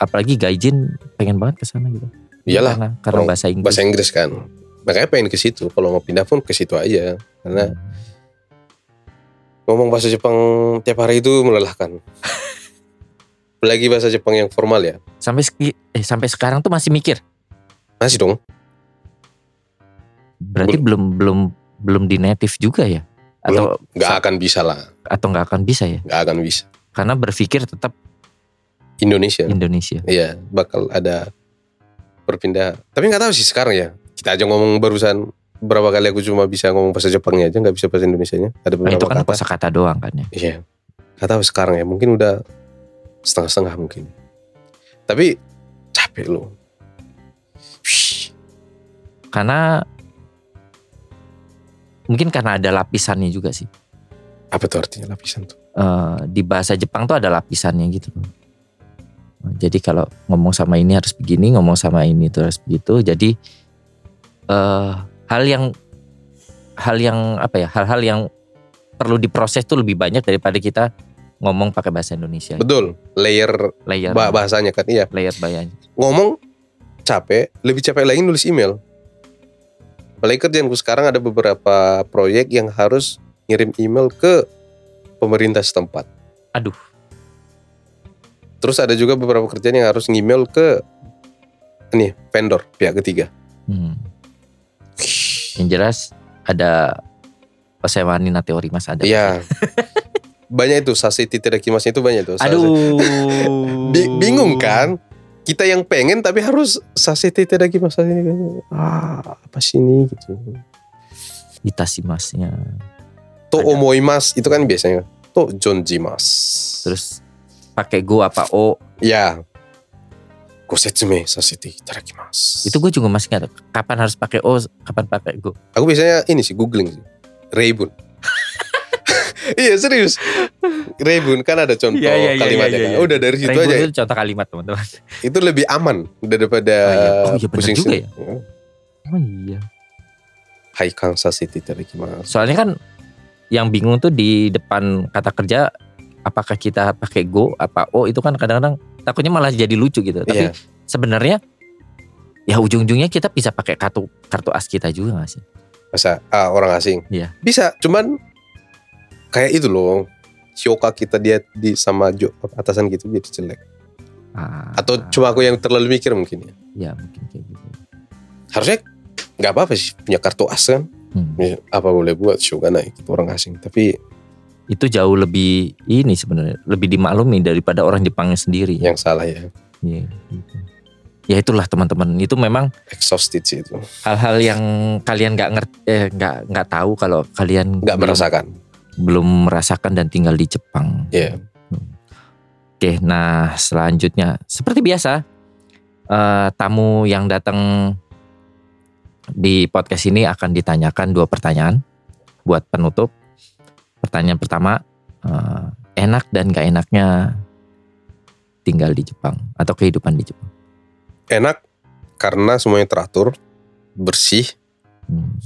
Speaker 1: apalagi gaijin pengen banget ke sana gitu.
Speaker 2: Iyalah
Speaker 1: karena, karena
Speaker 2: orang
Speaker 1: bahasa Inggris.
Speaker 2: bahasa Inggris kan. Makanya pengen ke situ. Kalau mau pindah pun ke situ aja. Karena ngomong bahasa Jepang tiap hari itu
Speaker 1: *laughs*
Speaker 2: melelahkan. Apalagi bahasa Jepang yang formal ya.
Speaker 1: sampai seki- eh, sampai sekarang tuh masih mikir.
Speaker 2: Masih dong.
Speaker 1: Berarti belum belum belum di native juga ya? Atau
Speaker 2: Nggak
Speaker 1: sa-
Speaker 2: akan bisa lah.
Speaker 1: atau nggak akan bisa ya?
Speaker 2: Nggak akan bisa.
Speaker 1: Karena berpikir tetap
Speaker 2: Indonesia.
Speaker 1: Hmm. Indonesia. Nah,
Speaker 2: Iya. Bakal ada perpindah. Tapi nggak tahu sih sekarang ya. Kita aja ngomong barusan. Berapa kali aku cuma bisa ngomong bahasa Jepangnya aja. nggak bisa bahasa Indonesianya. Ada
Speaker 1: Nah,
Speaker 2: beberapa
Speaker 1: itu kan
Speaker 2: kata.
Speaker 1: kosakata doang kan ya.
Speaker 2: Iya. Gak tahu sekarang ya, mungkin udah setengah-setengah mungkin. Tapi capek loh. Shhh.
Speaker 1: Karena mungkin karena ada lapisannya juga sih.
Speaker 2: Apa tuh artinya lapisan tuh?
Speaker 1: Eh, di bahasa Jepang tuh ada lapisannya gitu loh. Jadi kalau ngomong sama ini harus begini, ngomong sama ini tuh harus begitu. Jadi eh hal yang hal yang apa ya? Hal-hal yang perlu diproses tuh lebih banyak daripada kita ngomong pakai bahasa Indonesia.
Speaker 2: Betul, layer
Speaker 1: Layer
Speaker 2: ba- bahasanya kan iya.
Speaker 1: layer bayarnya.
Speaker 2: Ngomong capek, lebih capek lagi nulis email. Apalagi kerjaanku sekarang ada beberapa proyek yang harus ngirim email ke pemerintah setempat.
Speaker 1: Aduh.
Speaker 2: Terus ada juga beberapa kerjaan yang harus ngemail ke ini vendor pihak ketiga.
Speaker 1: Hmm. Yang jelas ada persewaan Nina teori Mas ada.
Speaker 2: Iya. banyak itu sasiti tidak kimasnya itu banyak itu.
Speaker 1: Aduh.
Speaker 2: *laughs* Bi- bingung kan? Kita yang pengen tapi harus sasiti tidak kimas sasiti. Ah, apa sih ini gitu.
Speaker 1: Itasimasnya.
Speaker 2: To
Speaker 1: Ada.
Speaker 2: omoimas itu kan biasanya. To jonjimas.
Speaker 1: Terus pakai go apa o
Speaker 2: ya. Kosetsume sasiti tidak kimas.
Speaker 1: itu gue juga masih nggak tahu kapan harus pakai o kapan pakai go
Speaker 2: Aku biasanya ini sih googling sih.
Speaker 1: *laughs*
Speaker 2: Reibun. iya serius. Reibun kan ada contoh
Speaker 1: Iya, iya, iya,
Speaker 2: kalimatnya.
Speaker 1: iya,
Speaker 2: kan.
Speaker 1: iya.
Speaker 2: Udah dari situ
Speaker 1: Rainbow
Speaker 2: aja.
Speaker 1: itu contoh kalimat teman-teman
Speaker 2: Itu lebih aman daripada
Speaker 1: Oh, iya. Oh, iya, bener
Speaker 2: pusing
Speaker 1: juga
Speaker 2: sini.
Speaker 1: oh iya
Speaker 2: Hai Kang Sasiti Terikima.
Speaker 1: soalnya kan yang bingung tuh di depan kata kerja apakah kita pakai go apa o itu kan kadang-kadang takutnya malah jadi lucu gitu tapi
Speaker 2: Iya.
Speaker 1: sebenarnya ya ujung-ujungnya kita bisa pakai kartu kartu as kita juga gak sih
Speaker 2: Masa ah, orang asing.
Speaker 1: Iya.
Speaker 2: Bisa, cuman kayak itu loh. Sioka kita dia di sama jo, atasan gitu jadi jelek.
Speaker 1: Ah,
Speaker 2: Atau cuma aku yang terlalu mikir mungkin ya.
Speaker 1: ya mungkin kayak gitu
Speaker 2: Harusnya nggak apa-apa sih punya kartu as kan.
Speaker 1: Hmm.
Speaker 2: Ya, Apa boleh buat Shogunai gitu orang asing. Tapi
Speaker 1: itu jauh lebih ini sebenarnya lebih dimaklumi daripada orang Jepangnya sendiri
Speaker 2: yang salah ya
Speaker 1: Iya, gitu. Ya itulah teman-teman. Itu memang
Speaker 2: exhausted sih itu.
Speaker 1: hal-hal yang kalian nggak ngerti, eh, nggak nggak tahu kalau kalian
Speaker 2: nggak
Speaker 1: belum,
Speaker 2: merasakan.
Speaker 1: belum merasakan dan tinggal di Jepang.
Speaker 2: Iya.
Speaker 1: Oke, nah selanjutnya seperti biasa eh, tamu yang datang di podcast ini akan ditanyakan dua pertanyaan buat penutup. Pertanyaan pertama, eh, enak dan gak enaknya tinggal di Jepang atau kehidupan di Jepang.
Speaker 2: Enak karena semuanya teratur, bersih,
Speaker 1: Hmm.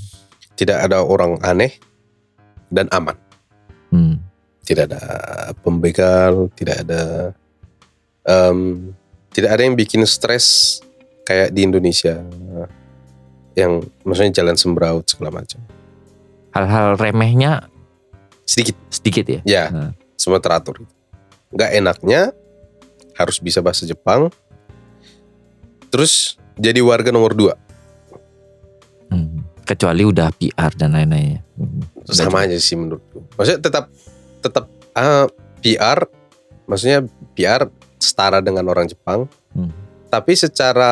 Speaker 2: tidak ada orang aneh dan aman.
Speaker 1: Hmm.
Speaker 2: Tidak ada pembegal, tidak ada em, tidak ada yang bikin stres kayak di Indonesia yang maksudnya jalan sembraut segala macam.
Speaker 1: hal-hal remehnya
Speaker 2: Sedikit
Speaker 1: sedikit ya.
Speaker 2: ya,
Speaker 1: Hmm.
Speaker 2: semua teratur. gitu. Nggak enaknya harus bisa bahasa Jepang. Terus jadi warga nomor dua.
Speaker 1: Hmm. Kecuali udah PR dan lain-lain. ya. Hmm.
Speaker 2: sama aja sih menurutku. Maksudnya tetap tetap ah, PR, maksudnya PR setara dengan orang Jepang,
Speaker 1: Hmm.
Speaker 2: tapi secara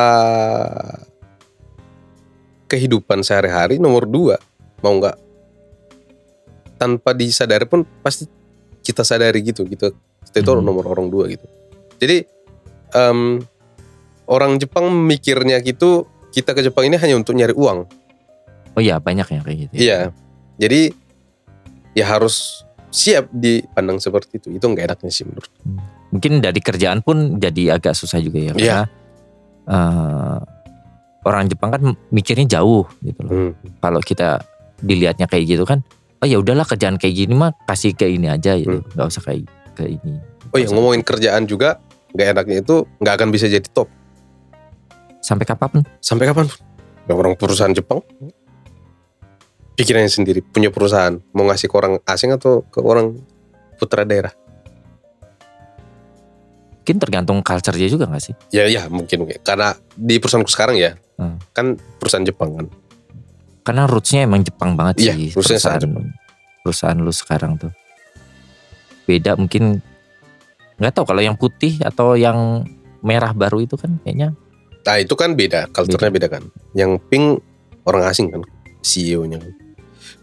Speaker 2: kehidupan sehari-hari nomor dua mau nggak tanpa disadari pun pasti kita sadari gitu gitu kita itu
Speaker 1: Mhm.
Speaker 2: nomor orang dua gitu jadi em, orang Jepang mikirnya gitu kita ke Jepang ini hanya untuk nyari uang
Speaker 1: Oh iya banyak ya kayak gitu. ya.
Speaker 2: Iya. Jadi ya harus siap dipandang seperti itu. Itu nggak enaknya sih menurut.
Speaker 1: Mungkin dari kerjaan pun jadi agak susah juga ya karena eh, orang Jepang kan mikirnya jauh gitu loh.
Speaker 2: Hmm.
Speaker 1: Kalau kita dilihatnya kayak gitu kan, oh ya udahlah kerjaan kayak gini mah kasih ke ini aja gitu, nggak usah kayak ke ini.
Speaker 2: Oh ya ngomongin kerjaan juga nggak enaknya itu nggak akan bisa jadi top
Speaker 1: sampai kapanpun.
Speaker 2: sampai kapan pun. orang perusahaan Jepang pikirannya sendiri punya perusahaan mau ngasih ke orang asing atau ke orang putra daerah.
Speaker 1: Mungkin tergantung culture-nya juga gak sih?
Speaker 2: Ya ya mungkin, mungkin. karena di perusahaanku sekarang ya
Speaker 1: Hmm.
Speaker 2: kan perusahaan Jepang kan.
Speaker 1: Karena roots-nya emang Jepang banget
Speaker 2: Iya,
Speaker 1: sih
Speaker 2: roots-nya
Speaker 1: perusahaan
Speaker 2: sangat
Speaker 1: perusahaan lu sekarang tuh. Beda mungkin nggak tahu kalau yang putih atau yang merah baru itu kan kayaknya
Speaker 2: Nah itu kan beda, culture-nya
Speaker 1: Hmm.
Speaker 2: beda kan. Yang pink orang asing kan CEO-nya.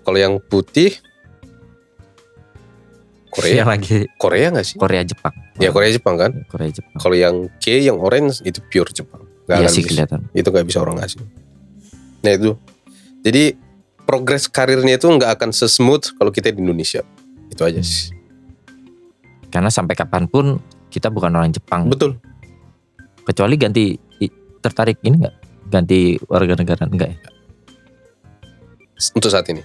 Speaker 2: Kalau yang putih
Speaker 1: yang
Speaker 2: Korea,
Speaker 1: lagi
Speaker 2: Korea nggak sih?
Speaker 1: Korea Jepang.
Speaker 2: Ya Korea Jepang kan.
Speaker 1: Korea Jepang.
Speaker 2: Kalau yang K, yang orange itu pure Jepang. Nggak
Speaker 1: Iya
Speaker 2: akan
Speaker 1: sih
Speaker 2: bisa.
Speaker 1: kelihatan.
Speaker 2: Itu nggak bisa orang asing. Nah itu. Jadi progres karirnya itu nggak akan sesmooth kalau kita di Indonesia. Itu aja sih.
Speaker 1: Karena sampai kapanpun kita bukan orang Jepang.
Speaker 2: Betul.
Speaker 1: Kecuali ganti i- tertarik ini enggak? Ganti warga negara enggak ya? *laughs*
Speaker 2: Untuk saat ini.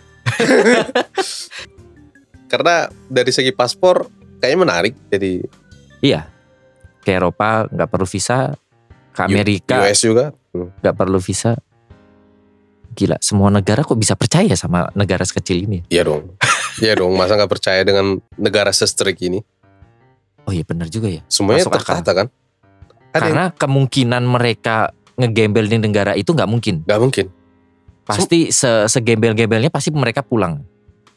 Speaker 2: karena dari segi paspor kayaknya menarik jadi
Speaker 1: Iya. Ke Eropa nggak perlu visa, ke Amerika
Speaker 2: US juga Hmm.
Speaker 1: nggak perlu visa. Gila, semua negara kok bisa percaya sama negara sekecil ini?
Speaker 2: iya
Speaker 1: *laughs*
Speaker 2: dong iya dong masa nggak percaya dengan negara sestrik ini
Speaker 1: Oh iya benar juga ya.
Speaker 2: semuanya
Speaker 1: Masuk akal.
Speaker 2: tertata kan ada yang
Speaker 1: Karena kemungkinan mereka ngegembel di negara itu nggak mungkin.
Speaker 2: nggak mungkin
Speaker 1: Pasti se segembel-gembelnya pasti mereka pulang.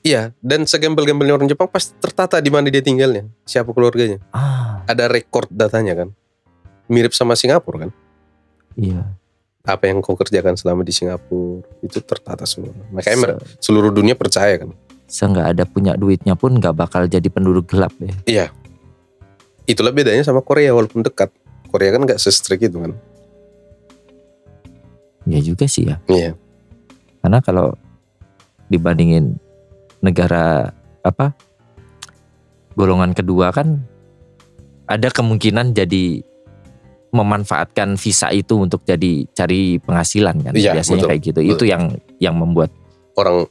Speaker 2: iya dan segembel-gembelnya orang Jepang pasti tertata di mana dia tinggalnya siapa keluarganya
Speaker 1: Ah,
Speaker 2: ada rekor datanya kan mirip sama Singapura kan
Speaker 1: iya.
Speaker 2: apa yang kau kerjakan selama di Singapura itu tertata semua makanya mer-
Speaker 1: Se-
Speaker 2: seluruh dunia percaya kan
Speaker 1: se nggak ada punya duitnya pun nggak bakal jadi penduduk gelap ya.
Speaker 2: itulah bedanya sama Korea walaupun dekat Korea kan nggak sestrik itu kan
Speaker 1: Iya juga sih ya.
Speaker 2: iya
Speaker 1: Karena kalau dibandingin negara apa golongan kedua kan ada kemungkinan jadi memanfaatkan visa itu untuk jadi cari penghasilan kan
Speaker 2: Iya,
Speaker 1: biasanya
Speaker 2: betul,
Speaker 1: kayak gitu.
Speaker 2: betul.
Speaker 1: Itu yang yang membuat
Speaker 2: orang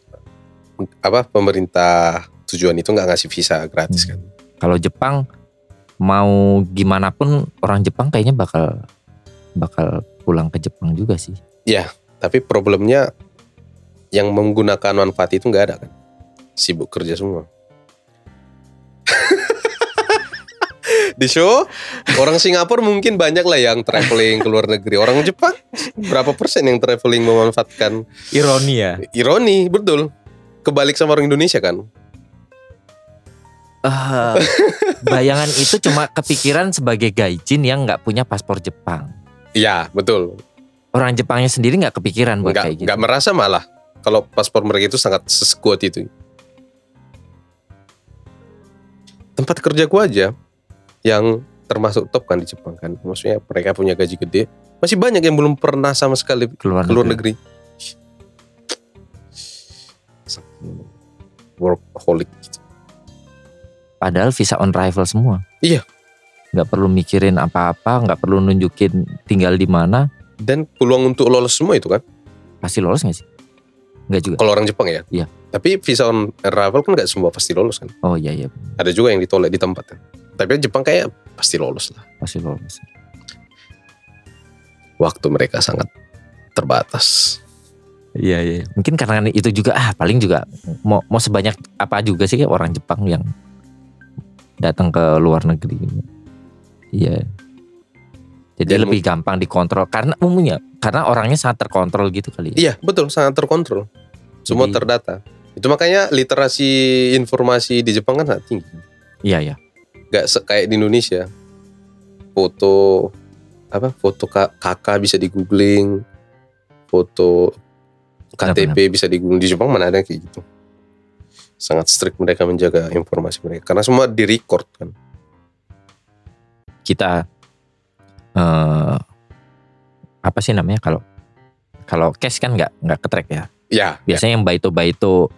Speaker 2: apa pemerintah tujuan itu nggak ngasih visa gratis
Speaker 1: Hmm.
Speaker 2: kan
Speaker 1: kalau Jepang mau gimana pun orang Jepang kayaknya bakal bakal pulang ke Jepang juga sih.
Speaker 2: tapi problemnya yang menggunakan manfaat itu nggak ada kan sibuk kerja semua *laughs* di show orang Singapura mungkin banyak lah yang traveling ke luar negeri orang Jepang berapa persen yang traveling memanfaatkan
Speaker 1: Ironi ya.
Speaker 2: ironi betul kebalik sama orang Indonesia kan
Speaker 1: Eh, bayangan itu cuma kepikiran sebagai gaijin yang nggak punya paspor Jepang.
Speaker 2: Iya betul
Speaker 1: Orang Jepangnya sendiri nggak kepikiran buat kayak
Speaker 2: nggak
Speaker 1: gitu.
Speaker 2: nggak merasa malah kalau paspor mereka itu sangat sesekuat itu tempat kerja gua aja yang termasuk top kan di Jepang kan maksudnya mereka punya gaji gede masih banyak yang belum pernah sama sekali
Speaker 1: Keluar,
Speaker 2: ke luar
Speaker 1: negeri.
Speaker 2: negeri workaholic gitu.
Speaker 1: Padahal visa on arrival semua.
Speaker 2: Iya.
Speaker 1: Nggak perlu mikirin apa-apa, nggak perlu nunjukin tinggal di mana.
Speaker 2: dan peluang untuk lolos semua itu kan
Speaker 1: Pasti lolos nggak sih? Nggak juga.
Speaker 2: kalau orang Jepang ya
Speaker 1: Iya.
Speaker 2: tapi visa on arrival kan nggak semua pasti lolos kan
Speaker 1: Oh iya iya,
Speaker 2: ada juga yang ditolak di tempat kan tapi Jepang kayak pasti lolos lah
Speaker 1: pasti lolos.
Speaker 2: waktu mereka sangat terbatas.
Speaker 1: Iya iya. Mungkin karena itu juga ah paling juga mau mau sebanyak apa juga sih orang Jepang yang datang ke luar negeri. Iya. Jadi
Speaker 2: Dan
Speaker 1: lebih gampang dikontrol karena umumnya karena orangnya sangat terkontrol gitu kali ya.
Speaker 2: Iya, betul, sangat terkontrol. Semua
Speaker 1: Jadi-
Speaker 2: terdata. Itu makanya literasi informasi di Jepang kan sangat tinggi.
Speaker 1: Iya iya.
Speaker 2: Gak se- kayak di Indonesia. Foto apa? Foto ka- kakak bisa di googling. Foto KTP bisa di googling. Di Jepang mana ada kayak gitu. Sangat strict mereka menjaga informasi mereka. Karena semua di record kan.
Speaker 1: Kita eh apa sih namanya kalau kalau cash kan nggak nggak ketrek ya.
Speaker 2: Ya,
Speaker 1: Biasanya yang baito baito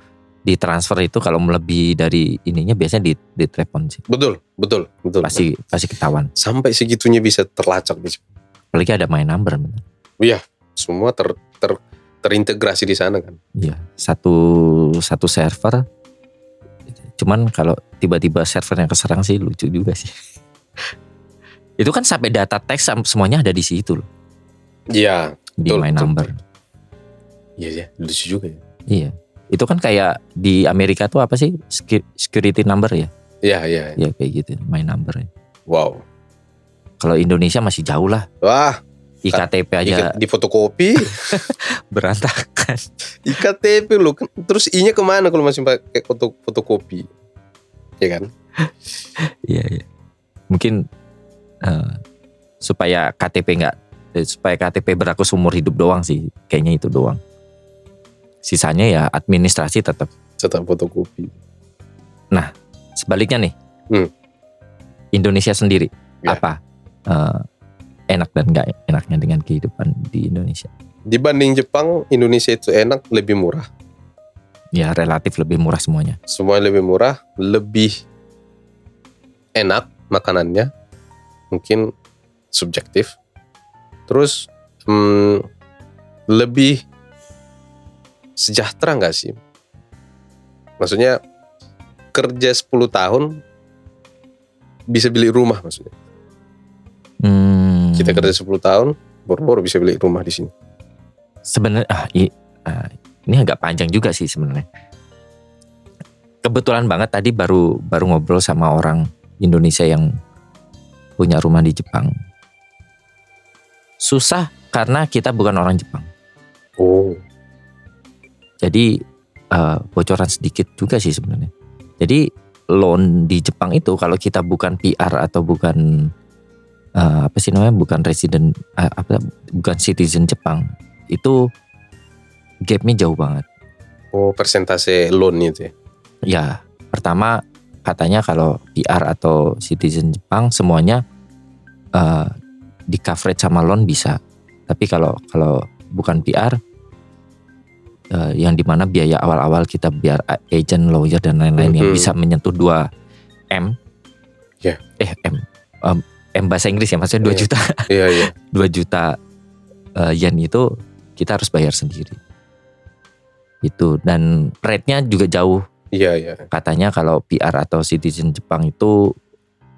Speaker 1: ditransfer itu kalau melebihi dari ininya biasanya di ditelepon sih.
Speaker 2: betul, betul, betul.
Speaker 1: Pasti pasti ketahuan.
Speaker 2: Sampai segitunya bisa terlacak di Jepang.
Speaker 1: Apalagi ada my number. bener.
Speaker 2: semua ter, ter terintegrasi di sana kan.
Speaker 1: Iya, satu satu server. Cuman kalau tiba-tiba server yang keserang sih lucu juga sih. *laughs* itu kan sampai data teks sam- semuanya ada di situ loh,
Speaker 2: Iya.
Speaker 1: di
Speaker 2: Betul,
Speaker 1: my
Speaker 2: betul,
Speaker 1: number.
Speaker 2: Iya ya, lucu juga ya.
Speaker 1: Iya. Itu kan kayak di Amerika tuh apa sih Secu- security number ya?
Speaker 2: Iya, iya.
Speaker 1: Ya kayak gitu, my number.
Speaker 2: Wow.
Speaker 1: Kalau Indonesia masih jauh lah,
Speaker 2: Wah,
Speaker 1: IKTP aja
Speaker 2: ikat- di *laughs* fotokopi
Speaker 1: berantakan.
Speaker 2: IKTP lu kan- terus I-nya kemana kalau masih pakai foto fotokopi? Ya kan?
Speaker 1: Iya, iya. Mungkin eh, supaya KTP nggak eh, supaya KTP berlaku seumur hidup doang sih, kayaknya itu doang. Sisanya ya administrasi tetap.
Speaker 2: Cetak fotokopi.
Speaker 1: Sebaliknya nih,
Speaker 2: Hmm.
Speaker 1: Indonesia sendiri
Speaker 2: Ya.
Speaker 1: apa eh, enak dan nggak enaknya dengan kehidupan di Indonesia?
Speaker 2: Dibanding Jepang, Indonesia itu enak, lebih murah.
Speaker 1: Ya relatif lebih murah semuanya.
Speaker 2: Semuanya lebih murah, lebih enak makanannya. Mungkin subjektif. Terus hmm, lebih sejahtera nggak sih? Maksudnya kerja 10 tahun bisa beli rumah maksudnya.
Speaker 1: Hmm.
Speaker 2: Kita kerja 10 tahun baru-baru bisa beli rumah di sini.
Speaker 1: sebenarnya ah, i- ah, ini agak panjang juga sih sebenarnya. Kebetulan banget tadi baru baru ngobrol sama orang Indonesia yang punya rumah di Jepang. Susah karena kita bukan orang Jepang.
Speaker 2: Oh,
Speaker 1: Jadi eh, bocoran sedikit juga sih sebenarnya. Jadi loan di Jepang itu kalau kita bukan PR atau bukan eh, apa sih namanya bukan resident eh, apa bukan citizen Jepang itu gapnya jauh banget.
Speaker 2: oh persentase loan itu ya.
Speaker 1: Ya pertama katanya kalau PR atau citizen Jepang semuanya eh, di coverage sama loan bisa. Tapi kalau kalau bukan PR eh, yang dimana biaya awal-awal kita biar a- agent, lawyer dan lain-lain yang
Speaker 2: Mhm.
Speaker 1: bisa menyentuh 2 m.
Speaker 2: Ya.
Speaker 1: Eh m Em, m bahasa Inggris ya maksudnya 2
Speaker 2: Iya.
Speaker 1: juta *laughs*
Speaker 2: Iya, iya.
Speaker 1: 2 juta eh, yen itu kita harus bayar sendiri. Itu dan rate-nya juga jauh
Speaker 2: Iya, iya.
Speaker 1: katanya kalau PR atau citizen Jepang itu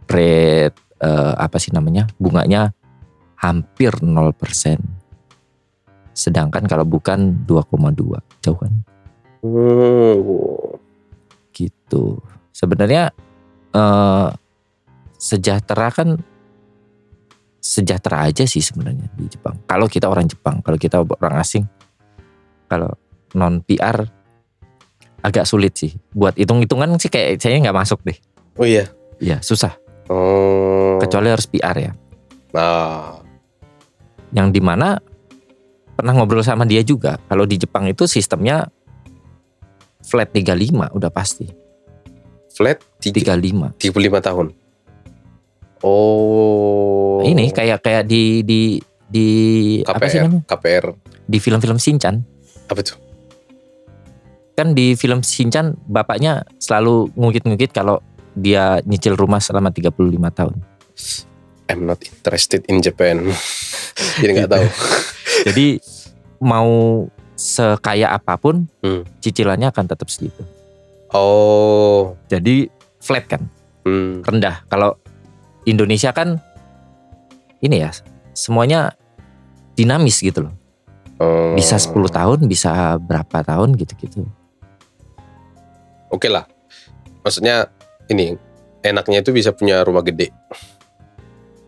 Speaker 1: rate eh, apa sih namanya bunganya hampir 0%. Sedangkan kalau bukan 2,2 jauh kan
Speaker 2: Hmm, oh.
Speaker 1: gitu. Sebenarnya eh, sejahtera kan sejahtera aja sih sebenarnya di Jepang. Kalau kita orang Jepang, kalau kita orang asing, kalau non PR agak sulit sih. Buat hitung-hitungan sih kayak saya nggak masuk deh.
Speaker 2: Oh iya.
Speaker 1: Iya susah.
Speaker 2: Oh.
Speaker 1: Kecuali harus PR ya.
Speaker 2: Nah,
Speaker 1: Yang dimana pernah ngobrol sama dia juga. Kalau di Jepang itu sistemnya flat 35 udah pasti.
Speaker 2: flat 3,
Speaker 1: 35.
Speaker 2: 35 tahun. Oh.
Speaker 1: Ini kayak kayak di di di apa sih
Speaker 2: KPR,
Speaker 1: namanya?
Speaker 2: KPR.
Speaker 1: Di film-film Shinchan.
Speaker 2: Apa tuh?
Speaker 1: Kan di film Shinchan bapaknya selalu ngungkit-ngungkit kalau dia nyicil rumah selama 35
Speaker 2: *laughs*
Speaker 1: tahun.
Speaker 2: I'm not interested in Japan. *laughs* Jadi nggak tahu.
Speaker 1: Jadi mau sekaya apapun
Speaker 2: Hmm.
Speaker 1: cicilannya akan tetap segitu.
Speaker 2: Oh.
Speaker 1: Jadi flat kan,
Speaker 2: Hmm.
Speaker 1: rendah. Kalau Indonesia kan ini ya, semuanya dinamis gitu loh.
Speaker 2: Oh.
Speaker 1: Bisa 10 tahun, bisa berapa tahun gitu-gitu.
Speaker 2: Oke lah. Maksudnya ini enaknya itu bisa punya rumah gede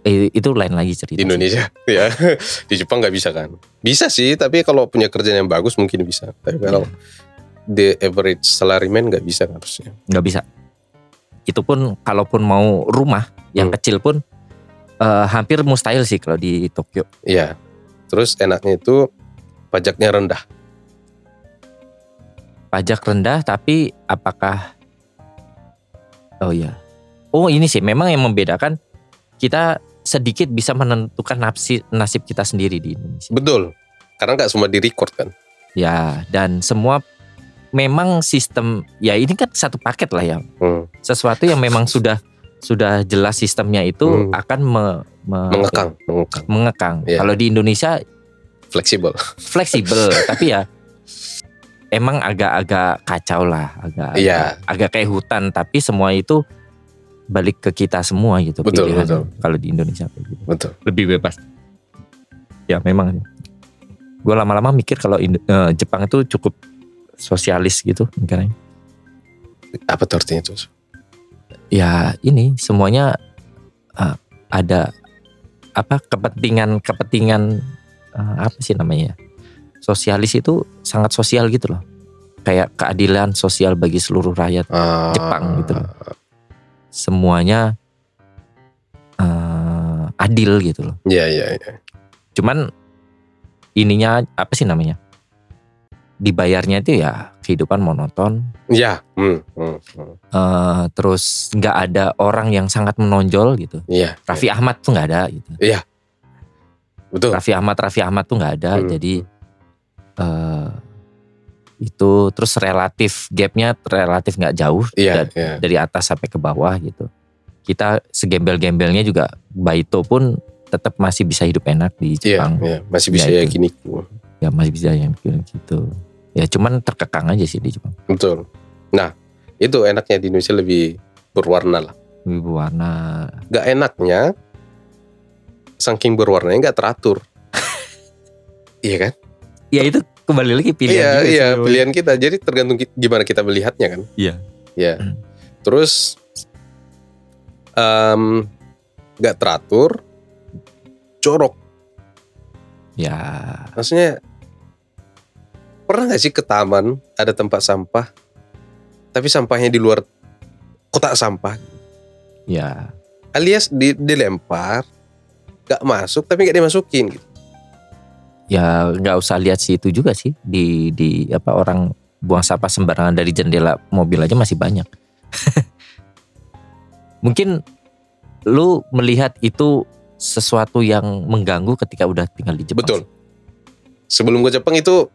Speaker 1: Eh, itu lain lagi cerita.
Speaker 2: di
Speaker 1: sih.
Speaker 2: Indonesia *laughs* ya. Di Jepang nggak bisa kan? Bisa sih, tapi kalau punya kerjaan yang bagus mungkin bisa. Tapi
Speaker 1: Iya,
Speaker 2: kalau the average salaryman nggak bisa harusnya.
Speaker 1: nggak bisa. Itu pun kalaupun mau rumah yang
Speaker 2: Hmm.
Speaker 1: kecil pun eh, hampir mustahil sih kalau di Tokyo.
Speaker 2: Iya. Terus enaknya itu pajaknya rendah.
Speaker 1: Pajak rendah tapi apakah Oh iya. Oh ini sih memang yang membedakan kita sedikit bisa menentukan nafsi, nasib kita sendiri di Indonesia.
Speaker 2: Betul. Karena nggak semua di record kan.
Speaker 1: Ya, dan semua memang sistem ya ini kan satu paket lah ya.
Speaker 2: Hmm.
Speaker 1: Sesuatu yang memang sudah sudah jelas sistemnya itu
Speaker 2: Hmm.
Speaker 1: akan me- me-
Speaker 2: Mengekang, mengekang,
Speaker 1: mengekang.
Speaker 2: Iya.
Speaker 1: Kalau di Indonesia
Speaker 2: fleksibel. *laughs*
Speaker 1: fleksibel tapi ya emang agak-agak kacau lah agak
Speaker 2: Iya.
Speaker 1: agak kayak hutan tapi semua itu balik ke kita semua gitu
Speaker 2: Betul,
Speaker 1: pilihan.
Speaker 2: betul.
Speaker 1: kalau di Indonesia kayak gitu.
Speaker 2: Betul.
Speaker 1: lebih bebas ya memang gue lama-lama mikir kalau Indo- eh, Jepang itu cukup sosialis gitu mikirannya.
Speaker 2: Apa tuh artinya tuh?
Speaker 1: ya ini semuanya eh, ada apa kepentingan kepentingan eh, apa sih namanya ya? sosialis itu sangat sosial gitu loh kayak keadilan sosial bagi seluruh rakyat
Speaker 2: Ah,
Speaker 1: Jepang gitu loh. semuanya eh, adil gitu loh
Speaker 2: Iya, iya, iya.
Speaker 1: cuman ininya apa sih namanya dibayarnya itu ya kehidupan monoton
Speaker 2: Iya, hmm, hmm, hmm.
Speaker 1: eh, terus nggak ada orang yang sangat menonjol gitu
Speaker 2: Iya.
Speaker 1: Raffi Ahmad tuh nggak ada gitu
Speaker 2: Betul.
Speaker 1: Raffi Ahmad Raffi Ahmad tuh nggak ada
Speaker 2: Hmm.
Speaker 1: jadi eh, itu terus relatif gapnya relatif nggak jauh
Speaker 2: Iya,
Speaker 1: da-
Speaker 2: iya.
Speaker 1: dari atas sampai ke bawah gitu kita segembel-gembelnya juga Baito pun tetap masih bisa hidup enak di
Speaker 2: Iya,
Speaker 1: Jepang
Speaker 2: iya. masih bisa
Speaker 1: Ya,
Speaker 2: ya,
Speaker 1: itu.
Speaker 2: gini ku.
Speaker 1: ya masih bisa yang kayak gitu ya cuman terkekang aja sih di Jepang
Speaker 2: Betul. Nah, Itu enaknya di Indonesia lebih berwarna lah.
Speaker 1: Lebih berwarna.
Speaker 2: Gak enaknya, saking berwarnanya gak
Speaker 1: *laughs*
Speaker 2: teratur. iya kan?
Speaker 1: Ya itu kembali lagi pilihan
Speaker 2: iya,
Speaker 1: juga sih,
Speaker 2: iya,
Speaker 1: Boy.
Speaker 2: pilihan kita. Jadi tergantung ki- gimana kita melihatnya kan.
Speaker 1: Iya.
Speaker 2: Iya.
Speaker 1: *clears throat* Hmm.
Speaker 2: Terus em, nggak teratur, jorok.
Speaker 1: Ya,
Speaker 2: Maksudnya pernah nggak sih ke taman ada tempat sampah, tapi sampahnya di luar kotak sampah,
Speaker 1: ya.
Speaker 2: alias di- dilempar, nggak masuk tapi nggak dimasukin. Gitu.
Speaker 1: Ya nggak usah lihat sih itu juga sih di di apa orang buang sampah sembarangan dari jendela mobil aja masih banyak. *laughs* Mungkin lu melihat itu sesuatu yang mengganggu ketika udah tinggal di Jepang.
Speaker 2: Betul.
Speaker 1: sih.
Speaker 2: Sebelum gue Jepang itu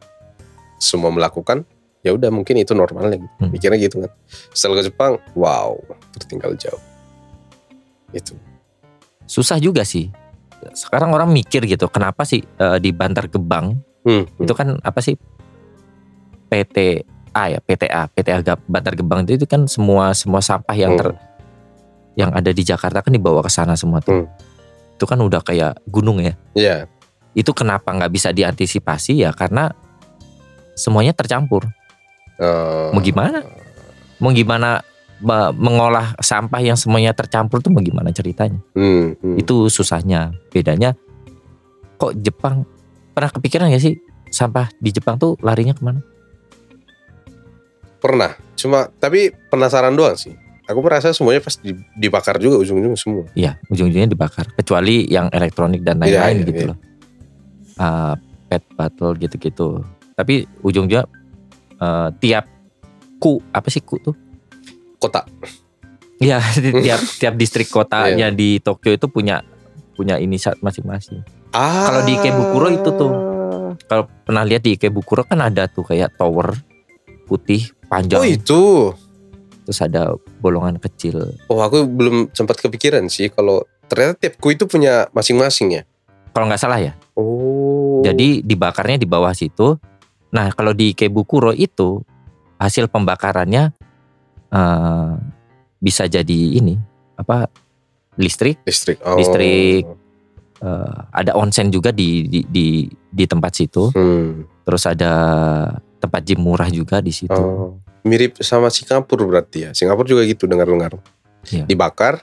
Speaker 2: semua melakukan, ya udah mungkin itu normal lagi.
Speaker 1: Hmm.
Speaker 2: Mikirnya gitu kan. Setelah ke Jepang, wow, tertinggal jauh. Gitu. Itu.
Speaker 1: Susah juga sih. Sekarang orang mikir gitu, kenapa sih eh, di Bantar Gebang
Speaker 2: Hmm,
Speaker 1: itu kan apa sih PTA ya PTA PTA Gab- Bantar Gebang itu, itu kan semua semua sampah yang ter yang ada di Jakarta kan dibawa ke sana semua tuh
Speaker 2: Hmm.
Speaker 1: itu kan udah kayak gunung ya
Speaker 2: Ya,
Speaker 1: itu kenapa nggak bisa diantisipasi ya karena semuanya tercampur
Speaker 2: eh,
Speaker 1: mau gimana mau gimana me- mengolah sampah yang semuanya tercampur tuh mau gimana ceritanya
Speaker 2: hmm, hmm.
Speaker 1: itu susahnya bedanya kok Jepang pernah kepikiran gak sih sampah di Jepang tuh larinya kemana
Speaker 2: pernah. Cuma tapi penasaran doang sih. Aku merasa semuanya pasti di- dibakar juga ujung-ujung semua.
Speaker 1: Iya, ujung-ujungnya dibakar. Kecuali yang elektronik dan lain-lain
Speaker 2: Iya, iya,
Speaker 1: gitu
Speaker 2: iya.
Speaker 1: loh. Ah, pet battle gitu-gitu. Tapi ujungnya eh, tiap ku apa sih ku tuh? *laughs*
Speaker 2: Kota.
Speaker 1: Iya, di tiap tiap distrik
Speaker 2: Iya.
Speaker 1: kotanya di Tokyo itu punya punya inisiat masing-masing.
Speaker 2: Ah.
Speaker 1: Kalau di Ikebukuro itu tuh. Kalau pernah lihat di Ikebukuro kan ada tuh kayak tower putih panjang
Speaker 2: Oh itu.
Speaker 1: terus ada bolongan kecil.
Speaker 2: Oh aku belum sempat kepikiran sih kalau ternyata tiap ku itu punya masing-masing ya.
Speaker 1: Kalau nggak salah ya.
Speaker 2: Oh.
Speaker 1: Jadi dibakarnya di bawah situ. Nah kalau di Ikebukuro itu hasil pembakarannya eh, bisa jadi ini apa listrik.
Speaker 2: listrik. Oh.
Speaker 1: Listrik. eh, ada onsen juga di, di di di tempat situ.
Speaker 2: Hmm.
Speaker 1: Terus ada tempat gym murah juga di situ.
Speaker 2: Oh. Mirip sama Singapura berarti ya. Singapura juga gitu dengar-dengar.
Speaker 1: Iya.
Speaker 2: Dibakar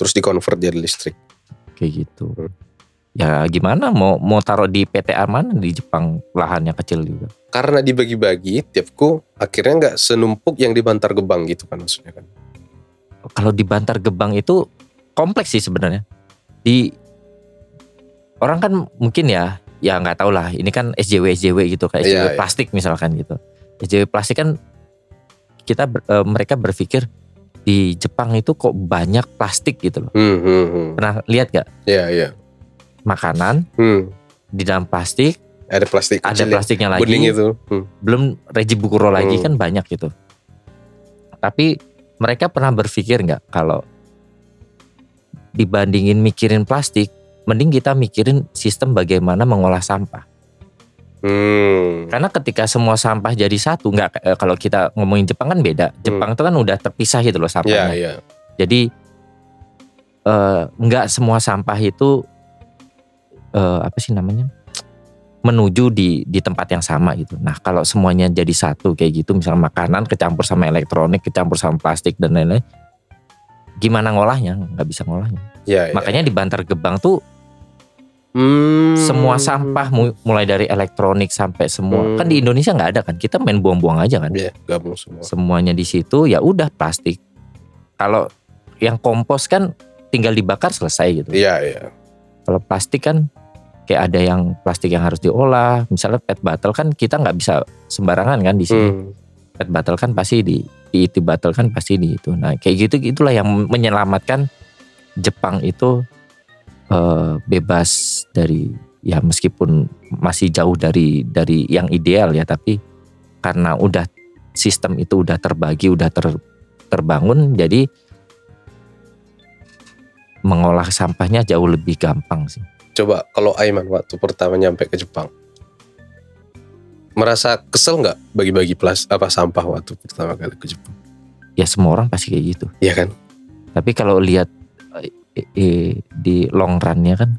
Speaker 2: terus dikonvert jadi listrik.
Speaker 1: Kayak gitu.
Speaker 2: Hmm.
Speaker 1: Ya gimana mau mau taruh di PTA mana di Jepang lahannya kecil juga.
Speaker 2: Karena dibagi-bagi tiap ku akhirnya nggak senumpuk yang di Bantar Gebang gitu kan maksudnya kan.
Speaker 1: kalau di Bantar Gebang itu kompleks sih sebenarnya. Di orang kan mungkin ya, ya nggak tahu lah. Ini kan SJW SJW gitu kayak SJW
Speaker 2: Iya, iya.
Speaker 1: plastik misalkan gitu. SJW plastik kan kita ber- eh, mereka berpikir di Jepang itu kok banyak plastik gitu loh.
Speaker 2: Hmm, hmm, hmm.
Speaker 1: Pernah lihat gak
Speaker 2: Iya, iya.
Speaker 1: makanan
Speaker 2: Hmm.
Speaker 1: di dalam plastik
Speaker 2: Ada plastik
Speaker 1: ada
Speaker 2: kecil yang
Speaker 1: plastiknya lagi,
Speaker 2: bening itu. Hmm.
Speaker 1: belum Reji Bukuro lagi
Speaker 2: Hmm.
Speaker 1: kan banyak gitu. Tapi mereka pernah berpikir nggak kalau dibandingin mikirin plastik, mending kita mikirin sistem bagaimana mengolah sampah.
Speaker 2: Hmm.
Speaker 1: Karena ketika semua sampah jadi satu, nggak eh, kalau kita ngomongin Jepang kan beda. Jepang itu kan udah terpisah gitu loh
Speaker 2: Iya,
Speaker 1: sampahnya.
Speaker 2: iya.
Speaker 1: Jadi eh, nggak semua sampah itu eh, apa sih namanya menuju di di tempat yang sama gitu. Nah kalau semuanya jadi satu kayak gitu, misalnya makanan kecampur sama elektronik, kecampur sama plastik dan lain-lain, gimana ngolahnya? Nggak bisa ngolahnya.
Speaker 2: Iya, iya.
Speaker 1: Makanya di Bantar Gebang tuh
Speaker 2: Hmm.
Speaker 1: semua sampah mu- mulai dari elektronik sampai semua
Speaker 2: Hmm.
Speaker 1: kan di Indonesia nggak ada kan? Kita main buang-buang aja kan?
Speaker 2: Iya, gabung semua.
Speaker 1: semuanya di situ ya udah plastik kalau yang kompos kan tinggal dibakar selesai gitu
Speaker 2: Iya, iya.
Speaker 1: kalau plastik kan kayak ada yang plastik yang harus diolah misalnya pet bottle kan kita nggak bisa sembarangan kan di sini
Speaker 2: Hmm.
Speaker 1: pet bottle kan pasti di di itu bottle kan pasti di itu nah kayak gitu itulah yang menyelamatkan Jepang itu eh, bebas dari ya meskipun masih jauh dari dari yang ideal ya tapi karena udah sistem itu udah terbagi udah ter- terbangun jadi mengolah sampahnya jauh lebih gampang sih
Speaker 2: Coba kalau Aiman waktu pertama nyampe ke Jepang. Merasa kesel nggak bagi-bagi plas apa sampah waktu pertama kali ke Jepang?
Speaker 1: ya semua orang pasti kayak gitu
Speaker 2: Iya kan?
Speaker 1: tapi kalau lihat eh, eh, di long runnya kan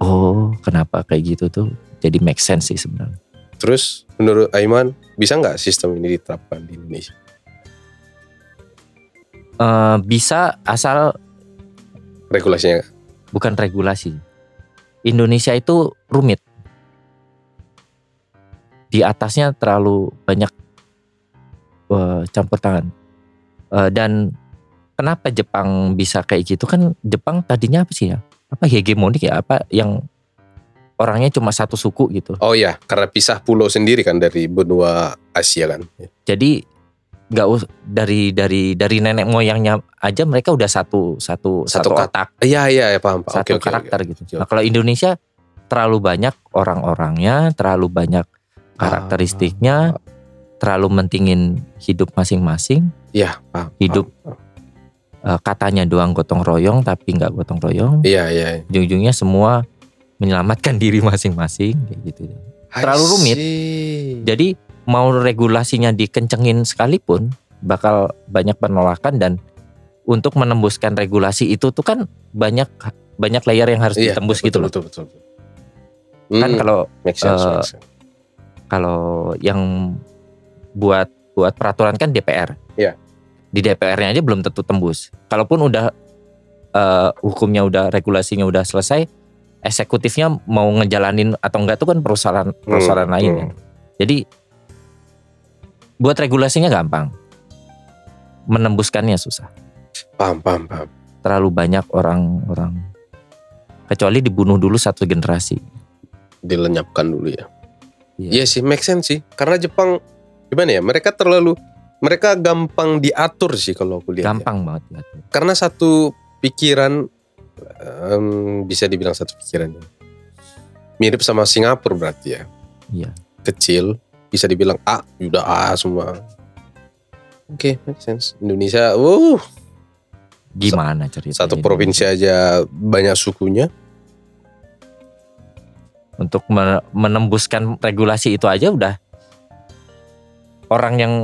Speaker 1: oh kenapa kayak gitu tuh jadi make sense sih sebenarnya
Speaker 2: Terus menurut Aiman bisa nggak sistem ini diterapkan di Indonesia?
Speaker 1: Eh, bisa asal
Speaker 2: Regulasinya
Speaker 1: bukan regulasi Indonesia itu rumit di atasnya terlalu banyak eh, campur tangan Eh, dan kenapa Jepang bisa kayak gitu kan Jepang tadinya apa sih ya apa hegemonik ya apa yang orangnya cuma satu suku gitu
Speaker 2: Oh iya, karena pisah pulau sendiri kan dari benua Asia kan.
Speaker 1: jadi nggak us- dari dari dari nenek moyangnya aja mereka udah satu satu satu,
Speaker 2: Satu kat-
Speaker 1: otak
Speaker 2: Iya iya ya paham paham.
Speaker 1: satu
Speaker 2: Oke, oke,
Speaker 1: karakter
Speaker 2: oke.
Speaker 1: gitu
Speaker 2: Oke,
Speaker 1: nah kalau Indonesia terlalu banyak orang-orangnya terlalu banyak
Speaker 2: Ah.
Speaker 1: karakteristiknya terlalu mentingin hidup masing-masing
Speaker 2: Iya paham.
Speaker 1: Hidup.
Speaker 2: paham.
Speaker 1: Eh, katanya doang gotong royong tapi nggak gotong royong
Speaker 2: Iya iya.
Speaker 1: ujung-ujungnya semua menyelamatkan *laughs* diri masing-masing kayak gitu Terlalu rumit.
Speaker 2: Jadi
Speaker 1: Jadi mau regulasinya dikencengin sekalipun bakal banyak penolakan dan untuk menembuskan regulasi itu tuh kan banyak banyak layer yang harus ditembus gitu loh.
Speaker 2: Iya, Betul betul. betul.
Speaker 1: Kan
Speaker 2: Hmm,
Speaker 1: kalau
Speaker 2: make sense,
Speaker 1: eh,
Speaker 2: make sense.
Speaker 1: kalau yang buat buat peraturan kan DPR.
Speaker 2: Iya.
Speaker 1: Di DPR-nya aja belum tentu tembus. Kalaupun udah eh, hukumnya udah regulasinya udah selesai, eksekutifnya mau ngejalanin atau enggak tuh kan perusahaan perusahaan
Speaker 2: Hmm,
Speaker 1: lain
Speaker 2: hmm.
Speaker 1: kan. Jadi buat regulasinya gampang. Menembuskannya susah.
Speaker 2: Paham paham paham.
Speaker 1: Terlalu banyak orang-orang kecuali dibunuh dulu satu generasi.
Speaker 2: Iya, Dilenyapkan dulu ya.
Speaker 1: Iya.
Speaker 2: Iya sih, make sense sih. Karena Jepang gimana ya? Mereka terlalu mereka gampang diatur sih kalau aku lihat. ya.
Speaker 1: Gampang banget diatur.
Speaker 2: karena satu pikiran em, bisa dibilang satu pikiran ya. mirip sama Singapura berarti ya
Speaker 1: Iya.
Speaker 2: kecil bisa dibilang A udah A semua oke make sense Indonesia uh
Speaker 1: Gimana cerita?
Speaker 2: satu provinsi aja banyak sukunya
Speaker 1: untuk me- menembuskan regulasi itu aja udah orang yang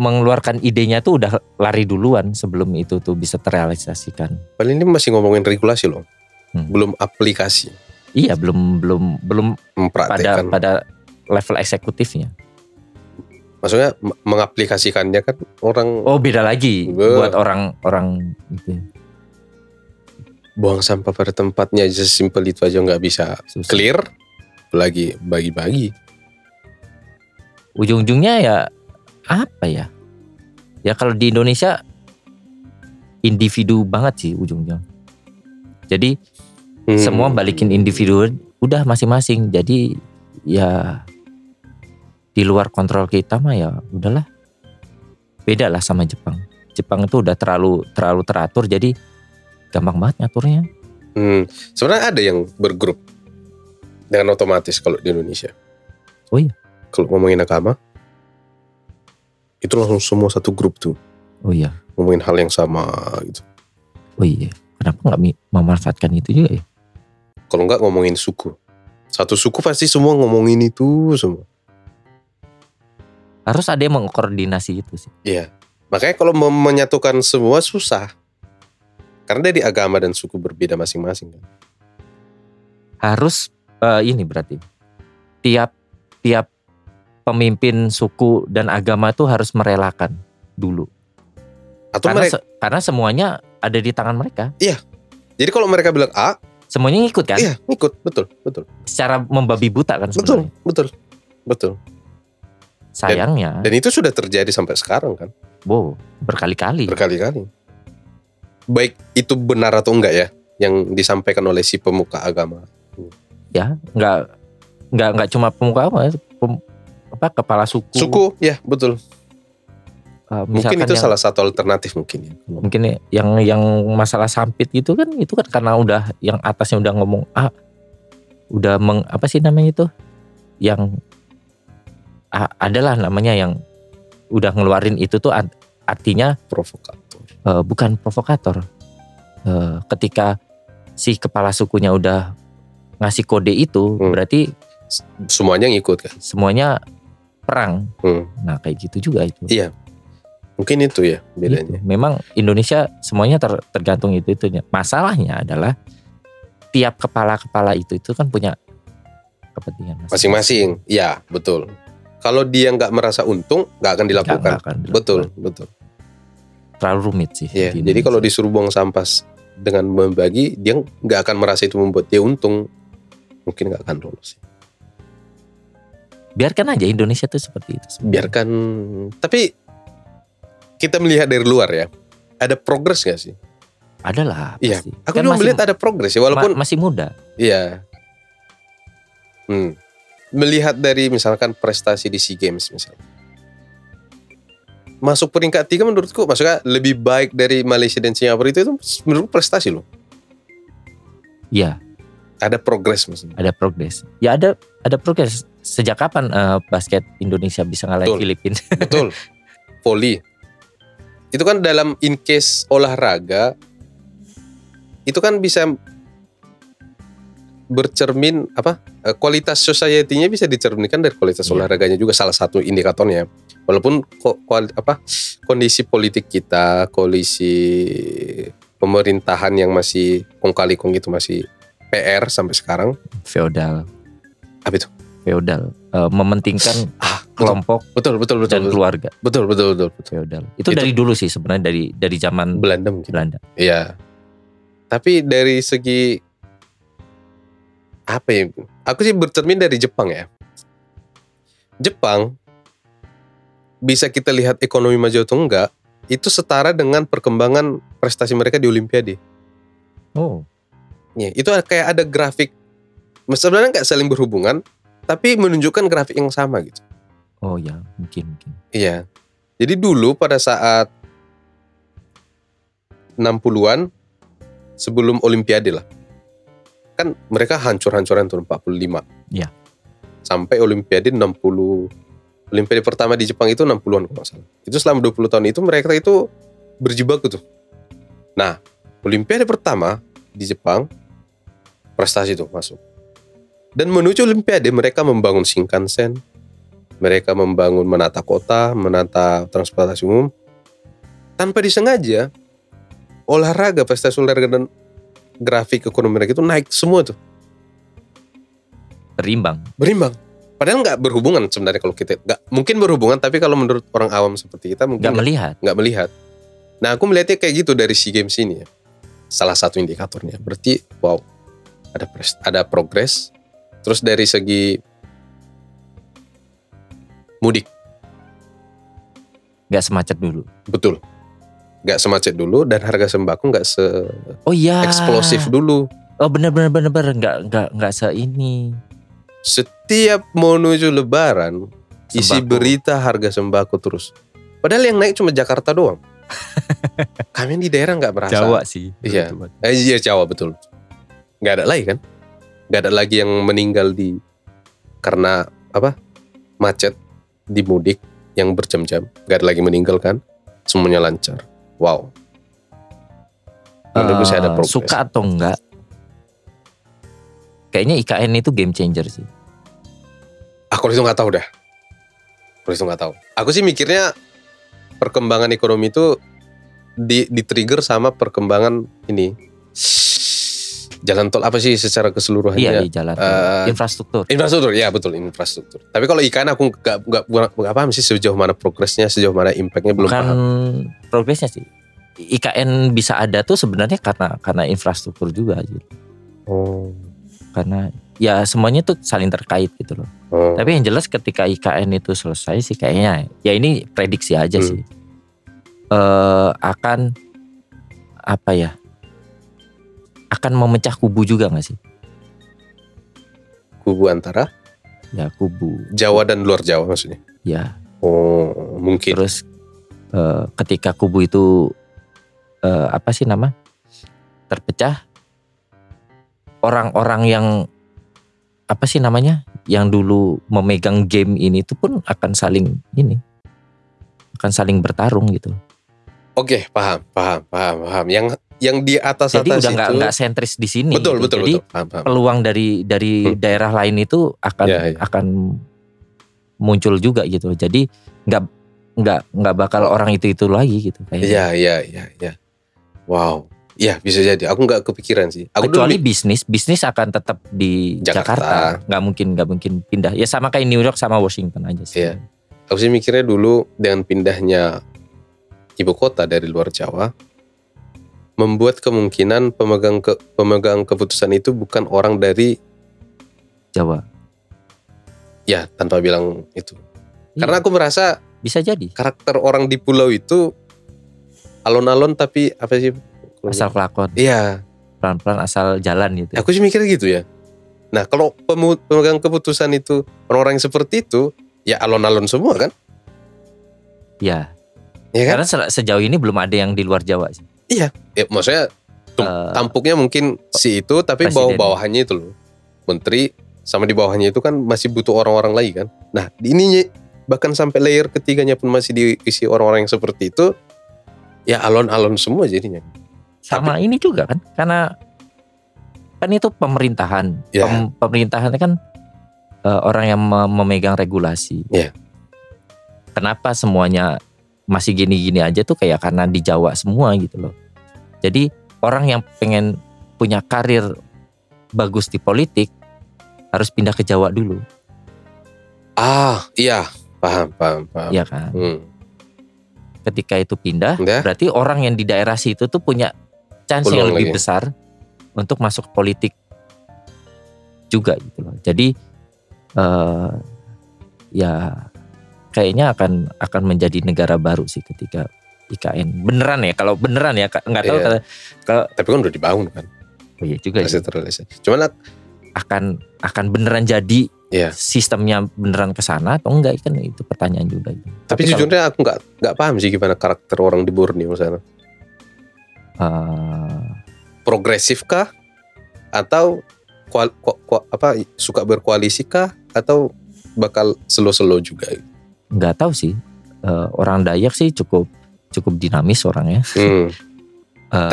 Speaker 1: mengeluarkan idenya tuh udah lari duluan sebelum itu tuh bisa terrealisasikan.
Speaker 2: paling ini masih ngomongin regulasi loh
Speaker 1: Hmm.
Speaker 2: belum aplikasi
Speaker 1: Iya, belum belum belum pada
Speaker 2: mempraktekkan
Speaker 1: pada level eksekutifnya.
Speaker 2: maksudnya m- mengaplikasikannya kan orang
Speaker 1: Oh, beda lagi
Speaker 2: Wah.
Speaker 1: buat orang-orang gitu.
Speaker 2: buang sampah pada tempatnya aja simpel itu aja nggak bisa
Speaker 1: Susah.
Speaker 2: clear lagi bagi-bagi
Speaker 1: Ujung-ujungnya ya apa ya? Ya kalau di Indonesia individu banget sih ujungnya. Jadi
Speaker 2: Hmm.
Speaker 1: semua balikin individu udah masing-masing jadi ya di luar kontrol kita mah ya udahlah beda lah sama Jepang Jepang itu udah terlalu terlalu teratur jadi gampang banget ngaturnya
Speaker 2: Hmm, sebenarnya ada yang bergrup dengan otomatis kalau di Indonesia.
Speaker 1: Oh iya.
Speaker 2: Kalau ngomongin agama, itu langsung semua satu grup tuh
Speaker 1: oh iya
Speaker 2: ngomongin hal yang sama gitu.
Speaker 1: oh iya kenapa nggak mi- memanfaatkan itu juga ya
Speaker 2: Kalau nggak ngomongin suku, satu suku pasti semua ngomongin itu semua.
Speaker 1: harus ada yang mengkoordinasi itu sih
Speaker 2: Makanya kalau mem- menyatukan semua susah. Karena dari agama dan suku berbeda masing-masing kan.
Speaker 1: harus eh, ini berarti tiap tiap pemimpin suku dan agama itu harus merelakan dulu
Speaker 2: Atau
Speaker 1: karena,
Speaker 2: mereka,
Speaker 1: se- karena semuanya ada di tangan mereka
Speaker 2: jadi kalau mereka bilang A,
Speaker 1: semuanya ngikut kan
Speaker 2: iya ikut, betul, betul,
Speaker 1: secara membabi buta kan
Speaker 2: betul,
Speaker 1: sebenarnya
Speaker 2: betul, betul.
Speaker 1: sayangnya
Speaker 2: Dan itu sudah terjadi sampai sekarang kan.
Speaker 1: wow berkali-kali
Speaker 2: berkali-kali. Baik itu benar atau enggak ya yang disampaikan oleh si pemuka agama.
Speaker 1: Hmm. ya nggak nggak nggak cuma pemuka apa, pem- apa kepala suku,
Speaker 2: Suku, ya betul.
Speaker 1: eh,
Speaker 2: Mungkin
Speaker 1: misalkan
Speaker 2: itu
Speaker 1: yang,
Speaker 2: salah satu alternatif mungkin ya.
Speaker 1: mungkin yang yang masalah sampit gitu kan itu kan karena udah yang atasnya udah ngomong ah udah meng, apa sih namanya itu yang ah, adalah namanya yang udah ngeluarin itu tuh art- artinya
Speaker 2: Provokator.
Speaker 1: eh, bukan provokator. Eh, ketika si kepala sukunya udah ngasih kode itu,
Speaker 2: Hmm.
Speaker 1: berarti
Speaker 2: Semuanya ngikut kan.
Speaker 1: semuanya perang.
Speaker 2: Hmm.
Speaker 1: Nah kayak gitu juga itu.
Speaker 2: Iya. Mungkin itu ya bedanya.
Speaker 1: Gitu. Memang Indonesia semuanya ter- tergantung itu itunya. Masalahnya adalah tiap kepala-kepala itu itu kan punya kepentingan
Speaker 2: Masing-masing. Ya betul. Kalau dia nggak merasa untung, nggak akan
Speaker 1: Nggak-
Speaker 2: dilakukan.
Speaker 1: nggak akan dilakukan.
Speaker 2: Betul, betul.
Speaker 1: Terlalu rumit sih.
Speaker 2: Iya,
Speaker 1: di
Speaker 2: Jadi kalau
Speaker 1: Indonesia.
Speaker 2: disuruh buang sampah s- dengan membagi, dia nggak akan merasa itu membuat dia untung. Mungkin nggak akan lolos.
Speaker 1: biarkan aja Indonesia tuh seperti itu.
Speaker 2: Biarkan. Tapi kita melihat dari luar ya, ada progres nggak sih?
Speaker 1: Adalah
Speaker 2: Iya.
Speaker 1: pasti.
Speaker 2: Aku
Speaker 1: Kan
Speaker 2: juga
Speaker 1: masih-
Speaker 2: melihat ada progres ya, walaupun
Speaker 1: Ma- masih muda.
Speaker 2: Iya. Hmm. Melihat dari misalkan prestasi di SEA Games misalnya. Masuk peringkat tiga menurutku maksudnya lebih baik dari Malaysia dan Singapura itu, itu menurutku prestasi loh.
Speaker 1: Iya,
Speaker 2: Ada progres maksudnya.
Speaker 1: ada progres. Ya ada ada progres. Sejak kapan eh, basket Indonesia bisa ngalahin
Speaker 2: Betul.
Speaker 1: Filipina? *laughs*
Speaker 2: Betul. Volley. Itu kan dalam in case olahraga itu kan bisa bercermin apa eh, kualitas society-nya bisa dicerminkan dari kualitas
Speaker 1: Iya.
Speaker 2: olahraganya juga salah satu indikatornya walaupun ko- kual- apa kondisi politik kita kondisi pemerintahan yang masih kong kali kong gitu masih PR sampai sekarang
Speaker 1: Feodal.
Speaker 2: Apa itu?
Speaker 1: Feodal. Eh, mementingkan
Speaker 2: ah betul
Speaker 1: kelompok
Speaker 2: betul betul betul
Speaker 1: dan
Speaker 2: betul
Speaker 1: keluarga.
Speaker 2: betul betul, betul, betul.
Speaker 1: Feodal. Itu,
Speaker 2: Itu-
Speaker 1: dari dulu sih sebenarnya dari dari zaman
Speaker 2: Belanda mungkin
Speaker 1: Belanda.
Speaker 2: Iya. Tapi dari segi apa ya? Aku sih bercermin dari Jepang ya. Jepang bisa kita lihat ekonomi maju atau enggak itu setara dengan perkembangan prestasi mereka di Olimpiade.
Speaker 1: Oh,
Speaker 2: Ya, itu kayak ada grafik sebenarnya nggak saling berhubungan tapi menunjukkan grafik yang sama gitu.
Speaker 1: oh ya, mungkin mungkin.
Speaker 2: Iya. Jadi dulu pada saat 60-an sebelum olimpiade lah. Kan mereka hancur-hancuran tuh 45.
Speaker 1: Iya.
Speaker 2: Sampai olimpiade 60 olimpiade pertama di Jepang itu 60-an kalau nggak salah. Itu selama 20 tahun itu mereka itu berjibaku tuh. Nah, olimpiade pertama di Jepang prestasi tuh masuk. Dan menuju olimpiade mereka membangun Shinkansen, mereka membangun menata kota, menata transportasi umum tanpa disengaja olahraga, prestasi olahraga dan grafik ekonomi mereka itu naik semua tuh
Speaker 1: Berimbang.
Speaker 2: berimbang. Padahal nggak berhubungan sebenarnya kalau kita nggak mungkin berhubungan tapi kalau menurut orang awam seperti kita mungkin
Speaker 1: Gak melihat.
Speaker 2: nggak melihat. Nah aku melihatnya kayak gitu dari si games ini ya. Salah satu indikatornya. Berarti wow ada pres- ada progres. Terus dari segi mudik
Speaker 1: Gak semacet dulu.
Speaker 2: Betul. Gak semacet dulu dan harga sembako gak
Speaker 1: Oh iya.
Speaker 2: se-eksplosif dulu.
Speaker 1: Oh benar benar benar benar nggak nggak nggak se ini.
Speaker 2: Setiap menuju lebaran, isi
Speaker 1: Sembako.
Speaker 2: berita harga sembako terus. Padahal yang naik cuma Jakarta
Speaker 1: *laughs*
Speaker 2: doang. Kami di daerah nggak merasa.
Speaker 1: Jawa sih.
Speaker 2: Iya. Eh, iya Jawa betul. Gak ada lagi kan? Gak ada lagi yang meninggal di karena apa macet di mudik yang berjam-jam. Gak ada lagi meninggal kan? Semuanya lancar. Wow. Menurut gue sih ada
Speaker 1: Eh,
Speaker 2: progres.
Speaker 1: suka atau enggak? Kayaknya IKN itu game changer sih.
Speaker 2: Aku Ah, itu nggak tahu dah. Aku itu nggak tahu. Aku sih mikirnya perkembangan ekonomi itu di, di trigger sama perkembangan ini jalan tol apa sih secara
Speaker 1: Iya
Speaker 2: keseluruhannya?
Speaker 1: di jalan
Speaker 2: eh,
Speaker 1: infrastruktur.
Speaker 2: Infrastruktur, ya betul infrastruktur. Tapi kalau ikan aku nggak nggak nggak- nggak paham sih sejauh mana progresnya, sejauh mana impactnya belum
Speaker 1: Bukan
Speaker 2: paham.
Speaker 1: progresnya sih. IKN bisa ada tuh sebenarnya karena karena infrastruktur juga gitu.
Speaker 2: Oh.
Speaker 1: Karena ya semuanya tuh saling terkait gitu loh.
Speaker 2: Oh.
Speaker 1: Tapi yang jelas ketika IKN itu selesai sih kayaknya ya ini prediksi aja
Speaker 2: Hmm.
Speaker 1: sih. Eh akan apa ya? Akan memecah kubu juga gak sih?
Speaker 2: kubu antara
Speaker 1: Ya kubu.
Speaker 2: Jawa dan luar Jawa maksudnya.
Speaker 1: Ya
Speaker 2: Oh, mungkin.
Speaker 1: Terus eh, ketika kubu itu eh, apa sih nama terpecah, orang-orang yang apa sih namanya yang dulu memegang game ini tuh pun akan saling ini akan saling bertarung gitu.
Speaker 2: Oke, paham, paham, paham, paham. Yang yang di atas
Speaker 1: Jadi
Speaker 2: atas
Speaker 1: udah nggak
Speaker 2: itu
Speaker 1: nggak sentris di sini.
Speaker 2: betul
Speaker 1: gitu.
Speaker 2: betul
Speaker 1: Jadi
Speaker 2: betul. Paham, paham.
Speaker 1: peluang dari dari
Speaker 2: Hmm.
Speaker 1: daerah lain itu akan
Speaker 2: Ya, ya.
Speaker 1: akan muncul juga gitu. Jadi nggak nggak nggak bakal orang itu itu lagi gitu kayaknya.
Speaker 2: Iya, iya, iya, iya. Wow. Iya, bisa jadi. Aku nggak kepikiran sih. Aku dulu
Speaker 1: Kecuali bisnis, bisnis akan tetap di
Speaker 2: Jakarta.
Speaker 1: Jakarta. Nggak mungkin nggak mungkin pindah. Ya sama kayak New York sama Washington aja sih.
Speaker 2: Iya. Aku sih mikirnya dulu dengan pindahnya ibu kota dari luar Jawa membuat kemungkinan pemegang ke, pemegang keputusan itu bukan orang dari
Speaker 1: Jawa.
Speaker 2: ya tanpa bilang itu.
Speaker 1: Iya,
Speaker 2: Karena aku merasa
Speaker 1: bisa jadi
Speaker 2: karakter orang di pulau itu alon-alon tapi apa sih?
Speaker 1: asal kelakon
Speaker 2: Iya,
Speaker 1: pelan-pelan asal jalan gitu.
Speaker 2: aku sih mikirnya gitu ya. Nah, kalau pemu- pemegang keputusan itu orang-orang yang seperti itu ya alon-alon semua kan?
Speaker 1: Ya.
Speaker 2: Iya kan?
Speaker 1: Karena se- sejauh ini belum ada yang di luar Jawa sih.
Speaker 2: Ya, maksudnya Tum-
Speaker 1: Eh,
Speaker 2: tampuknya mungkin si itu tapi
Speaker 1: Presiden.
Speaker 2: bawah bawahannya itu loh menteri sama di bawahnya itu kan masih butuh orang-orang lagi kan nah di ini bahkan sampai layer ketiganya pun masih diisi orang-orang yang seperti itu ya alon-alon semua jadinya
Speaker 1: sama ini juga kan karena kan itu pemerintahan
Speaker 2: Ya.
Speaker 1: Pem- pemerintahan kan eh, orang yang me- memegang regulasi
Speaker 2: Ya.
Speaker 1: kenapa semuanya masih gini-gini aja tuh kayak karena di Jawa semua gitu loh jadi orang yang pengen punya karir bagus di politik harus pindah ke Jawa dulu
Speaker 2: ah iya paham paham paham
Speaker 1: ya kan
Speaker 2: Hmm.
Speaker 1: ketika itu pindah
Speaker 2: Ya.
Speaker 1: berarti orang yang di daerah situ tuh punya chance yang
Speaker 2: Peluang
Speaker 1: lebih
Speaker 2: lagi. ya?
Speaker 1: besar untuk masuk politik juga gitu loh. Jadi eh, ya kayaknya akan akan menjadi negara baru sih ketika IKN beneran ya kalau beneran ya Kak. nggak tahu
Speaker 2: Iya.
Speaker 1: kalau-
Speaker 2: tapi kan udah dibangun kan
Speaker 1: oh iya juga ya.
Speaker 2: masih terrealisasi cuman ak-
Speaker 1: akan akan beneran jadi
Speaker 2: Iya.
Speaker 1: sistemnya beneran ke sana atau enggak kan itu pertanyaan juga itu.
Speaker 2: tapi,
Speaker 1: kalau,
Speaker 2: jujurnya aku nggak nggak paham sih gimana karakter orang di Borneo sana
Speaker 1: eh,
Speaker 2: progresif kah atau kual- ku- ku- apa suka berkoalisi kah atau bakal selo-selo juga gitu?
Speaker 1: nggak tahu sih Eh, orang Dayak sih cukup cukup dinamis orangnya. Eh,
Speaker 2: Hmm.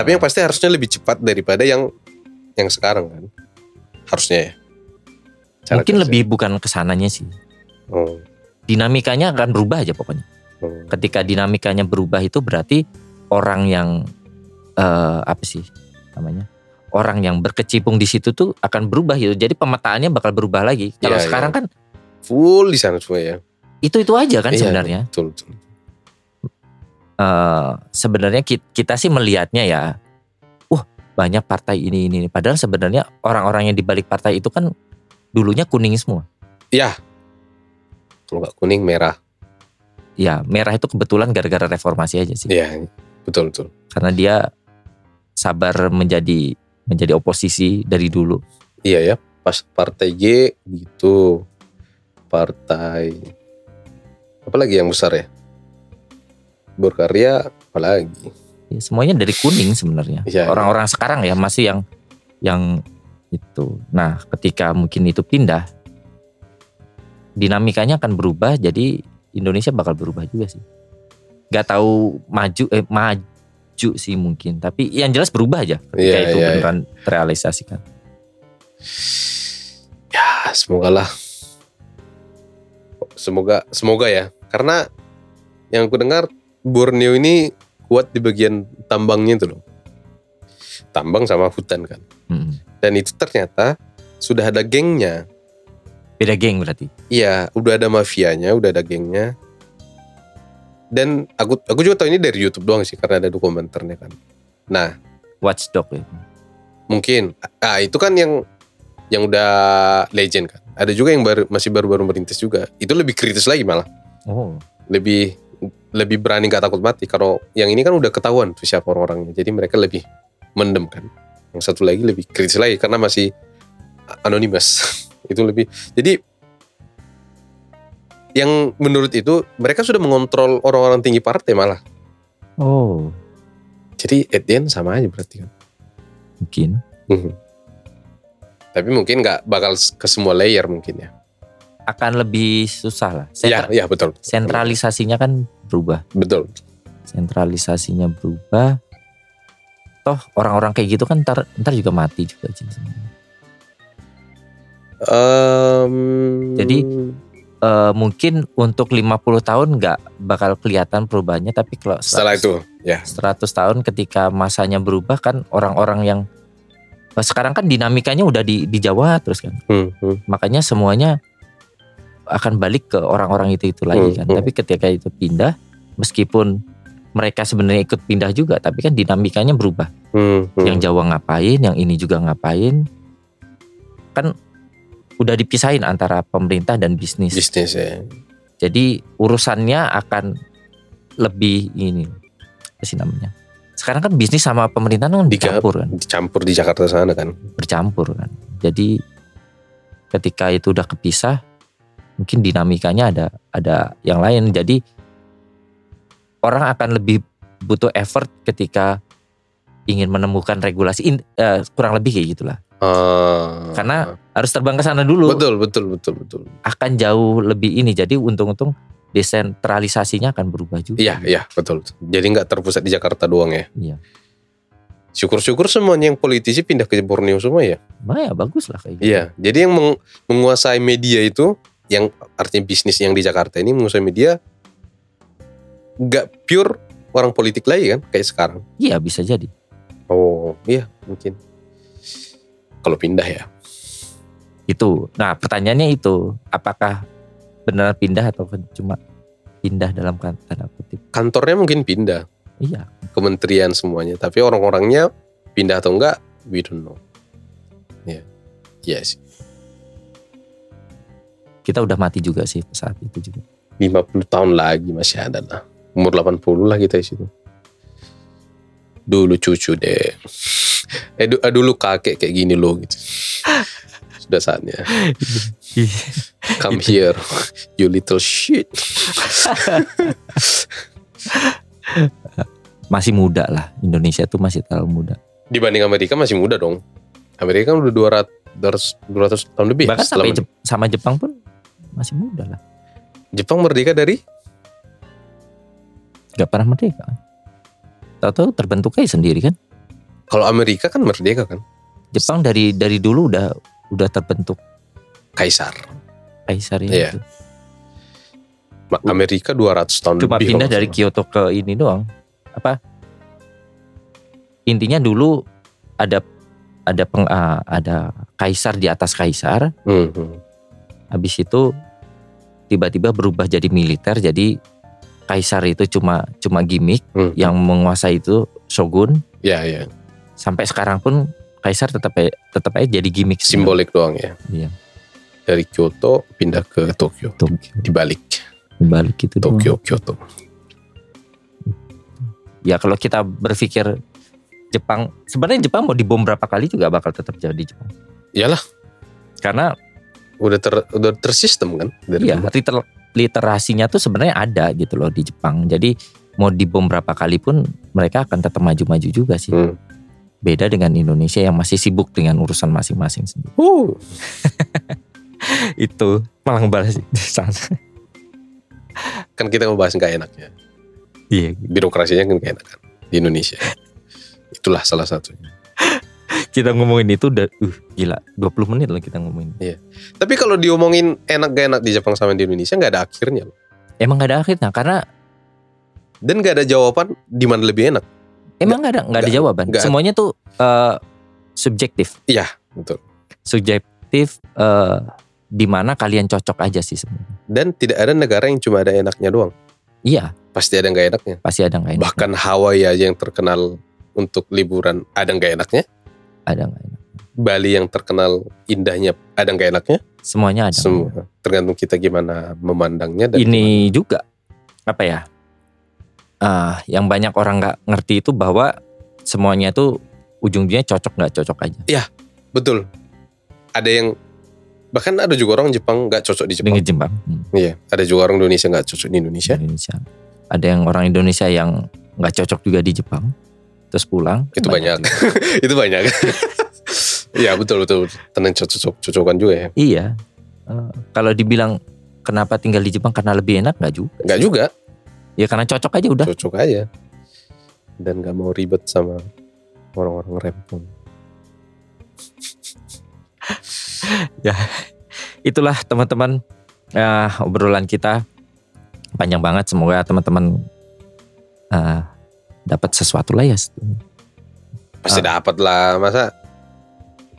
Speaker 2: Tapi yang pasti harusnya lebih cepat daripada yang yang sekarang kan. Harusnya ya. Cara
Speaker 1: mungkin
Speaker 2: kerja.
Speaker 1: lebih bukan kesananya sih.
Speaker 2: Oh,
Speaker 1: Dinamikanya akan berubah aja pokoknya.
Speaker 2: oh.
Speaker 1: Ketika dinamikanya berubah itu berarti orang yang eh, apa sih namanya? Orang yang berkecimpung di situ tuh akan berubah gitu. Jadi pemetaannya bakal berubah lagi. Kalau
Speaker 2: Iya, iya.
Speaker 1: sekarang kan
Speaker 2: Full di sana semua ya.
Speaker 1: itu-itu aja kan
Speaker 2: Iya.
Speaker 1: sebenarnya.
Speaker 2: Betul, betul.
Speaker 1: eh, sebenarnya ki- kita sih melihatnya ya, wah banyak partai ini ini. ini." Padahal sebenarnya orang-orang yang di balik partai itu kan dulunya kuning semua.
Speaker 2: Kalau nggak kuning merah.
Speaker 1: Ya merah itu kebetulan gara-gara reformasi aja sih,
Speaker 2: Iya, betul betul.
Speaker 1: karena dia sabar menjadi menjadi oposisi dari dulu.
Speaker 2: Iya ya. Pas partai G gitu. Partai apalagi yang besar ya? Berkarya apalagi?
Speaker 1: Ya, semuanya dari kuning sebenarnya.
Speaker 2: Iya, iya.
Speaker 1: Orang-orang sekarang ya masih yang yang itu. Nah ketika mungkin itu pindah, dinamikanya akan berubah. Jadi Indonesia bakal berubah juga sih. Gak tahu maju eh maju sih mungkin. Tapi yang jelas berubah aja ketika
Speaker 2: Iya,
Speaker 1: itu
Speaker 2: iya,
Speaker 1: beneran terrealisasikan.
Speaker 2: Ah, semoga lah. Semoga, semoga ya. Karena yang aku dengar Borneo ini kuat di bagian tambangnya itu loh. Tambang sama hutan kan.
Speaker 1: Mm-mm.
Speaker 2: Dan itu ternyata sudah ada gengnya.
Speaker 1: Beda geng berarti.
Speaker 2: Iya, udah ada mafianya, udah ada gengnya. Dan aku aku juga tahu ini dari YouTube doang sih karena ada dokumenternya kan. Nah,
Speaker 1: Watchdog ya.
Speaker 2: mungkin ah itu kan yang yang udah legend kan ada juga yang baru masih baru-baru merintis juga itu lebih kritis lagi malah
Speaker 1: Oh
Speaker 2: lebih lebih berani gak takut mati kalau yang ini kan udah ketahuan tuh siapa orang-orangnya jadi mereka lebih mendem kan yang satu lagi lebih kritis lagi karena masih anonimus *laughs* itu lebih jadi yang menurut itu mereka sudah mengontrol orang-orang tinggi partai malah
Speaker 1: oh
Speaker 2: jadi at the end sama aja berarti kan
Speaker 1: mungkin.
Speaker 2: Mhm. Tapi mungkin nggak bakal s- ke semua layer mungkin ya.
Speaker 1: Akan lebih susah lah.
Speaker 2: Iya,
Speaker 1: Sentra-
Speaker 2: iya betul.
Speaker 1: Sentralisasinya kan berubah.
Speaker 2: Betul.
Speaker 1: sentralisasinya berubah toh orang-orang kayak gitu kan ntar, ntar juga mati juga Jin, sebenarnya.
Speaker 2: Em,
Speaker 1: Jadi, Eh eh, mungkin untuk 50 tahun nggak bakal kelihatan perubahannya tapi kalau
Speaker 2: Setelah
Speaker 1: 100
Speaker 2: itu, ya.
Speaker 1: 100 tahun ketika masanya berubah kan orang-orang yang sekarang kan dinamikanya udah di di Jawa terus kan.
Speaker 2: Hmm, hmm.
Speaker 1: Makanya semuanya akan balik ke orang-orang itu-itu lagi
Speaker 2: Hmm,
Speaker 1: kan.
Speaker 2: hmm.
Speaker 1: Tapi ketika itu pindah meskipun mereka sebenarnya ikut pindah juga tapi kan dinamikanya berubah.
Speaker 2: hmm, hmm.
Speaker 1: Yang Jawa ngapain, yang ini juga ngapain. Kan udah dipisahin antara pemerintah dan bisnis.
Speaker 2: bisnis ya.
Speaker 1: Jadi urusannya akan lebih ini apa sih namanya? Sekarang kan bisnis sama pemerintahan kan
Speaker 2: Diga-
Speaker 1: bercampur kan,
Speaker 2: Dicampur di Jakarta sana kan.
Speaker 1: bercampur kan. Jadi ketika itu udah kepisah, mungkin dinamikanya ada ada yang lain. Jadi orang akan lebih butuh effort ketika ingin menemukan regulasi In- eh, kurang lebih kayak gitulah.
Speaker 2: Ah.
Speaker 1: Karena Harus terbang ke sana dulu.
Speaker 2: betul betul betul betul.
Speaker 1: Akan jauh lebih ini. Jadi untung-untung desentralisasinya akan berubah juga.
Speaker 2: Iya iya betul. betul. Jadi nggak terpusat di Jakarta doang ya.
Speaker 1: Iya.
Speaker 2: Syukur-syukur semuanya yang politisi pindah ke Borneo semua ya.
Speaker 1: Nah, ya bagus lah kayak gitu.
Speaker 2: Iya. Jadi yang meng- menguasai media itu, yang artinya bisnis yang di Jakarta ini menguasai media, nggak pure orang politik lagi kan, kayak sekarang.
Speaker 1: Iya bisa jadi.
Speaker 2: Oh iya mungkin. Kalau pindah ya.
Speaker 1: Itu. Nah pertanyaannya itu, apakah benar pindah atau cuma pindah dalam kan- tanda kutip?
Speaker 2: Kantornya mungkin pindah,
Speaker 1: Iya.
Speaker 2: kementerian semuanya. Tapi orang-orangnya pindah atau enggak, we don't know. Ya, yes.
Speaker 1: Kita udah mati juga sih saat itu juga.
Speaker 2: 50 tahun lagi masih ada lah. Umur 80 lah kita di situ. Dulu cucu deh. *laughs* Eh du- eh, dulu kakek kayak gini loh gitu. *laughs* Sudah
Speaker 1: *laughs*
Speaker 2: saatnya. Come here, *laughs* you little shit.
Speaker 1: masih muda lah. Indonesia tuh masih terlalu muda.
Speaker 2: Dibanding Amerika masih muda dong. Amerika kan udah 200 200, 200 tahun lebih.
Speaker 1: Bahkan
Speaker 2: setelah
Speaker 1: sampai Jep- sama Jepang pun masih muda lah.
Speaker 2: Jepang merdeka dari
Speaker 1: Gak pernah merdeka. Tahu-tahu terbentuk kayak sendiri kan.
Speaker 2: kalau Amerika kan merdeka kan
Speaker 1: Jepang dari dari dulu udah udah terbentuk
Speaker 2: kaisar.
Speaker 1: kaisar ya
Speaker 2: Iya.
Speaker 1: gitu.
Speaker 2: Ma- Amerika 200 tahun
Speaker 1: cuma
Speaker 2: lebih.
Speaker 1: pindah
Speaker 2: kalau
Speaker 1: dari
Speaker 2: nggak
Speaker 1: Kyoto ke ini doang apa intinya dulu ada ada peng, ah, ada kaisar di atas kaisar
Speaker 2: salah. Hmm, hmm.
Speaker 1: habis itu tiba-tiba berubah jadi militer jadi kaisar itu cuma cuma gimmick
Speaker 2: Hmm.
Speaker 1: yang menguasai itu shogun
Speaker 2: Ya ya,
Speaker 1: sampai sekarang pun kaisar tetap aja- tetap aja jadi gimmick
Speaker 2: simbolik doang ya.
Speaker 1: Iya.
Speaker 2: Dari Kyoto pindah ke Tokyo,
Speaker 1: Tokyo
Speaker 2: dibalik
Speaker 1: balik itu doang.
Speaker 2: Tokyo Kyoto.
Speaker 1: ya kalau kita berpikir Jepang sebenarnya Jepang mau dibom berapa kali juga bakal tetap jadi Jepang
Speaker 2: Iyalah,
Speaker 1: karena
Speaker 2: udah ter udah tersistem kan dari
Speaker 1: Iya,
Speaker 2: dulu.
Speaker 1: liter- literasinya tuh sebenarnya ada gitu loh di Jepang. Jadi mau dibom berapa kali pun mereka akan tetap maju-maju juga sih.
Speaker 2: Hmm.
Speaker 1: Beda dengan Indonesia yang masih sibuk dengan urusan masing-masing sendiri.
Speaker 2: Huh.
Speaker 1: Itu malah ngebahas di sana.
Speaker 2: Kan kita ngebahas nggak enaknya.
Speaker 1: Iya,
Speaker 2: Birokrasinya kan nggak enak kan di
Speaker 1: *laughs*
Speaker 2: Indonesia. Itulah salah satunya.
Speaker 1: kita ngomongin itu udah uh gila 20 menit lah kita ngomongin.
Speaker 2: Tapi kalau diomongin enak gak enak di Jepang sama di Indonesia nggak ada akhirnya loh.
Speaker 1: Emang gak ada akhirnya karena
Speaker 2: Dan nggak ada jawaban di mana lebih enak.
Speaker 1: emang gak ada nggak ada
Speaker 2: nggak-
Speaker 1: jawaban.
Speaker 2: nggak-
Speaker 1: Semuanya tuh eh, subjektif.
Speaker 2: Iya, betul.
Speaker 1: Subjektif eh, di mana kalian cocok aja sih sebenarnya.
Speaker 2: Dan tidak ada negara yang cuma ada enaknya doang.
Speaker 1: Iya,
Speaker 2: Pasti ada nggak enaknya.
Speaker 1: pasti ada nggak enak.
Speaker 2: Bahkan Hawaii aja yang terkenal untuk liburan ada nggak enaknya.
Speaker 1: Ada nggak enak.
Speaker 2: Bali yang terkenal indahnya ada nggak enaknya.
Speaker 1: Semuanya ada.
Speaker 2: Semua tergantung kita gimana memandangnya dan
Speaker 1: ini juga apa ya Ah, yang banyak orang nggak ngerti itu bahwa semuanya itu ujung-ujungnya cocok nggak cocok aja
Speaker 2: betul. Ada yang bahkan ada juga orang Jepang nggak cocok di Jepang.
Speaker 1: dengan Jepang hmm,
Speaker 2: Iya, ada juga orang Indonesia nggak cocok di
Speaker 1: *laughs*
Speaker 2: Indonesia.
Speaker 1: Indonesia ada yang orang Indonesia yang nggak cocok juga di Jepang terus pulang
Speaker 2: Itu banyak. Itu banyak. *laughs* Iya betul betul tenang cocok cocokan juga ya.
Speaker 1: juga. iya Eh, kalau dibilang kenapa tinggal di Jepang karena lebih enak nggak juga
Speaker 2: Nggak juga
Speaker 1: ya karena cocok aja udah
Speaker 2: cocok aja dan nggak mau ribet sama orang-orang rempong.
Speaker 1: itulah teman-teman ya obrolan kita panjang banget. Semoga teman-teman eh, dapat sesuatu lah ya.
Speaker 2: Pasti dapat lah. Masa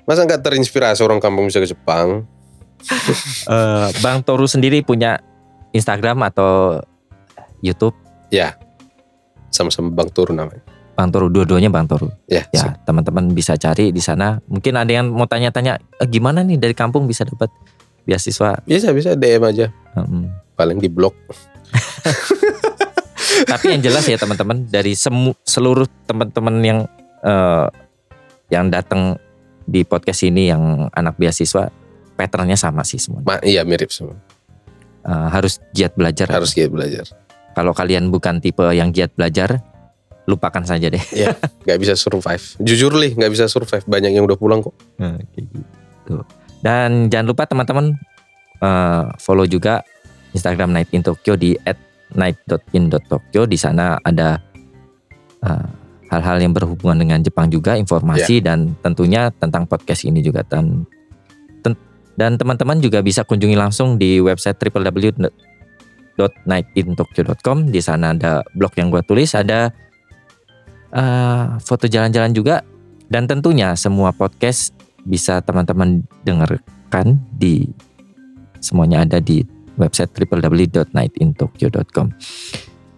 Speaker 2: masa nggak terinspirasi orang kampung bisa ke Jepang?
Speaker 1: Eh, Bang Toru sendiri punya Instagram atau YouTube
Speaker 2: Sama-sama Bang Turun namanya.
Speaker 1: Bang Toru dua-duanya Bang Toru.
Speaker 2: Ya.
Speaker 1: Ya, teman-teman bisa cari di sana. Mungkin ada yang mau tanya-tanya "Eh, gimana nih dari kampung bisa dapat beasiswa.
Speaker 2: Bisa bisa DM aja.
Speaker 1: Mm.
Speaker 2: Paling di blog.
Speaker 1: Tapi yang jelas ya teman-teman dari semu- seluruh teman-teman yang eh, yang datang di podcast ini yang anak beasiswa patternnya sama sih semua.
Speaker 2: Ma, iya mirip semua.
Speaker 1: Eh, harus giat belajar.
Speaker 2: Harus gitu belajar.
Speaker 1: Kalau kalian bukan tipe yang giat belajar, lupakan saja deh.
Speaker 2: Gak bisa survive. Jujur lih, gak bisa survive. Banyak yang udah pulang kok.
Speaker 1: Nah, kayak gitu. Dan jangan lupa teman-teman eh, follow juga Instagram Night in Tokyo di @night.in.tokyo. Di sana ada eh, hal-hal yang berhubungan dengan Jepang juga, informasi dan tentunya tentang podcast ini juga dan ten- dan teman-teman juga bisa kunjungi langsung di website www.nightintokyo.com. Di sana ada blog yang gua tulis, ada eh, foto jalan-jalan juga dan tentunya semua podcast bisa teman-teman dengarkan di semuanya ada di website www.nightintokyo.com.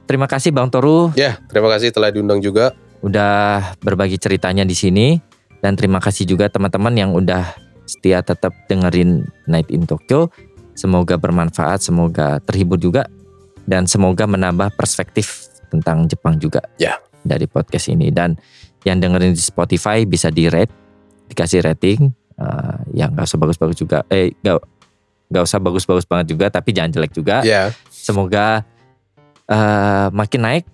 Speaker 1: Terima kasih Bang Toru
Speaker 2: Ya, terima kasih telah diundang juga.
Speaker 1: udah berbagi ceritanya di sini dan terima kasih juga teman-teman yang udah setia tetap dengerin Night in Tokyo. Semoga bermanfaat, semoga terhibur juga dan semoga menambah perspektif tentang Jepang juga
Speaker 2: Ya.
Speaker 1: dari podcast ini dan yang dengerin di Spotify bisa di rate dikasih rating eh, yang gak usah bagus-bagus juga eh gak, gak usah bagus-bagus banget juga tapi jangan jelek juga
Speaker 2: Ya,
Speaker 1: semoga eh, makin naik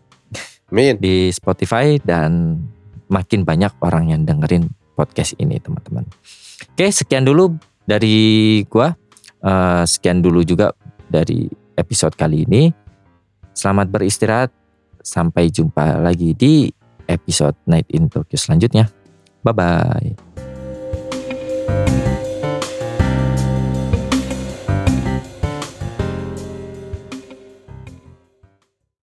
Speaker 2: amin.
Speaker 1: di Spotify dan makin banyak orang yang dengerin podcast ini teman-teman. Oke sekian dulu dari gua, Eh, sekian dulu juga dari episode kali ini. Selamat beristirahat, sampai jumpa lagi di episode Night in Tokyo selanjutnya. Bye bye.